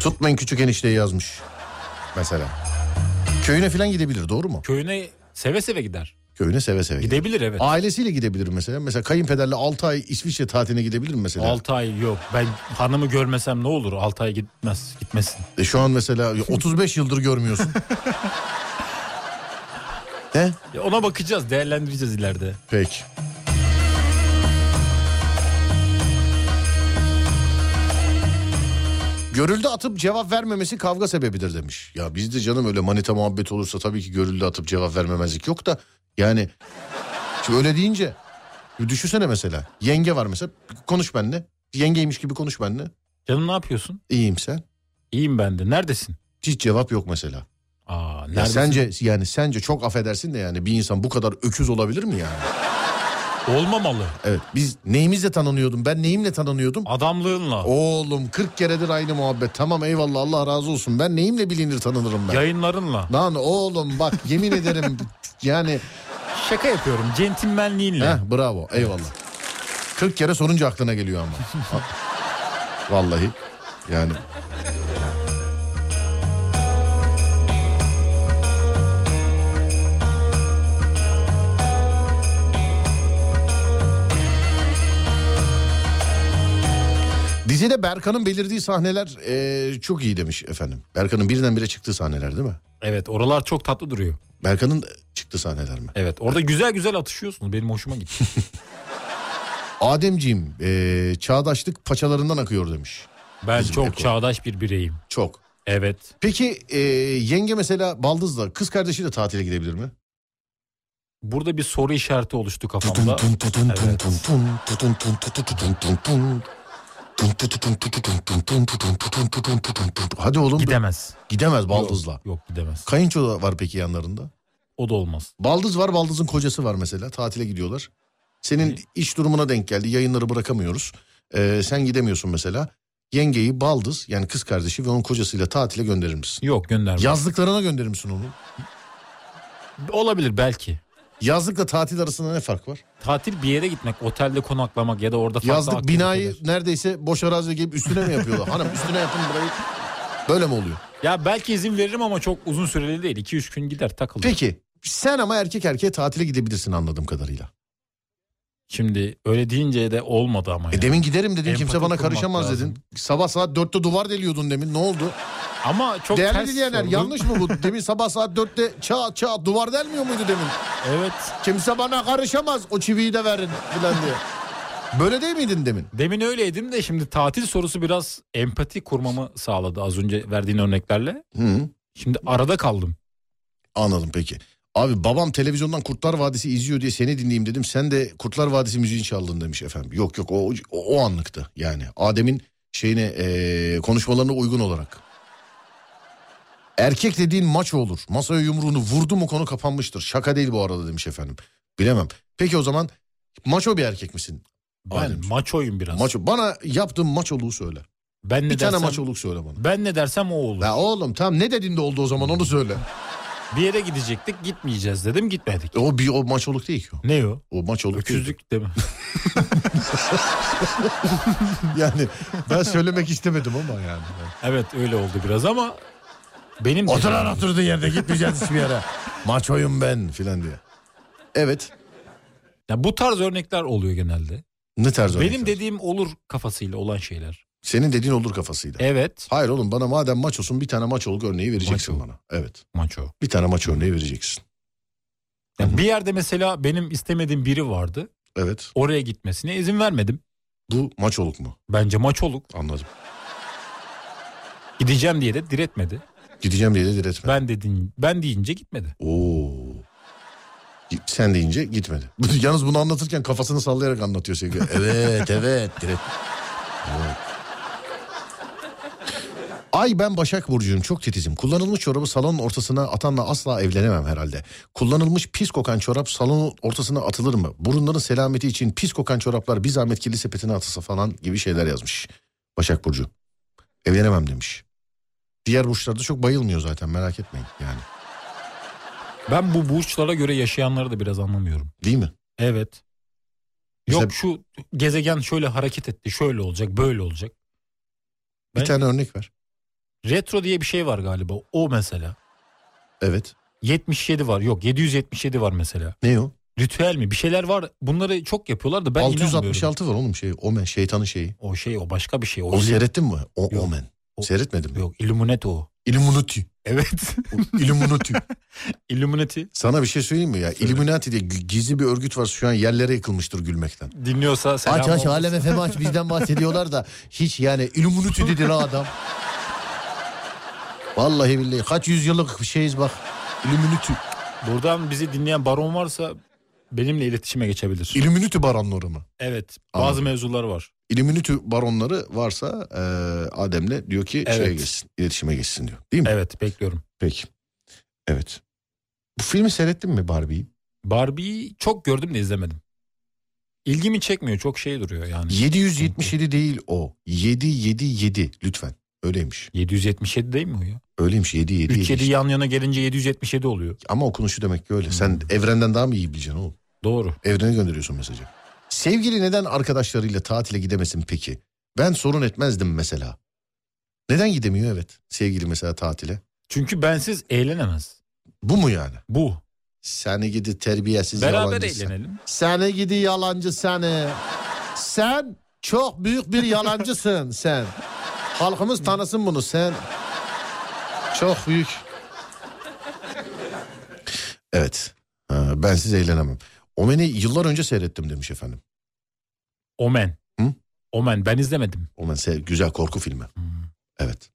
Speaker 2: Tutmayın küçük enişteyi yazmış. Mesela. Köyüne falan gidebilir doğru mu?
Speaker 3: Köyüne seve seve gider.
Speaker 2: Köyüne seve seve gider.
Speaker 3: Gidebilir evet.
Speaker 2: Ailesiyle gidebilir mesela. Mesela kayınpederle 6 ay İsviçre tatiline gidebilir mi mesela?
Speaker 3: 6 ay yok. Ben hanımı görmesem ne olur? 6 ay gitmez. Gitmesin.
Speaker 2: E şu an mesela 35 yıldır görmüyorsun. He?
Speaker 3: Ya ona bakacağız, değerlendireceğiz ileride.
Speaker 2: Peki. Görüldü atıp cevap vermemesi kavga sebebidir demiş. Ya bizde canım öyle manita muhabbeti olursa tabii ki görüldü atıp cevap vermemezlik yok da yani şimdi öyle deyince bir düşünsene mesela yenge var mesela konuş benimle yengeymiş gibi konuş benimle
Speaker 3: Canım ne yapıyorsun?
Speaker 2: iyiyim sen
Speaker 3: İyiyim ben de. Neredesin?
Speaker 2: hiç cevap yok mesela.
Speaker 3: Aa,
Speaker 2: Ya
Speaker 3: neredesin?
Speaker 2: sence yani sence çok affedersin de yani bir insan bu kadar öküz olabilir mi yani?
Speaker 3: Olmamalı.
Speaker 2: Evet biz neyimizle tanınıyordum ben neyimle tanınıyordum?
Speaker 3: Adamlığınla.
Speaker 2: Oğlum 40 keredir aynı muhabbet. Tamam eyvallah Allah razı olsun. Ben neyimle bilinir tanınırım ben.
Speaker 3: Yayınlarınla.
Speaker 2: Lan oğlum bak yemin ederim yani
Speaker 3: Şaka yapıyorum. Centilmenliğinle.
Speaker 2: heh, bravo eyvallah. 40 kere sorunca aklına geliyor ama. Ha- Vallahi yani. Dizide Berkan'ın belirdiği sahneler eee, çok iyi demiş efendim. Berkan'ın birdenbire çıktığı sahneler değil mi?
Speaker 3: Evet oralar çok tatlı duruyor.
Speaker 2: Berkan'ın çıktığı sahneler mi?
Speaker 3: Evet orada güzel güzel atışıyorsunuz. Benim hoşuma gitti.
Speaker 2: Ademciğim eee, çağdaşlık paçalarından akıyor demiş.
Speaker 3: Ben
Speaker 2: Bizim
Speaker 3: çok
Speaker 2: Eko.
Speaker 3: çağdaş bir bireyim.
Speaker 2: Çok.
Speaker 3: Evet.
Speaker 2: Peki e, yenge mesela baldızla kız kardeşiyle tatile gidebilir mi?
Speaker 3: Burada bir soru işareti oluştu kafamda. Evet.
Speaker 2: Hadi oğlum.
Speaker 3: Gidemez.
Speaker 2: Gidemez baldızla.
Speaker 3: Yok, yok gidemez.
Speaker 2: Kayınço da var peki yanlarında.
Speaker 3: O da olmaz.
Speaker 2: Baldız var baldızın kocası var mesela tatile gidiyorlar. Senin iş durumuna denk geldi yayınları bırakamıyoruz. Ee, sen gidemiyorsun mesela. Yengeyi baldız yani kız kardeşi ve onun kocasıyla tatile gönderir misin?
Speaker 3: Yok göndermez.
Speaker 2: Yazlıklarına gönderir misin onu?
Speaker 3: Olabilir belki.
Speaker 2: Yazlıkla tatil arasında ne fark var?
Speaker 3: Tatil bir yere gitmek, otelde konaklamak ya da orada farklı
Speaker 2: Yazlık
Speaker 3: aktiviteler.
Speaker 2: binayı neredeyse boş araziye gelip üstüne mi yapıyorlar? Hanım üstüne yapın burayı. Böyle mi oluyor?
Speaker 3: Ya belki izin veririm ama çok uzun süreli değil. 2-3 gün gider takılır.
Speaker 2: Peki sen ama erkek erkeğe tatile gidebilirsin anladığım kadarıyla. E,
Speaker 3: Şimdi öyle deyince de olmadı ama.
Speaker 2: E
Speaker 3: yani.
Speaker 2: demin giderim dedin
Speaker 3: Empati
Speaker 2: kimse bana
Speaker 3: kurmak
Speaker 2: karışamaz
Speaker 3: lazım.
Speaker 2: dedin. Sabah saat dörtte duvar deliyordun demin ne oldu?
Speaker 3: Ama çok
Speaker 2: Değerli
Speaker 3: ters
Speaker 2: dinleyenler
Speaker 3: sordun.
Speaker 2: yanlış mı bu? Demin sabah saat dörtte çağ çağ duvar delmiyor muydu demin?
Speaker 3: Evet.
Speaker 2: Kimse bana karışamaz o çiviyi de verin filan diye. Böyle değil miydin demin?
Speaker 3: Demin öyleydim de şimdi tatil sorusu biraz empati kurmamı sağladı az önce verdiğin örneklerle.
Speaker 2: Hı.
Speaker 3: Şimdi arada kaldım.
Speaker 2: Anladım peki. Abi babam televizyondan Kurtlar Vadisi izliyor diye seni dinleyeyim dedim. Sen de Kurtlar Vadisi müziği çaldın demiş efendim. Yok yok o, o, o anlıktı yani. Adem'in şeyine eee, konuşmalarına uygun olarak. Erkek dediğin maç olur. Masaya yumruğunu vurdu mu konu kapanmıştır. Şaka değil bu arada demiş efendim. Bilemem. Peki o zaman maço bir erkek misin?
Speaker 3: Ben
Speaker 2: Adem?
Speaker 3: maçoyum biraz.
Speaker 2: Maço. Bana yaptığın maçoluğu söyle.
Speaker 3: Ben ne
Speaker 2: Bir tane
Speaker 3: dersem,
Speaker 2: maçoluk söyle bana.
Speaker 3: Ben ne dersem o olur.
Speaker 2: Ya oğlum tamam ne dediğinde oldu o zaman onu söyle.
Speaker 3: Bir yere gidecektik gitmeyeceğiz dedim gitmedik.
Speaker 2: E, o bir o maçoluk değil ki o.
Speaker 3: Ne o?
Speaker 2: O maçoluk değil.
Speaker 3: Öküzlük değil mi?
Speaker 2: Yani ben söylemek istemedim ama yani.
Speaker 3: evet öyle oldu biraz ama benim de-
Speaker 2: Oturan oturduğun yerde gitmeyeceksin hiçbir yere. Maç oyun ben filan diye. Evet.
Speaker 3: Ya bu tarz örnekler oluyor genelde.
Speaker 2: Ne tarz
Speaker 3: Benim
Speaker 2: örnekler?
Speaker 3: dediğim olur kafasıyla olan şeyler.
Speaker 2: Senin dediğin olur kafasıyla.
Speaker 3: Evet.
Speaker 2: Hayır oğlum bana madem maç olsun bir tane maç oluk örneği vereceksin
Speaker 3: Maç
Speaker 2: bana. Evet.
Speaker 3: Maço.
Speaker 2: Bir tane maç örneği vereceksin.
Speaker 3: Ya bir yerde mesela benim istemediğim biri vardı.
Speaker 2: Evet.
Speaker 3: Oraya gitmesine izin vermedim.
Speaker 2: Bu maç oluk mu?
Speaker 3: Bence maçoluk.
Speaker 2: Anladım.
Speaker 3: Gideceğim diye de diretmedi.
Speaker 2: Gideceğim diye de diretme.
Speaker 3: Ben dedin ben deyince gitmedi.
Speaker 2: Oo. Sen deyince gitmedi. Yalnız bunu anlatırken kafasını sallayarak anlatıyor sevgili. Evet evet. direkt. Evet. Ay ben Başak Burcu'yum çok titizim. Kullanılmış çorabı salonun ortasına atanla asla evlenemem herhalde. Kullanılmış pis kokan çorap salonun ortasına atılır mı? Burunların selameti için pis kokan çoraplar bir zahmet kirli sepetine atılsa falan gibi şeyler yazmış. Başak Burcu. Evlenemem demiş. Diğer burçlarda çok bayılmıyor zaten merak etmeyin yani.
Speaker 3: Ben bu burçlara göre yaşayanları da biraz anlamıyorum.
Speaker 2: Değil mi?
Speaker 3: Evet.
Speaker 2: Mesela-
Speaker 3: Yok şu gezegen şöyle hareket etti, şöyle olacak, böyle olacak.
Speaker 2: Bir
Speaker 3: Ben-
Speaker 2: tane örnek ver.
Speaker 3: Retro diye bir şey var galiba. O mesela.
Speaker 2: Evet.
Speaker 3: 77 var. Yok 777 var mesela.
Speaker 2: Ne o?
Speaker 3: Ritüel mi? Bir şeyler var. Bunları çok yapıyorlar da ben 666.
Speaker 2: 666 var oğlum şey. Omen şeytanın şeyi.
Speaker 3: O şey o başka bir şey. O,
Speaker 2: Onu seyrettin mi? O
Speaker 3: Yok.
Speaker 2: Omen.
Speaker 3: O-
Speaker 2: Seyretmedin mi?
Speaker 3: Yok Illuminati o.
Speaker 2: Illuminati.
Speaker 3: Evet.
Speaker 2: Illuminati.
Speaker 3: Illuminati
Speaker 2: Sana bir şey söyleyeyim mi ya? Illuminati diye gü- gizli bir örgüt var şu an yerlere yıkılmıştır gülmekten.
Speaker 3: dinliyorsa selam
Speaker 2: aç aç
Speaker 3: olsun.
Speaker 2: alem efem aç bizden bahsediyorlar da hiç yani Illuminati dedi la adam. Vallahi billahi kaç yüzyıllık şeyiz bak. Illuminati.
Speaker 3: Buradan bizi dinleyen baron varsa benimle iletişime geçebilir.
Speaker 2: Illuminati baronları mı?
Speaker 3: evet. Bazı
Speaker 2: Anladım.
Speaker 3: mevzular var.
Speaker 2: Illuminati baronları varsa e, Adem'le diyor ki şeye
Speaker 3: Evet.
Speaker 2: geçsin, iletişime geçsin diyor. Değil mi?
Speaker 3: Evet bekliyorum.
Speaker 2: Peki. Evet. Bu filmi seyrettin mi Barbie'yi?
Speaker 3: Barbie'yi çok gördüm de izlemedim. İlgimi çekmiyor. Çok şey duruyor yani.
Speaker 2: 777 değil o. 777 lütfen. Öyleymiş.
Speaker 3: 777 değil mi o ya?
Speaker 2: Öyleymiş 777.
Speaker 3: 3 7 yan yana gelince 777 oluyor.
Speaker 2: Ama okunuşu demek ki öyle. Sen evrenden daha mı iyi bileceksin oğlum?
Speaker 3: Doğru.
Speaker 2: Evrene gönderiyorsun mesajı. Sevgili neden arkadaşlarıyla tatile gidemesin peki? Ben sorun etmezdim mesela. Neden gidemiyor evet sevgili mesela tatile?
Speaker 3: Çünkü bensiz eğlenemez.
Speaker 2: Bu mu yani?
Speaker 3: Bu.
Speaker 2: Seni gidi terbiyesiz
Speaker 3: Beraber
Speaker 2: yalancı sen.
Speaker 3: eğlenelim.
Speaker 2: Seni gidi yalancı seni. Sen çok büyük bir yalancısın sen. Halkımız tanısın bunu sen. Çok büyük. Evet. Ha, ben siz eğlenemem. Omen'i yıllar önce seyrettim demiş efendim.
Speaker 3: Omen.
Speaker 2: Hı?
Speaker 3: Omen ben izlemedim.
Speaker 2: Omen se- güzel korku filmi. Evet.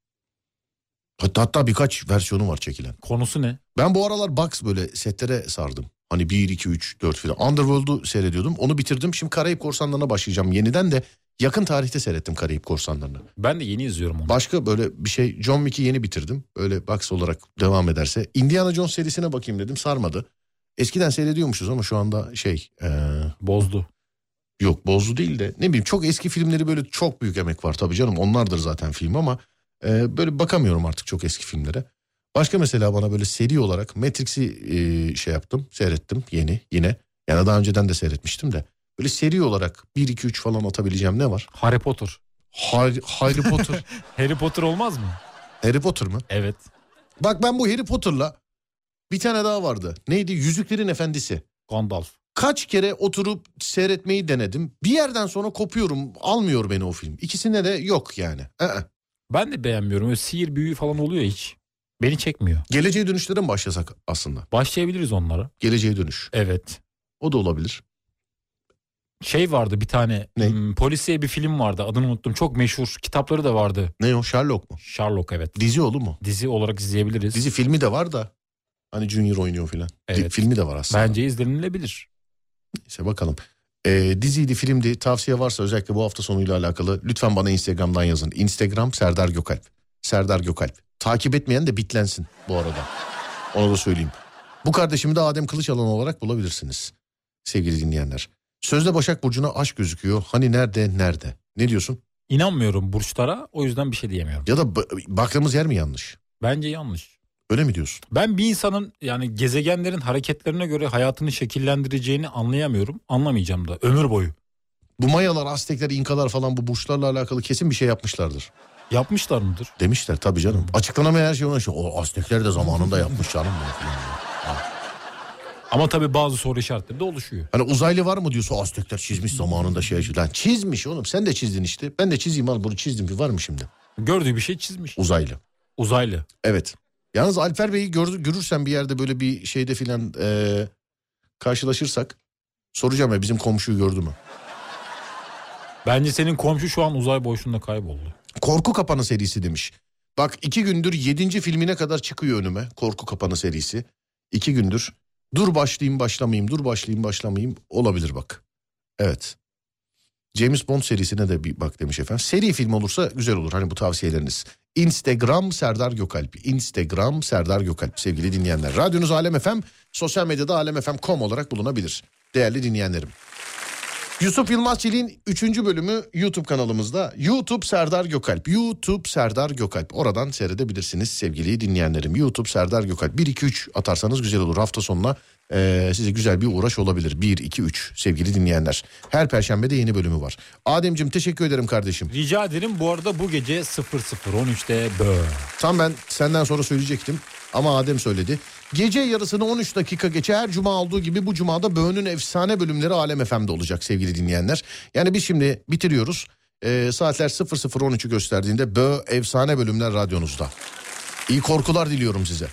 Speaker 2: Hatta, hatta birkaç versiyonu var çekilen.
Speaker 3: Konusu ne?
Speaker 2: Ben bu aralar box böyle setlere sardım. Hani 1, 2, 3, 4 filan. Underworld'u seyrediyordum. Onu bitirdim. Şimdi Karayip Korsanları'na başlayacağım. Yeniden de yakın tarihte seyrettim Karayip Korsanları'nı.
Speaker 3: Ben de yeni izliyorum onu.
Speaker 2: Başka böyle bir şey John Wick'i yeni bitirdim. Öyle box olarak devam ederse. Indiana Jones serisine bakayım dedim sarmadı. Eskiden seyrediyormuşuz ama şu anda şey eee,
Speaker 3: Bozdu.
Speaker 2: yok bozdu değil de ne bileyim çok eski filmleri böyle çok büyük emek var tabii canım onlardır zaten film ama eee, böyle bakamıyorum artık çok eski filmlere. Başka mesela bana böyle seri olarak Matrix'i eee, şey yaptım seyrettim yeni yine yani daha önceden de seyretmiştim de böyle seri olarak 1-2-3 falan atabileceğim ne var?
Speaker 3: Harry Potter.
Speaker 2: Harry, Harry Potter.
Speaker 3: Harry Potter olmaz mı?
Speaker 2: Harry Potter mı?
Speaker 3: Evet.
Speaker 2: Bak ben bu Harry Potter'la bir tane daha vardı. Neydi? Yüzüklerin Efendisi.
Speaker 3: Gandalf.
Speaker 2: Kaç kere oturup seyretmeyi denedim. Bir yerden sonra kopuyorum. Almıyor beni o film. İkisinde de yok yani. Ee.
Speaker 3: Ben de beğenmiyorum. Öyle sihir büyüğü falan oluyor hiç. Beni çekmiyor.
Speaker 2: Geleceğe dönüşlere mi başlasak aslında?
Speaker 3: Başlayabiliriz onlara.
Speaker 2: Geleceğe dönüş.
Speaker 3: Evet.
Speaker 2: O da olabilir.
Speaker 3: Şey vardı bir tane.
Speaker 2: Ne?
Speaker 3: hmm, polisiye bir film vardı. Adını unuttum. Çok meşhur. Kitapları da vardı.
Speaker 2: Ne o Sherlock mu?
Speaker 3: Sherlock evet.
Speaker 2: Dizi oğlu mu?
Speaker 3: Dizi olarak izleyebiliriz.
Speaker 2: Dizi filmi de var da. Hani Junior oynuyor filan. Di-
Speaker 3: Evet.
Speaker 2: Filmi de var aslında.
Speaker 3: Bence izlenilebilir.
Speaker 2: Neyse bakalım. Ee, diziydi, filmdi, tavsiye varsa özellikle bu hafta sonuyla alakalı lütfen bana Instagram'dan yazın. Instagram Serdar Gökalp. Serdar Gökalp. Takip etmeyen de bitlensin bu arada. Onu da söyleyeyim. Bu kardeşimi de Adem Kılıçalan olarak bulabilirsiniz sevgili dinleyenler. Sözde Başak Burcu'na aşk gözüküyor. Hani nerede nerede? Ne diyorsun?
Speaker 3: İnanmıyorum burçlara. O yüzden bir şey diyemiyorum.
Speaker 2: Ya da ba- baktığımız yer mi yanlış?
Speaker 3: Bence yanlış.
Speaker 2: Öyle mi diyorsun?
Speaker 3: Ben bir insanın yani gezegenlerin hareketlerine göre hayatını şekillendireceğini anlayamıyorum. Anlamayacağım da ömür boyu.
Speaker 2: Bu Mayalar, Aztekler, İnkalar falan bu burçlarla alakalı kesin bir şey yapmışlardır.
Speaker 3: Yapmışlar mdır?
Speaker 2: Demişler tabii canım. Açıklanamayan her şey ona şey. O Aztekler de zamanında yapmış canım. bunu filan."
Speaker 3: Ama tabii bazı soru işaretleri de oluşuyor.
Speaker 2: Hani uzaylı var mı diyorsa Aztekler çizmiş zamanında şey. şey." Lan çizmiş oğlum sen de çizdin işte. Ben de çizeyim al bunu çizdim ki var mı şimdi?
Speaker 3: Gördüğü bir şey çizmiş.
Speaker 2: Uzaylı.
Speaker 3: Uzaylı.
Speaker 2: Evet. Yalnız Alper Bey'i gör, görürsen bir yerde böyle bir şeyde filan eee, karşılaşırsak soracağım ya bizim komşuyu gördü mü?
Speaker 3: Bence senin komşu şu an uzay boşluğunda kayboldu.
Speaker 2: Korku Kapanı serisi demiş. Bak iki gündür yedinci filmine kadar çıkıyor önüme Korku Kapanı serisi. İki gündür. Dur başlayayım başlamayayım, dur başlayayım başlamayayım olabilir bak. Evet. James Bond serisine de bir bak demiş efendim. Seri film olursa güzel olur hani bu tavsiyeleriniz. Instagram Serdar Gökalp. Instagram Serdar Gökalp sevgili dinleyenler. Radyonuz Alem FM, sosyal medyada alemfm.com olarak bulunabilir. Değerli dinleyenlerim. Yusuf Yılmaz Çelik'in 3. bölümü YouTube kanalımızda. YouTube Serdar Gökalp. YouTube Serdar Gökalp. Oradan seyredebilirsiniz sevgili dinleyenlerim. YouTube Serdar Gökalp. 1-2-3 atarsanız güzel olur. Hafta sonuna eee, size güzel bir uğraş olabilir. 1-2-3 sevgili dinleyenler. Her perşembe de yeni bölümü var. Adem'cim teşekkür ederim kardeşim.
Speaker 3: Rica ederim bu arada bu gece 00.13'te böyle.
Speaker 2: Tam ben senden sonra söyleyecektim ama Adem söyledi. Gece yarısını 13 dakika geçe her cuma olduğu gibi bu cumada Böğün'ün efsane bölümleri Alem FM'de olacak sevgili dinleyenler. Yani biz şimdi bitiriyoruz. Ee, saatler 00.13'ü gösterdiğinde Bö efsane bölümler radyonuzda. İyi korkular diliyorum size.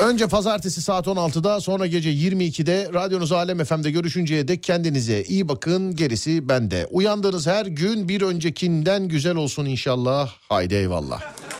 Speaker 2: Önce pazartesi saat 16'da sonra gece 22'de radyonuz Alem FM'de görüşünceye dek kendinize iyi bakın gerisi bende. Uyandığınız her gün bir öncekinden güzel olsun inşallah. Haydi eyvallah.